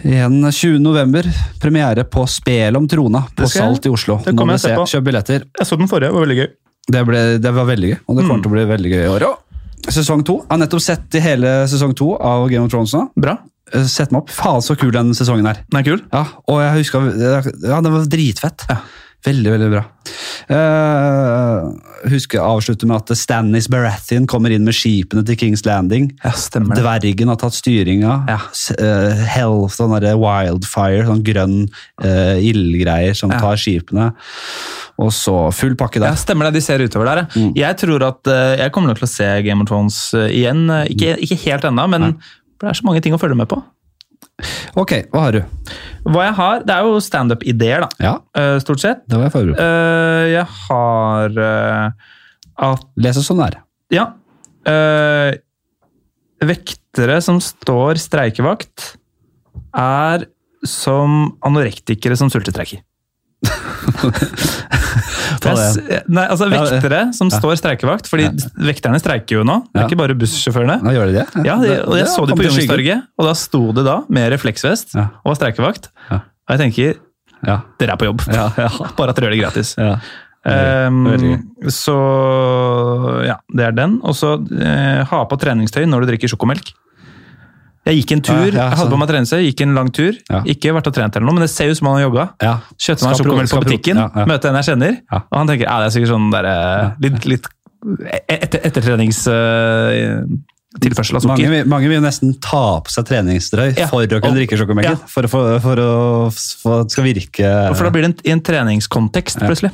[SPEAKER 1] igjen 20. november. Premiere på Spel om trona på
[SPEAKER 2] Det skal jeg-
[SPEAKER 1] Salt i Oslo.
[SPEAKER 2] det
[SPEAKER 1] Nå
[SPEAKER 2] kommer
[SPEAKER 1] må du
[SPEAKER 2] jeg
[SPEAKER 1] se.
[SPEAKER 2] se på.
[SPEAKER 1] Kjøp billetter.
[SPEAKER 2] Jeg så den forrige, det var veldig gøy.
[SPEAKER 1] Det, ble, det var veldig gøy, og det
[SPEAKER 2] Mm.
[SPEAKER 1] kommer til å bli veldig gøy i år òg. Sesong to. Jeg har nettopp sett i hele sesong to av Game of Thrones nå.
[SPEAKER 2] Bra.
[SPEAKER 1] Eh, Sett meg opp. Faen, så kul den sesongen er.
[SPEAKER 2] Den er kul.
[SPEAKER 1] Ja, og jeg husker Ja, det var dritfett. Veldig, veldig bra. Eh, husker jeg avslutter med at Stannis Baratheon kommer inn med skipene til Kings Landing.
[SPEAKER 2] Ja, stemmer det.
[SPEAKER 1] Dvergen har tatt styringa.
[SPEAKER 2] Ja.
[SPEAKER 1] S- eh, hell, sånn derre wildfire, sånn grønn eh, ildgreier som
[SPEAKER 2] Ja.
[SPEAKER 1] tar skipene. Og så full pakke
[SPEAKER 2] Ja,
[SPEAKER 1] der.
[SPEAKER 2] stemmer det. De ser utover der. ja. Jeg tror at eh, jeg kommer nok til å se Game of Thrones eh, igjen. eh, Ikke, ikke helt ennå, men det er så mange ting å følge med på.
[SPEAKER 1] Ok, hva har du?
[SPEAKER 2] Hva jeg har, Det er jo standup-ideer, da.
[SPEAKER 1] Ja,
[SPEAKER 2] eh, Stort sett.
[SPEAKER 1] det var jeg forberedt på.
[SPEAKER 2] Eh, Jeg har eh, at
[SPEAKER 1] Les oss som det sånn er.
[SPEAKER 2] Ja. eh, vektere som står streikevakt, er som anorektikere som sultestreiker.
[SPEAKER 1] (laughs) Ta det
[SPEAKER 2] Jeg s- Nei, altså
[SPEAKER 1] Ja, det-
[SPEAKER 2] Vektere som står streikevakt, fordi vekterne streiker jo nå. Det
[SPEAKER 1] Ja.
[SPEAKER 2] er ikke bare bussjåførene.
[SPEAKER 1] Nå gjør de det?
[SPEAKER 2] Ja, de, og Jeg
[SPEAKER 1] det
[SPEAKER 2] så de
[SPEAKER 1] kom
[SPEAKER 2] på
[SPEAKER 1] til skyggen.
[SPEAKER 2] Youngstorget, og da sto de da med refleksvest
[SPEAKER 1] Ja.
[SPEAKER 2] og var streikevakt.
[SPEAKER 1] Ja.
[SPEAKER 2] Og jeg tenker
[SPEAKER 1] Ja.
[SPEAKER 2] dere er på jobb.
[SPEAKER 1] Ja, ja.
[SPEAKER 2] (laughs) Bare at dere gjør det gratis.
[SPEAKER 1] ja.
[SPEAKER 2] Ehm,
[SPEAKER 1] Veldig
[SPEAKER 2] så ja, det er den. Og så eh, ha på treningstøy når du drikker sjokomelk. Jeg gikk en tur,
[SPEAKER 1] Ja, ja,
[SPEAKER 2] jeg hadde på
[SPEAKER 1] sånn.
[SPEAKER 2] meg treningstøy, gikk en lang tur.
[SPEAKER 1] Ja.
[SPEAKER 2] Ikke vært og trent eller noe, men det ser ut som han har jogga.
[SPEAKER 1] ja.
[SPEAKER 2] Kjøpte
[SPEAKER 1] Skal
[SPEAKER 2] meg
[SPEAKER 1] pro-
[SPEAKER 2] sjokomelk
[SPEAKER 1] skal
[SPEAKER 2] på
[SPEAKER 1] pro-
[SPEAKER 2] butikken,
[SPEAKER 1] ja, ja.
[SPEAKER 2] møter en jeg kjenner,
[SPEAKER 1] Ja.
[SPEAKER 2] og han tenker ja, det er sikkert sånn der, eh, litt, litt e-, etter, ettertreningstilførsel av
[SPEAKER 1] Altså, Mange,
[SPEAKER 2] sukker.
[SPEAKER 1] vil- mange vil nesten ta på seg treningsdrøy
[SPEAKER 2] Ja.
[SPEAKER 1] for å
[SPEAKER 2] Og-
[SPEAKER 1] kunne drikke sjokomelken.
[SPEAKER 2] ja.
[SPEAKER 1] For, å få- for, å- for at det skal virke
[SPEAKER 2] For da blir det en, i en treningskontekst, plutselig.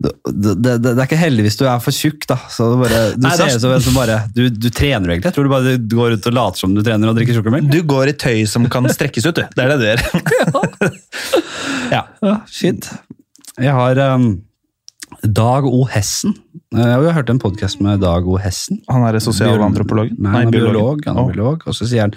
[SPEAKER 1] det, det, det er ikke heldig hvis du er for tjukk, da. Så det bare, du
[SPEAKER 2] Nei, det er-
[SPEAKER 1] ser ut som en som bare du, du trener jo egentlig. Jeg tror du bare går ut og later som du trener og drikker sjokomelk.
[SPEAKER 2] Du går i (laughs) tøy som kan strekkes ut, du. Det er det du gjør. ja.
[SPEAKER 1] Ja, shit. Jeg har um, Dag O. Hessen. Eh, og Jeg har hørt en podkast med Dag O. Hessen.
[SPEAKER 2] Han er
[SPEAKER 1] Biol-
[SPEAKER 2] sosialantropologen?
[SPEAKER 1] Nei, han er biolog. Han er
[SPEAKER 2] Å.
[SPEAKER 1] biolog. Og så sier han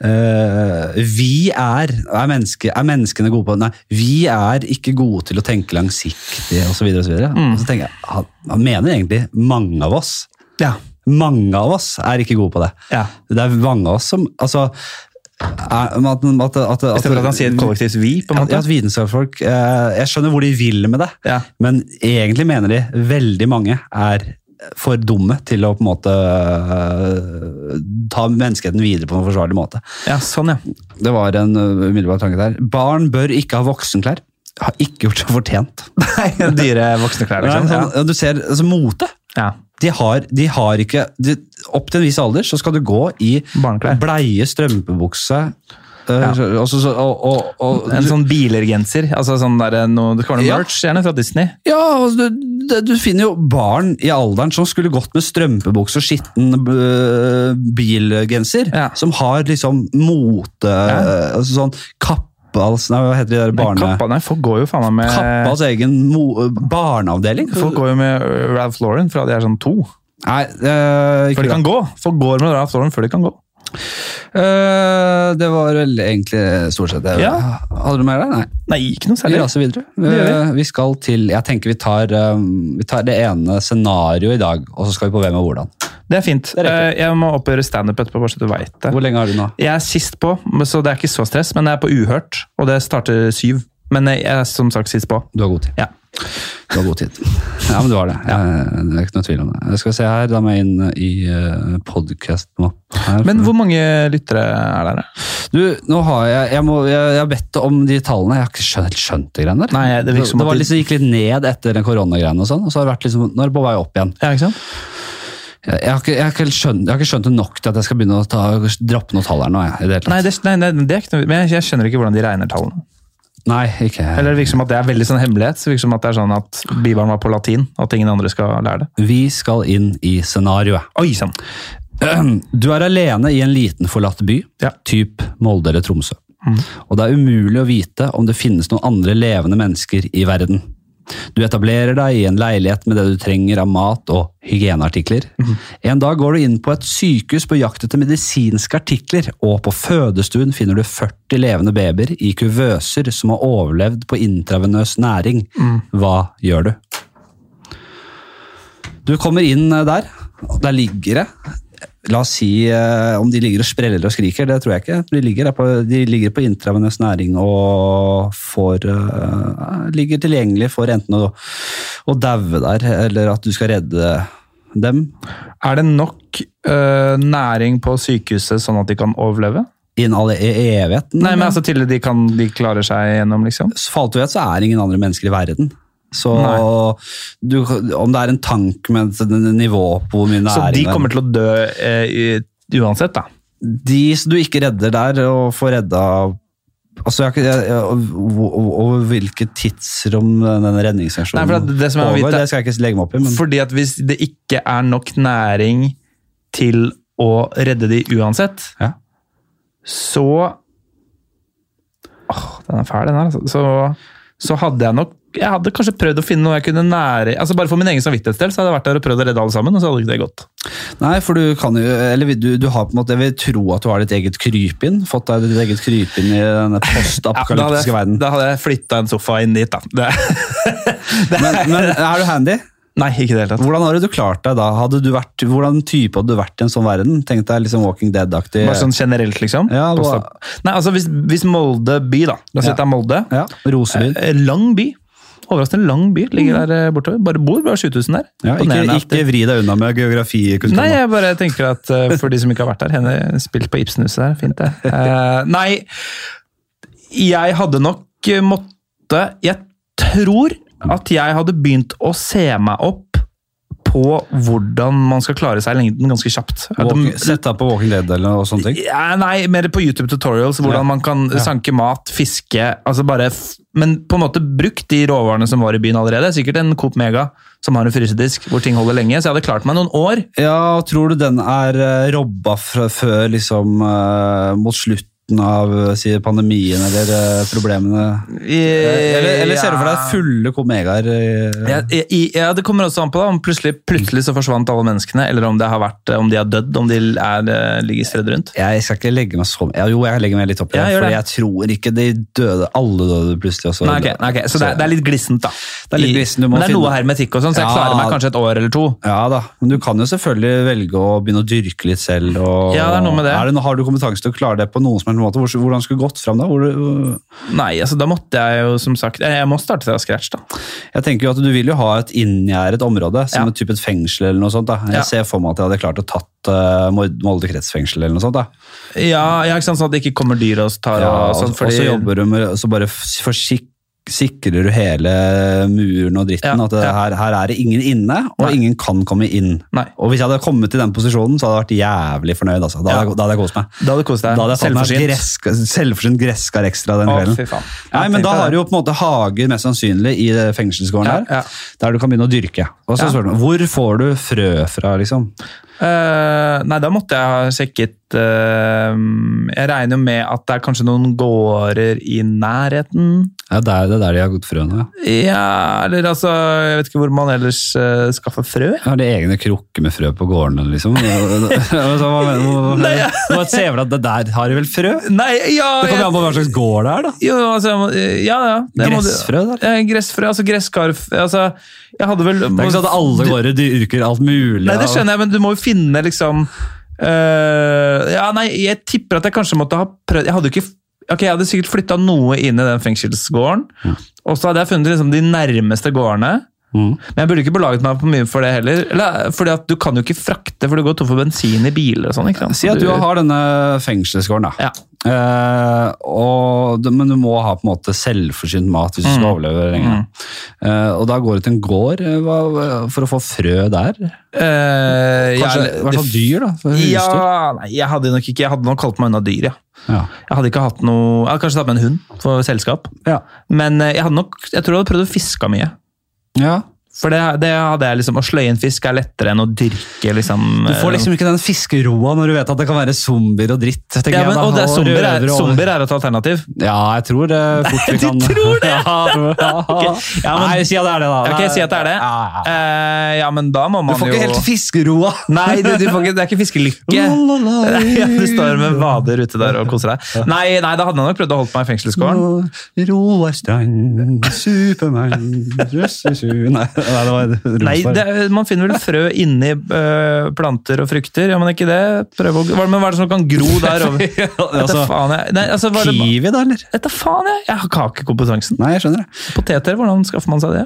[SPEAKER 1] eh, Vi er er, menneske, er menneskene gode på Nei, vi er ikke gode til å tenke langsiktig, osv. Og, så videre.
[SPEAKER 2] Mm.
[SPEAKER 1] og så tenker jeg han, han mener egentlig mange av oss.
[SPEAKER 2] Ja.
[SPEAKER 1] Mange av oss er ikke gode på det.
[SPEAKER 2] Ja.
[SPEAKER 1] Det er mange av oss som altså, er, at, at, at,
[SPEAKER 2] I stedet for at han sier
[SPEAKER 1] Mm.
[SPEAKER 2] et kollektivt vi, på en
[SPEAKER 1] at,
[SPEAKER 2] måte.
[SPEAKER 1] at vitenskapsfolk eh, Jeg skjønner hvor de vil med det,
[SPEAKER 2] Ja.
[SPEAKER 1] men egentlig mener de veldig mange er for dumme til å på en måte eh, ta menneskeheten videre på en forsvarlig måte.
[SPEAKER 2] Ja, sånn, ja.
[SPEAKER 1] Det var en eh, umiddelbar tanke der. Barn bør ikke ha voksenklær. Har ikke gjort seg fortjent.
[SPEAKER 2] (laughs) Nei, Dyre voksne klær,
[SPEAKER 1] Nei,
[SPEAKER 2] liksom.
[SPEAKER 1] sånn, ja, Du ser altså, mote.
[SPEAKER 2] Ja.
[SPEAKER 1] De har, de har ikke de, Opp til en viss alder så skal du gå i
[SPEAKER 2] Barneklær.
[SPEAKER 1] bleie, strømpebukse eh,
[SPEAKER 2] Ja.
[SPEAKER 1] så- og, så- så- og, og, og,
[SPEAKER 2] En sånn bilergenser. Altså sånn der, noe, det kan være noe
[SPEAKER 1] Ja.
[SPEAKER 2] merch, gjerne, fra Disney.
[SPEAKER 1] Ja, altså, du, det- du finner jo barn i alderen som skulle gått med strømpebukse og skitten øh, bilgenser,
[SPEAKER 2] Ja.
[SPEAKER 1] som har liksom mote,
[SPEAKER 2] Ja.
[SPEAKER 1] altså sånn kappals, nei, hva heter de der
[SPEAKER 2] Nei,
[SPEAKER 1] barne...
[SPEAKER 2] Kappa, nei, folk går jo faen meg med
[SPEAKER 1] Kappas egen mo barneavdeling?
[SPEAKER 2] Folk går jo med øh, Ralph Lauren fra de er sånn to.
[SPEAKER 1] Nei, øh, ikke
[SPEAKER 2] Før de
[SPEAKER 1] bra.
[SPEAKER 2] kan gå! Folk går med Ralph Lauren før de kan gå.
[SPEAKER 1] Øh, det var vel egentlig stort sett det.
[SPEAKER 2] Ja.
[SPEAKER 1] Hadde du mer der? Nei.
[SPEAKER 2] Nei, ikke noe
[SPEAKER 1] Vi
[SPEAKER 2] særlig.
[SPEAKER 1] raser videre.
[SPEAKER 2] gjør
[SPEAKER 1] Eh, Vi skal til, jeg tenker vi tar, eh, vi tar det ene scenarioet i dag, og så skal vi på hvem og hvordan.
[SPEAKER 2] Det er fint.
[SPEAKER 1] Det rekker.
[SPEAKER 2] Eh, Jeg må opp og gjøre standup etterpå, bare så du veit det.
[SPEAKER 1] Hvor lenge har du nå?
[SPEAKER 2] Jeg er sist på, så det er ikke så stress, men jeg er på uhørt, og det starter syv. Men jeg er som sagt sist på.
[SPEAKER 1] Du har god tid.
[SPEAKER 2] Ja.
[SPEAKER 1] Du har god tid. Ja, men du har det. Jeg, det er ikke noe tvil om det. Jeg skal se her, da må jeg inn i uh, podcast-mappen her.
[SPEAKER 2] Men hvor mange lyttere er der? da?
[SPEAKER 1] Du, nå har jeg, jeg, må, jeg, jeg har bedt om de tallene. Jeg har ikke skjønt, skjønt de greiene der.
[SPEAKER 2] Nei, det virker som at
[SPEAKER 1] var
[SPEAKER 2] de-
[SPEAKER 1] liksom, gikk litt ned etter den koronagreiene og sånn, og så har det vært liksom, nå er det på vei opp igjen.
[SPEAKER 2] Ja, ikke sant?
[SPEAKER 1] Jeg, jeg, har, ikke, jeg, har, ikke skjønt, jeg har ikke skjønt det nok til at jeg skal begynne å ta, droppe noen tall her nå, jeg, i det hele tatt.
[SPEAKER 2] Nei, det, nei, nei, det er ikke noe, men jeg, jeg skjønner ikke hvordan de regner tallene.
[SPEAKER 1] Nei, ikke.
[SPEAKER 2] Eller det virker som at det er veldig sånn hemmelighet. så Det virker som at det er sånn at Bibelen var på latin, at ingen andre skal lære det.
[SPEAKER 1] Vi skal inn i scenarioet.
[SPEAKER 2] Oi sann!
[SPEAKER 1] (clears throat) Du er alene i en liten forlatt by,
[SPEAKER 2] Ja.
[SPEAKER 1] typ Molde eller Tromsø. Og det er umulig å vite om det finnes noen andre levende mennesker i verden. Du etablerer deg i en leilighet med det du trenger av mat og hygieneartikler. En dag går du inn på et sykehus på jakt etter medisinske artikler, og på fødestuen finner du 40 levende babyer i kuvøser som har overlevd på intravenøs næring. Hva gjør du? Du kommer inn eh, der, og der ligger det. La oss si eh, om de ligger og spreller og skriker, det tror jeg ikke. De ligger, der på, de ligger på intravenøs næring og får, eh, ligger tilgjengelig for enten å, å daue der, eller at du skal redde dem
[SPEAKER 2] Er det nok øh, næring på sykehuset sånn at de kan overleve?
[SPEAKER 1] i en all i e-, evigheten.
[SPEAKER 2] Nei, men altså til de, kan, de klarer seg gjennom, liksom?
[SPEAKER 1] Så for alt du vet, så er det ingen andre mennesker i verden. Så du, om det er en tank med et nivå på hvor mye næring
[SPEAKER 2] Så de
[SPEAKER 1] det er-
[SPEAKER 2] kommer til å dø eh, i- uansett, da?
[SPEAKER 1] de som du ikke redder der, og får redda Altså, jeg, har ikke- jeg, jeg, og, og, og hvilket tidsrom den redningsaksjonen
[SPEAKER 2] Nei, for det- det som jeg vil
[SPEAKER 1] pågår,
[SPEAKER 2] vite-
[SPEAKER 1] det skal jeg ikke legge meg opp i. Men,
[SPEAKER 2] Fordi at hvis det ikke er nok næring til å redde de uansett,
[SPEAKER 1] Ja.
[SPEAKER 2] så Åh, den er fæl, den her. altså. Så, så hadde jeg nok Jeg hadde kanskje prøvd å finne noe jeg kunne nære altså Bare for min egen samvittighetsdel så hadde jeg vært der og prøvd å redde alle sammen, og så hadde ikke det gått.
[SPEAKER 1] nei, for du kan jo Eller du, du har på en måte Jeg vil tro at du har ditt eget krypinn. Fått deg ditt eget krypinn i denne
[SPEAKER 2] (laughs) Ja, da, hadde
[SPEAKER 1] postapokalyptiske
[SPEAKER 2] jeg,
[SPEAKER 1] verden.
[SPEAKER 2] da hadde jeg flytta en sofa inn dit, da. Det,
[SPEAKER 1] Men, men er du handy?
[SPEAKER 2] (laughs) nei, ikke i det hele tatt.
[SPEAKER 1] Hvordan hadde du klart deg da? Hadde du vært, hvordan type hadde du vært i en sånn verden? Tenk deg liksom Walking Dead-aktig.
[SPEAKER 2] Bare sånn generelt, liksom.
[SPEAKER 1] Ja, hva-
[SPEAKER 2] Posta- Nei, altså hvis, hvis Molde by, da. La oss si
[SPEAKER 1] Ja.
[SPEAKER 2] at det er Molde.
[SPEAKER 1] Ja, Rosebyen.
[SPEAKER 2] Eh, Lang by. Overraskende lang by. Ligger der eh, bortover. Bare bor bare 7000 der.
[SPEAKER 1] Mm. Ja, ikke,
[SPEAKER 2] Imponerende at de-
[SPEAKER 1] ikke vri deg unna med geografikunnskap.
[SPEAKER 2] Nei, jeg bare tenker at eh, for de som ikke har vært der, henne spilt på Ibsenhuset der, fint det. Eh, nei, jeg hadde nok eh, måtte Jeg tror at jeg hadde begynt å se meg opp på hvordan man skal klare seg i lengden ganske kjapt. Jeg hadde-
[SPEAKER 1] Walking, sett deg på Walking Dead eller noe sånne ting.
[SPEAKER 2] Ja, nei, mer på YouTube tutorials, hvordan
[SPEAKER 1] Ja.
[SPEAKER 2] man kan sanke mat, fiske altså bare, f- Men på en måte brukt de råvarene som var i byen allerede. Sikkert en Coop Mega som har en frysedisk hvor ting holder lenge. Så jeg hadde klart meg noen år.
[SPEAKER 1] Ja, og tror du den er eh, robba fra før liksom eh, mot slutten slutten av eh, si, pandemien eller eh, problemene? Eller, eller ser du for deg fulle komegaer? eh,
[SPEAKER 2] Eh, ja, i- i- ja, Det kommer også an på da, om plutselig, plutselig så forsvant alle menneskene, eller om, det har vært, eh, om de har dødd, om de er, eh, ligger stredd rundt.
[SPEAKER 1] Jeg skal ikke legge meg så ja, Jo, jeg legger meg litt opp i det,
[SPEAKER 2] Ja, gjør
[SPEAKER 1] for
[SPEAKER 2] det.
[SPEAKER 1] jeg tror ikke de døde Alle døde plutselig. Også.
[SPEAKER 2] Nei, ok, nei, ok, Så det er, det er litt glissent, da.
[SPEAKER 1] er litt
[SPEAKER 2] I-
[SPEAKER 1] glissent, du må
[SPEAKER 2] Men det er noe
[SPEAKER 1] finne-
[SPEAKER 2] hermetikk og sånn, så jeg
[SPEAKER 1] Ja.
[SPEAKER 2] klarer meg kanskje et år eller to.
[SPEAKER 1] Ja da, men du kan jo selvfølgelig velge å begynne å dyrke litt selv. Og,
[SPEAKER 2] Ja, det er noe med det.
[SPEAKER 1] Er no- har du kompetanse til å klare det på noen som helst måte? Hvor- Hvordan skulle du gått fram da? Hvor, du-
[SPEAKER 2] Nei, altså da måtte jeg jo som sagt eh, Jeg må starte fra scratch, da.
[SPEAKER 1] jeg tenker jo at Du vil jo ha et inngjerdet område, som
[SPEAKER 2] Ja.
[SPEAKER 1] et type et fengsel eller noe sånt. da. Jeg
[SPEAKER 2] Ja.
[SPEAKER 1] ser for meg at jeg hadde klart å tatt eh, Mord- Molde kretsfengsel eller noe sånt. da.
[SPEAKER 2] Ja, ja ikke sant, Sånn at det ikke kommer dyr og tar
[SPEAKER 1] Ja,
[SPEAKER 2] og
[SPEAKER 1] og,
[SPEAKER 2] sånn.
[SPEAKER 1] og så jobber du med, så bare f- forsik- sikrer du hele muren og dritten,
[SPEAKER 2] Ja,
[SPEAKER 1] at det,
[SPEAKER 2] ja.
[SPEAKER 1] her, her er det ingen inne, og
[SPEAKER 2] Nei.
[SPEAKER 1] ingen kan komme inn.
[SPEAKER 2] Nei.
[SPEAKER 1] Og hvis jeg hadde kommet til den posisjonen, så hadde jeg vært jævlig fornøyd. Altså. Da,
[SPEAKER 2] Ja.
[SPEAKER 1] hadde, jeg- da hadde jeg kost meg.
[SPEAKER 2] Da hadde du kost
[SPEAKER 1] Da
[SPEAKER 2] deg.
[SPEAKER 1] hadde jeg tatt meg
[SPEAKER 2] Selvforsynt.
[SPEAKER 1] gresska- selvforsynt gresskar ekstra den
[SPEAKER 2] Å,
[SPEAKER 1] kvelden.
[SPEAKER 2] fy faen.
[SPEAKER 1] Nei,
[SPEAKER 2] Ja,
[SPEAKER 1] men
[SPEAKER 2] tenk
[SPEAKER 1] da
[SPEAKER 2] på
[SPEAKER 1] har
[SPEAKER 2] det.
[SPEAKER 1] du jo på en måte hager mest sannsynlig i det fengselsgården
[SPEAKER 2] Ja,
[SPEAKER 1] der,
[SPEAKER 2] ja.
[SPEAKER 1] der du kan begynne å dyrke. Og så
[SPEAKER 2] Ja.
[SPEAKER 1] spør du, hvor får du frø fra, liksom?
[SPEAKER 2] Eh, nei, da måtte jeg ha sjekket eh, Jeg regner jo med at det er kanskje noen gårder i nærheten.
[SPEAKER 1] Ja, det er det er der de har gått frøene, ja.
[SPEAKER 2] Ja, eller altså Jeg vet ikke hvor man ellers eh, skaffer frø.
[SPEAKER 1] Har de egne krukker med frø på gårdene, (laughs) liksom? så, hva, hva,
[SPEAKER 2] Nei, ja.
[SPEAKER 1] hva ser vel at det der har de vel frø?
[SPEAKER 2] Nei, ja
[SPEAKER 1] Det kommer
[SPEAKER 2] jeg-
[SPEAKER 1] an på hva slags gård det er, da.
[SPEAKER 2] Jo, altså jeg må- Ja, ja. Jeg må-
[SPEAKER 1] Gressfrø, der.
[SPEAKER 2] Eh, Gressfrø, altså gresskarf Altså, jeg hadde vel
[SPEAKER 1] Det er ikke sånn at alle gårder dyrker alt mulig.
[SPEAKER 2] Nei, det
[SPEAKER 1] av-
[SPEAKER 2] skjønner jeg, men du må jo finne liksom øh, Ja, nei, jeg tipper at jeg kanskje måtte ha prøvd Jeg hadde jo ikke Ok, jeg hadde sikkert flytta noe inn i den fengselsgården. Og så hadde jeg funnet liksom de nærmeste gårdene.
[SPEAKER 1] Mm.
[SPEAKER 2] Men jeg burde ikke belaget meg for mye for det heller. Eller, fordi at du kan jo ikke frakte, for du går tom for bensin i biler og sånn. ikke sant?
[SPEAKER 1] Si at du har denne fengselsgården, da.
[SPEAKER 2] Ja.
[SPEAKER 1] Eh, og, du- men du må ha på en måte selvforsynt mat hvis du skal overleve lenge. da. Eh, og da går du til en gård eh, hva- for å få frø der.
[SPEAKER 2] Eh,
[SPEAKER 1] Kanskje i hvert fall dyr, da. For
[SPEAKER 2] Ja,
[SPEAKER 1] husdyr.
[SPEAKER 2] nei, jeg hadde nok ikke Jeg hadde nok holdt meg unna dyr, ja.
[SPEAKER 1] Ja.
[SPEAKER 2] Jeg hadde ikke hatt noe Jeg hadde kanskje tatt med en hund for selskap.
[SPEAKER 1] Ja.
[SPEAKER 2] Men eh, jeg hadde nok Jeg tror jeg hadde prøvd å fiske mye.
[SPEAKER 1] ja.
[SPEAKER 2] For det, det hadde jeg liksom, Å sløye en fisk er lettere enn å dyrke liksom,
[SPEAKER 1] Du får liksom ikke den fiskeroa når du vet at det kan være zombier og dritt. tenker
[SPEAKER 2] ja,
[SPEAKER 1] jeg,
[SPEAKER 2] men,
[SPEAKER 1] da,
[SPEAKER 2] Og det er zombier, er,
[SPEAKER 1] røvere og-
[SPEAKER 2] zombier er et alternativ.
[SPEAKER 1] Ja, jeg tror
[SPEAKER 2] (laughs)
[SPEAKER 1] det fort vi
[SPEAKER 2] Du
[SPEAKER 1] kan
[SPEAKER 2] tror det?
[SPEAKER 1] (laughs) Ja, jeg tror
[SPEAKER 2] (laughs)
[SPEAKER 1] det.
[SPEAKER 2] Ja, men-
[SPEAKER 1] Nei, si at det er det, da.
[SPEAKER 2] Ok, si at det er det.
[SPEAKER 1] Ja, ja.
[SPEAKER 2] Eh, ja, men da må
[SPEAKER 1] Du
[SPEAKER 2] man
[SPEAKER 1] får
[SPEAKER 2] jo
[SPEAKER 1] ikke helt fiskeroa!
[SPEAKER 2] (laughs) Nei, du, du får ikke, det er ikke
[SPEAKER 1] (laughs)
[SPEAKER 2] fiskelykke. (laughs)
[SPEAKER 1] La, la, la.
[SPEAKER 2] Ja, du står med vader ute der og koser deg. Nei, nei, da hadde jeg nok prøvd å holde meg i fengselsgården.
[SPEAKER 1] Roar Strand, Supermann, Røssesu Nei, nei, det var Rosenborg.
[SPEAKER 2] Nei, det, er- Man finner vel frø inni eh, planter og frukter, gjør man ikke det? Prøv å, hva, men hva er det som kan gro der
[SPEAKER 1] (laughs)
[SPEAKER 2] over? Vet du
[SPEAKER 1] altså,
[SPEAKER 2] faen, jeg. Nei, altså, hva er det,
[SPEAKER 1] Kiwi, da, eller?
[SPEAKER 2] vet du faen, jeg. Jeg har ikke kompetansen.
[SPEAKER 1] Nei, jeg skjønner det.
[SPEAKER 2] Poteter, hvordan skaffer man seg det?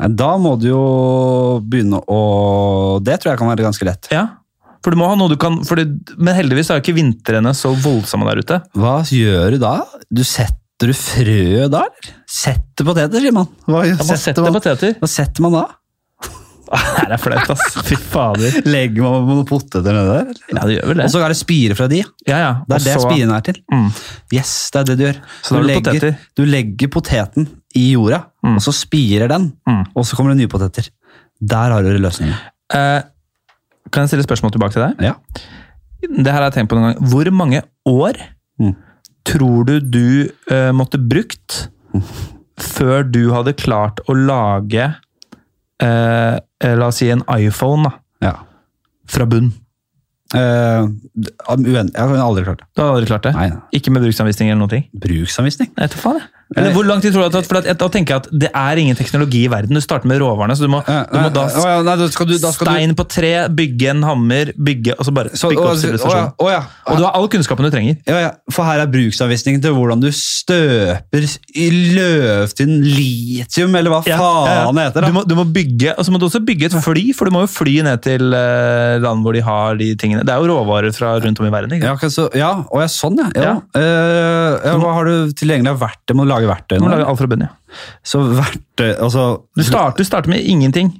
[SPEAKER 1] Nei, da må du jo begynne å Det tror jeg kan være ganske lett.
[SPEAKER 2] Ja, for du må ha noe du kan for det, Men heldigvis er jo ikke vintrene så voldsomme der ute.
[SPEAKER 1] Hva gjør du da? Du setter du frøet da, eller? Setter poteter, sier man. Hva,
[SPEAKER 2] Ja, man setter
[SPEAKER 1] man,
[SPEAKER 2] (laughs) poteter.
[SPEAKER 1] hva setter man da?
[SPEAKER 2] Det er flaut, ass. Fy fader.
[SPEAKER 1] Legger man på noen poteter nedi der? eller?
[SPEAKER 2] Ja, det gjør vel det.
[SPEAKER 1] Og så er det spire fra de.
[SPEAKER 2] ja, ja.
[SPEAKER 1] Det er det
[SPEAKER 2] Og så-
[SPEAKER 1] spiren er til.
[SPEAKER 2] Mm.
[SPEAKER 1] Yes, det er det du gjør.
[SPEAKER 2] Så
[SPEAKER 1] du,
[SPEAKER 2] da har du
[SPEAKER 1] legger,
[SPEAKER 2] poteter.
[SPEAKER 1] du legger poteten i jorda, og så spirer den,
[SPEAKER 2] Mm.
[SPEAKER 1] og så kommer det nye poteter. Der har du løsningen.
[SPEAKER 2] Eh, kan jeg stille et spørsmål tilbake til deg?
[SPEAKER 1] Ja.
[SPEAKER 2] Det her har jeg tenkt på noen gang. Hvor mange år
[SPEAKER 1] Mm.
[SPEAKER 2] tror du du eh, måtte brukt før du hadde klart å lage eh, eh, La oss si en iPhone da,
[SPEAKER 1] ja.
[SPEAKER 2] fra bunn?
[SPEAKER 1] Eh, d- uen- jeg har aldri klart det.
[SPEAKER 2] Du hadde aldri klart det?
[SPEAKER 1] Nei, nei.
[SPEAKER 2] Ikke med bruksanvisning eller noen ting?
[SPEAKER 1] Bruksanvisning?
[SPEAKER 2] Jeg vet da faen, jeg. Eller hvor lang tid tror du at- at, for at jeg- Da tenker jeg at det er ingen teknologi i verden. Du starter med råvarene, så du må,
[SPEAKER 1] Eh,
[SPEAKER 2] du må da
[SPEAKER 1] eh, å ja, nei, da skal du, da skal
[SPEAKER 2] stein på tre, bygge en hammer, bygge og så bare
[SPEAKER 1] du, så,
[SPEAKER 2] bygge
[SPEAKER 1] å, å, ja,
[SPEAKER 2] opp sivilisasjonen.
[SPEAKER 1] å, ja.
[SPEAKER 2] Og du har all kunnskapen du trenger.
[SPEAKER 1] Ja, ja, for her er bruksanvisningen til hvordan du støper i løvtynn litium, eller hva faen det heter. da.
[SPEAKER 2] Du må, du må bygge, og så må du også bygge et fly, for du må jo fly ned til eh, land hvor de har de tingene. Det er jo råvarer fra rundt om i verden. ikke sant?
[SPEAKER 1] Ja, ok, så, ja, og ja, sånn, ja. ja. Eh, ja hva har du tilgjengelig av verktøy? Må du lage verktøy
[SPEAKER 2] Du må
[SPEAKER 1] nå?
[SPEAKER 2] lage alt fra bunnen, ja.
[SPEAKER 1] Så verktøy Altså
[SPEAKER 2] Du starter, du starter med ingenting.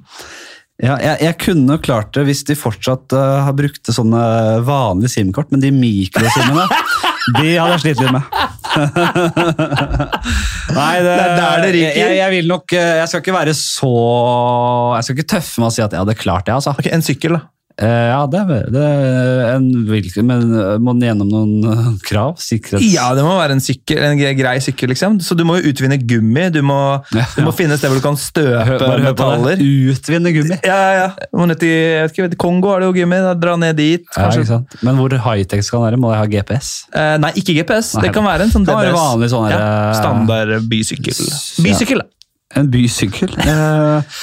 [SPEAKER 1] ja, jeg, jeg kunne klart det hvis de fortsatt eh, har brukte sånne vanlige SIM-kort, men de mikrosimmene de hadde jeg slitt litt med. (laughs) Nei, det,
[SPEAKER 2] Det er der det ryker.
[SPEAKER 1] Jeg, jeg vil nok eh, Jeg skal ikke være så Jeg skal ikke tøffe meg og si at jeg hadde klart det, altså.
[SPEAKER 2] Ok, En sykkel, da.
[SPEAKER 1] Eh, ja, det er, vel- det er en hvilken Men eh, må den gjennom noen eh, krav? Sikkerhets...
[SPEAKER 2] Ja, det må være en, sykkel, en gre- grei sykkel, liksom. Så du må jo utvinne gummi. Du må,
[SPEAKER 1] Ja.
[SPEAKER 2] du må finne et sted hvor du kan støpe
[SPEAKER 1] Hør, bare hør på det.
[SPEAKER 2] metaller.
[SPEAKER 1] Utvinne gummi.
[SPEAKER 2] Ja, ja, ja. Du må ned til, jeg vet ikke, jeg vet, Kongo har det jo gummi. Da, dra ned dit.
[SPEAKER 1] Ja,
[SPEAKER 2] kanskje.
[SPEAKER 1] ikke sant? Men hvor high-tech skal den være? Må jeg ha GPS?
[SPEAKER 2] Eh, nei, ikke GPS.
[SPEAKER 1] Nei.
[SPEAKER 2] Det kan være en sånn
[SPEAKER 1] Det kan være
[SPEAKER 2] DBS.
[SPEAKER 1] vanlig sånn her, eh,
[SPEAKER 2] Standard bysykkel.
[SPEAKER 1] s-
[SPEAKER 2] Bysykkel, da.
[SPEAKER 1] En bysykkel? Eh,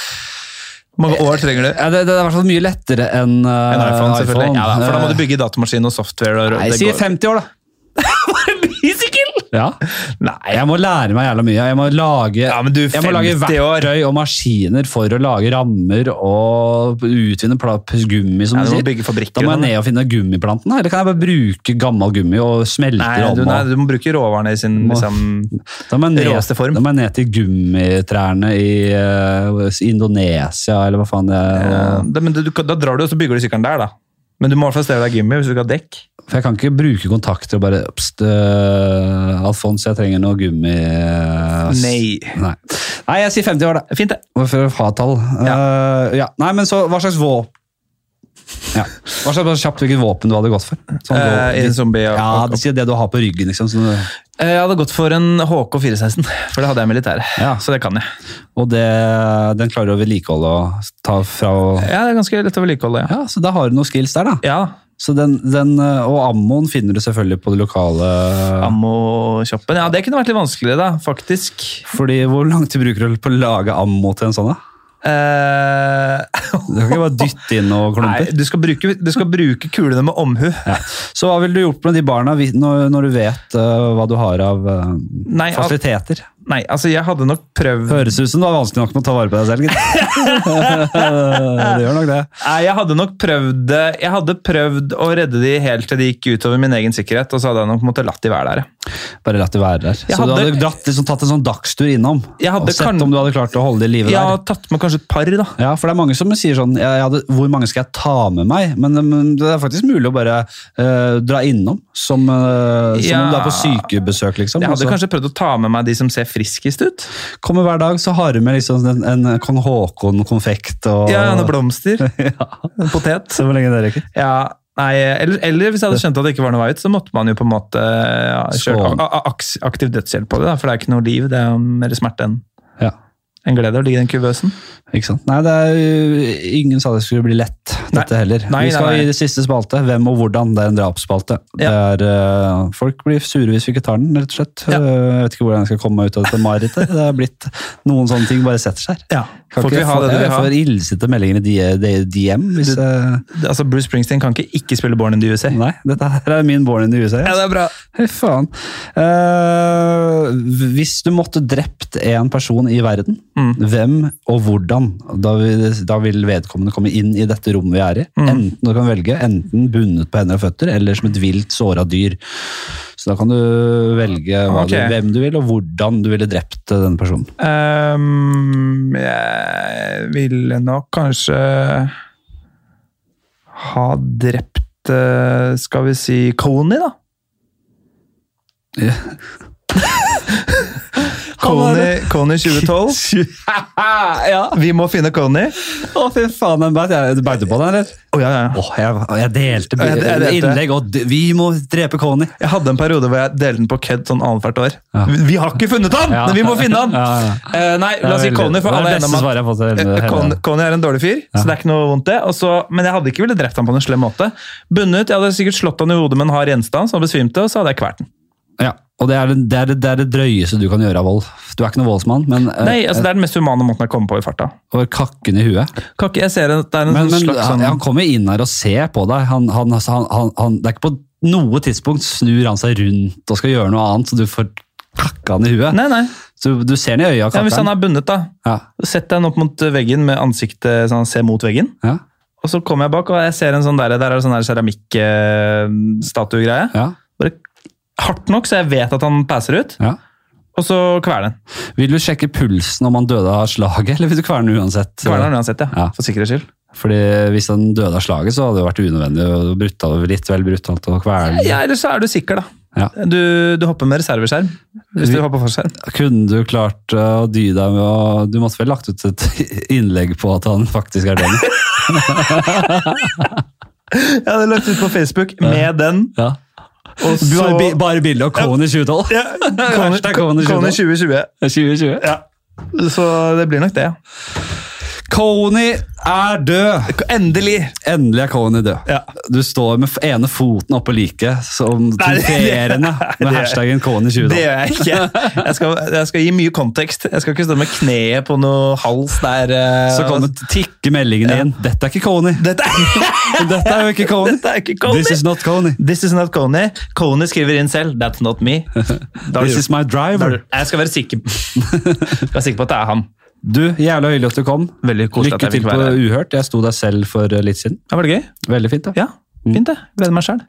[SPEAKER 2] Hvor mange år trenger du?
[SPEAKER 1] ja, det, det er i hvert fall mye lettere enn eh,
[SPEAKER 2] Eh, En iPhone, selvfølgelig. Ja, da, for da må du
[SPEAKER 1] Eh,
[SPEAKER 2] bygge datamaskin og software. Og
[SPEAKER 1] Nei,
[SPEAKER 2] det
[SPEAKER 1] jeg sier
[SPEAKER 2] går-
[SPEAKER 1] 50 år, da.
[SPEAKER 2] Bysykkel!
[SPEAKER 1] Ja. Nei, jeg må lære meg jævla mye. Jeg må lage,
[SPEAKER 2] Ja, men du,
[SPEAKER 1] jeg må lage
[SPEAKER 2] 50 år.
[SPEAKER 1] verktøy og maskiner for å lage rammer og utvinne pla- gummi, som
[SPEAKER 2] Ja, du
[SPEAKER 1] du
[SPEAKER 2] må
[SPEAKER 1] sier.
[SPEAKER 2] bygge
[SPEAKER 1] Da
[SPEAKER 2] fabrikker.
[SPEAKER 1] må jeg
[SPEAKER 2] og sånn,
[SPEAKER 1] ned og finne gummiplanten, eller kan jeg bare bruke gammel gummi og smelte
[SPEAKER 2] Nei,
[SPEAKER 1] det
[SPEAKER 2] du,
[SPEAKER 1] om?
[SPEAKER 2] nei,
[SPEAKER 1] og-
[SPEAKER 2] du må bruke råvarene i sin
[SPEAKER 1] Må-
[SPEAKER 2] liksom,
[SPEAKER 1] Da må jeg ned,
[SPEAKER 2] råeste form.
[SPEAKER 1] da må jeg ned til gummitrærne i eh, Indonesia, eller hva faen det er.
[SPEAKER 2] eh,
[SPEAKER 1] og-
[SPEAKER 2] da, men du, du, kan- da drar du, og så bygger du sykkelen der, da. Men du må i hvert fall stelle deg gummi hvis du ikke har dekk.
[SPEAKER 1] For jeg kan ikke bruke kontakter og bare Pst, øh, Alfons, jeg trenger noe gummi. øh, s-
[SPEAKER 2] Nei.
[SPEAKER 1] Nei. Nei, jeg sier 50 år, da.
[SPEAKER 2] Fint, det.
[SPEAKER 1] For å ha et tall. Eh, ja. Nei, men så hva slags våpen ja. Hva slags bare kjapt hvilket våpen du hadde gått for? Sånn,
[SPEAKER 2] Eh, I en
[SPEAKER 1] våpen-
[SPEAKER 2] zombie. Og,
[SPEAKER 1] ja,
[SPEAKER 2] og,
[SPEAKER 1] det sier det du har på ryggen, liksom. sånn, øh,
[SPEAKER 2] Eh, Jeg hadde gått for en HK 416, (laughs) for det hadde jeg i militæret.
[SPEAKER 1] Ja.
[SPEAKER 2] Så det kan jeg.
[SPEAKER 1] og det, den klarer du å vedlikeholde og ta fra og
[SPEAKER 2] Ja, det er ganske lett å vedlikeholde, ja.
[SPEAKER 1] ja, så da har du noen skills der, da.
[SPEAKER 2] Ja,
[SPEAKER 1] Så den, den, øh, og ammoen finner du selvfølgelig på det lokale
[SPEAKER 2] Ammo-shoppen. Ja, det kunne vært litt vanskeligere, da, faktisk.
[SPEAKER 1] Fordi Hvor lang tid bruker du på å lage ammo til en sånn, da?
[SPEAKER 2] Eh, (laughs)
[SPEAKER 1] Du kan ikke bare dytte inn noen
[SPEAKER 2] nei,
[SPEAKER 1] klumper.
[SPEAKER 2] du skal, bruke, du skal bruke kulene med omhu.
[SPEAKER 1] Så hva ville du gjort med de barna vi- når, når du vet øh, hva du har av øh,
[SPEAKER 2] Nei, al
[SPEAKER 1] fasiliteter?
[SPEAKER 2] nei, altså, jeg hadde nok prøvd
[SPEAKER 1] Høres ut som det var vanskelig nok med å ta vare på deg selv,
[SPEAKER 2] (laughs)
[SPEAKER 1] gitt. det gjør nok det.
[SPEAKER 2] Nei, jeg hadde nok prøvd det. Jeg hadde prøvd å redde de helt til de gikk utover min egen sikkerhet, og så hadde jeg nok måttet latt de være der.
[SPEAKER 1] Bare latt det være der.
[SPEAKER 2] Jeg
[SPEAKER 1] så du
[SPEAKER 2] hadde-
[SPEAKER 1] hadde dratt, liksom, tatt en sånn dagstur innom
[SPEAKER 2] Jeg hadde
[SPEAKER 1] og sett
[SPEAKER 2] kan-
[SPEAKER 1] om du hadde klart å holde det i live
[SPEAKER 2] Jeg har
[SPEAKER 1] der.
[SPEAKER 2] tatt med kanskje et par, da.
[SPEAKER 1] Ja, for det er mange som sier sånn jeg jeg hadde, Hvor mange skal jeg ta med meg? Men, men det er faktisk mulig å bare eh, dra innom, som, eh, som om du
[SPEAKER 2] Ja.
[SPEAKER 1] er på sykebesøk, liksom.
[SPEAKER 2] Jeg
[SPEAKER 1] og så
[SPEAKER 2] hadde kanskje prøvd å ta med meg de som ser friskest ut.
[SPEAKER 1] Kommer hver dag, så har du med liksom en, en kong Haakon-konfekt og
[SPEAKER 2] Ja, noen blomster.
[SPEAKER 1] (laughs)
[SPEAKER 2] (laughs)
[SPEAKER 1] Ja,
[SPEAKER 2] En potet.
[SPEAKER 1] Så hvor lenge det rekker.
[SPEAKER 2] Ja, nei, eller, eller hvis jeg hadde skjønt at det ikke var noe vei ut, så måtte man jo på en måte ja, kjørt
[SPEAKER 1] Skål.
[SPEAKER 2] a- a- aks- aktiv dødshjelp på det, da, for det er ikke noe liv, det er jo mer smerte enn
[SPEAKER 1] Ja.
[SPEAKER 2] enn glede å ligge i den kuvøsen.
[SPEAKER 1] Ikke sant? Nei, det er, jo- ingen sa det skulle bli lett, dette heller.
[SPEAKER 2] Nei,
[SPEAKER 1] vi skal
[SPEAKER 2] nei, nei.
[SPEAKER 1] i det siste spalte. Hvem og hvordan? Det er en drapsspalte. Det
[SPEAKER 2] Ja.
[SPEAKER 1] er, eh, folk blir sure hvis vi ikke tar den, rett og slett.
[SPEAKER 2] Ja.
[SPEAKER 1] Eh, jeg vet ikke hvordan jeg skal komme meg ut av dette marerittet. Det er blitt Noen sånne ting bare setter seg her.
[SPEAKER 2] Ja,
[SPEAKER 1] Kan
[SPEAKER 2] Folk
[SPEAKER 1] ikke
[SPEAKER 2] vil ha
[SPEAKER 1] få-
[SPEAKER 2] det de vil
[SPEAKER 1] jeg
[SPEAKER 2] ha.
[SPEAKER 1] får illsinte meldinger i D- D- DM. Hvis,
[SPEAKER 2] Du-
[SPEAKER 1] eh,
[SPEAKER 2] Altså, Bruce Springsteen kan ikke ikke spille Born in the USA.
[SPEAKER 1] nei, dette her er min born in the USA.
[SPEAKER 2] Ja, det er bra.
[SPEAKER 1] Fy faen. Eh, hvis du måtte drept en person i verden,
[SPEAKER 2] Mm.
[SPEAKER 1] hvem og hvordan? Da vil, da vil vedkommende komme inn i dette rommet vi er i.
[SPEAKER 2] Mm.
[SPEAKER 1] Enten du kan velge, enten bundet på hender og føtter, eller som et vilt såra dyr. Så da kan du velge hva
[SPEAKER 2] Ok.
[SPEAKER 1] du, hvem du vil, og hvordan du ville drept eh, denne personen.
[SPEAKER 2] Ehm, jeg ville nok kanskje ha drept eh, Skal vi si Coney, da?
[SPEAKER 1] Ja.
[SPEAKER 2] Coney, Coney
[SPEAKER 1] (laughs)
[SPEAKER 2] 2012.
[SPEAKER 1] ja!
[SPEAKER 2] Vi må finne Coney.
[SPEAKER 1] Å, fy faen, den beit jeg beit du på den, eller?
[SPEAKER 2] Å, ja, ja, ja.
[SPEAKER 1] Åh, jeg, jeg delte
[SPEAKER 2] Jeg- jeg delte.
[SPEAKER 1] innlegg, og d- vi må drepe Conny.
[SPEAKER 2] Jeg hadde en periode hvor jeg delte den på kødd sånn annethvert år.
[SPEAKER 1] Ja.
[SPEAKER 2] Vi, vi har ikke funnet han,
[SPEAKER 1] Ja.
[SPEAKER 2] men vi må finne han!
[SPEAKER 1] Ja, ja.
[SPEAKER 2] Eh, nei, la oss si Coney, for alle er enige om at
[SPEAKER 1] svaret jeg har fått
[SPEAKER 2] Eh, Con- Conny er en dårlig fyr, så det er ikke noe vondt det. Og så- men jeg hadde ikke ville drept ham på en slem måte. Bundet, Jeg hadde sikkert slått han i hodet med en hard gjenstand, så han besvimte, og så hadde jeg kvalt han.
[SPEAKER 1] Ja, og det er det, det er det, det er det drøyeste du kan gjøre av vold. Du er ikke noen voldsmann, men eh,
[SPEAKER 2] Nei, altså Det er den mest humane måten jeg kommer på i farta.
[SPEAKER 1] og kakken i huet.
[SPEAKER 2] Kan ikke jeg ser at det er en
[SPEAKER 1] Men, men
[SPEAKER 2] sånn slags
[SPEAKER 1] han,
[SPEAKER 2] sånn
[SPEAKER 1] han kommer inn her og ser på deg. Han, han, altså, han, han, han, det er ikke på noe tidspunkt snur han seg rundt og skal gjøre noe annet, så du får kakka han i huet.
[SPEAKER 2] Nei, nei.
[SPEAKER 1] Så du ser han i øya,
[SPEAKER 2] Ja,
[SPEAKER 1] kakken.
[SPEAKER 2] hvis han er bundet, da.
[SPEAKER 1] Ja,
[SPEAKER 2] så Setter jeg han opp mot veggen med ansiktet så han ser mot veggen.
[SPEAKER 1] ja,
[SPEAKER 2] Og så kommer jeg bak, og jeg ser en sånn der, der er det sånn der keramikkstatuegreie.
[SPEAKER 1] ja,
[SPEAKER 2] Bare hardt nok, så jeg vet at han passer ut.
[SPEAKER 1] ja.
[SPEAKER 2] Og så kveler han.
[SPEAKER 1] Vil du sjekke pulsen om han døde av slaget, eller vil du kverne han uansett?
[SPEAKER 2] Kveler han uansett, ja.
[SPEAKER 1] Ja.
[SPEAKER 2] For sikkerhets skyld.
[SPEAKER 1] Fordi hvis han døde av slaget, så hadde det vært unødvendig og brutalt, litt vel brutalt å kverne.
[SPEAKER 2] Ja, eller så er du sikker, da.
[SPEAKER 1] Ja.
[SPEAKER 2] Du, du hopper med reserveskjerm. Hvis du hopper (laughs) forskjerm.
[SPEAKER 1] Kunne du (laughs) klart eh, å dy deg med å Du måtte vel lagt ut et innlegg på at han faktisk er død?
[SPEAKER 2] Jeg hadde lagt ut på Facebook med den.
[SPEAKER 1] Ja.
[SPEAKER 2] Og så
[SPEAKER 1] Bare, bi- bare bilde av Kone 2012.
[SPEAKER 2] ja, Kone
[SPEAKER 1] Hashtag Kone 2020.
[SPEAKER 2] 2020.
[SPEAKER 1] 2020.
[SPEAKER 2] Ja. Så det blir nok det.
[SPEAKER 1] Kony er død!
[SPEAKER 2] Endelig!
[SPEAKER 1] Endelig er Kony død.
[SPEAKER 2] Ja.
[SPEAKER 1] Du står med f- ene foten oppå liket som
[SPEAKER 2] det-
[SPEAKER 1] trofeerende med
[SPEAKER 2] (laughs) det-
[SPEAKER 1] hashtaggen Kony
[SPEAKER 2] Det
[SPEAKER 1] 2012.
[SPEAKER 2] gjør jeg ikke. Jeg skal, jeg skal gi mye kontekst. Jeg skal ikke stå med kneet på noe hals der. eh,
[SPEAKER 1] Så kommer tikke meldingen inn. Dette er ikke Kony!
[SPEAKER 2] Dette,
[SPEAKER 1] Dette er jo ikke Kony!
[SPEAKER 2] (laughs) dette er ikke Kony!
[SPEAKER 1] This is not Kony.
[SPEAKER 2] This is not Kony. Kony skriver inn selv. That's not me. (laughs) Da er
[SPEAKER 1] This
[SPEAKER 2] du-
[SPEAKER 1] is my
[SPEAKER 2] da er
[SPEAKER 1] driver.
[SPEAKER 2] du- Jeg skal være sikker, jeg er sikker på at det er han.
[SPEAKER 1] Du, jævla hyggelig at du kom.
[SPEAKER 2] Veldig koselig at
[SPEAKER 1] Lykke
[SPEAKER 2] jeg
[SPEAKER 1] til
[SPEAKER 2] fikk
[SPEAKER 1] på
[SPEAKER 2] være her.
[SPEAKER 1] Uhørt. Jeg sto der selv for eh, litt siden.
[SPEAKER 2] Ja, var det gøy?
[SPEAKER 1] Veldig fint, da.
[SPEAKER 2] Ja, fint det. Gleder meg sjøl.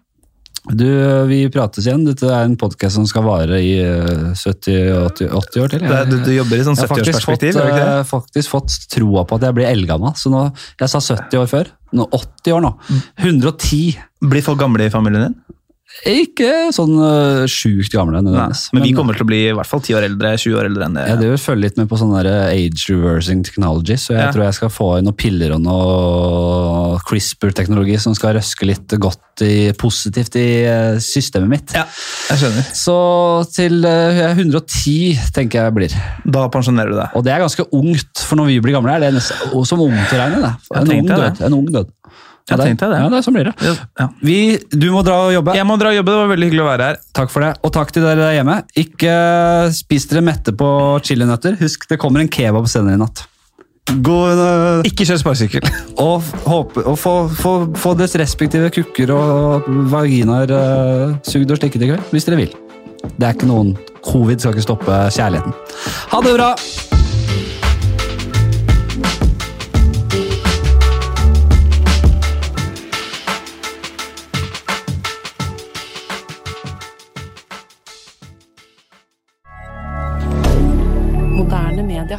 [SPEAKER 1] Du, eh, vi prates igjen. Dette er en podkast som skal vare i eh, 70-80 år til. Jeg-
[SPEAKER 2] Du, du jobber i sånn
[SPEAKER 1] Jeg har faktisk fått,
[SPEAKER 2] 70-årsperspektiv, gjør du ikke det?
[SPEAKER 1] eh, faktisk fått troa på at jeg blir eldgammel. Så nå, jeg sa 70 år før. Nå 80 år nå.
[SPEAKER 2] Mm.
[SPEAKER 1] 110.
[SPEAKER 2] Blir folk gamle i familien din?
[SPEAKER 1] Ikke sånn eh, sjukt gamle. nødvendigvis.
[SPEAKER 2] Men vi kommer til å bli i hvert fall 10 år eldre, 20 år eldre enn det.
[SPEAKER 1] jeg driver og følger litt med på sånne der age reversing technology, så jeg
[SPEAKER 2] Ja.
[SPEAKER 1] tror jeg skal få inn noen piller og noe CRISPR-teknologi som skal røske litt godt i, positivt i eh, systemet mitt.
[SPEAKER 2] Ja, jeg skjønner.
[SPEAKER 1] Så til eh, jeg er 110 tenker jeg blir.
[SPEAKER 2] Da pensjonerer du deg.
[SPEAKER 1] Og det er ganske ungt, for når vi blir gamle, er det nesten og som ungt å regne. Det.
[SPEAKER 2] Jeg
[SPEAKER 1] En, ung
[SPEAKER 2] tenkte det.
[SPEAKER 1] død. en ung død. Ja,
[SPEAKER 2] Jeg
[SPEAKER 1] det er-
[SPEAKER 2] tenkte det.
[SPEAKER 1] Ja, det er sånn blir det.
[SPEAKER 2] Ja.
[SPEAKER 1] Vi, du må dra og jobbe.
[SPEAKER 2] Jeg må dra og jobbe, det var veldig hyggelig å være her.
[SPEAKER 1] Takk for det. Og takk til dere der hjemme. Ikke eh, spis dere mette på chilinøtter. Husk, det kommer en kebab senere i natt. God, eh,
[SPEAKER 2] Ikke kjør sparkesykkel.
[SPEAKER 1] og f- håpe, og få, få, få deres respektive kukker og vaginaer eh, sugd og slikket i kveld, hvis dere vil. Det er ikke noen Covid skal ikke stoppe kjærligheten. Ha det bra!
[SPEAKER 3] Moderne media.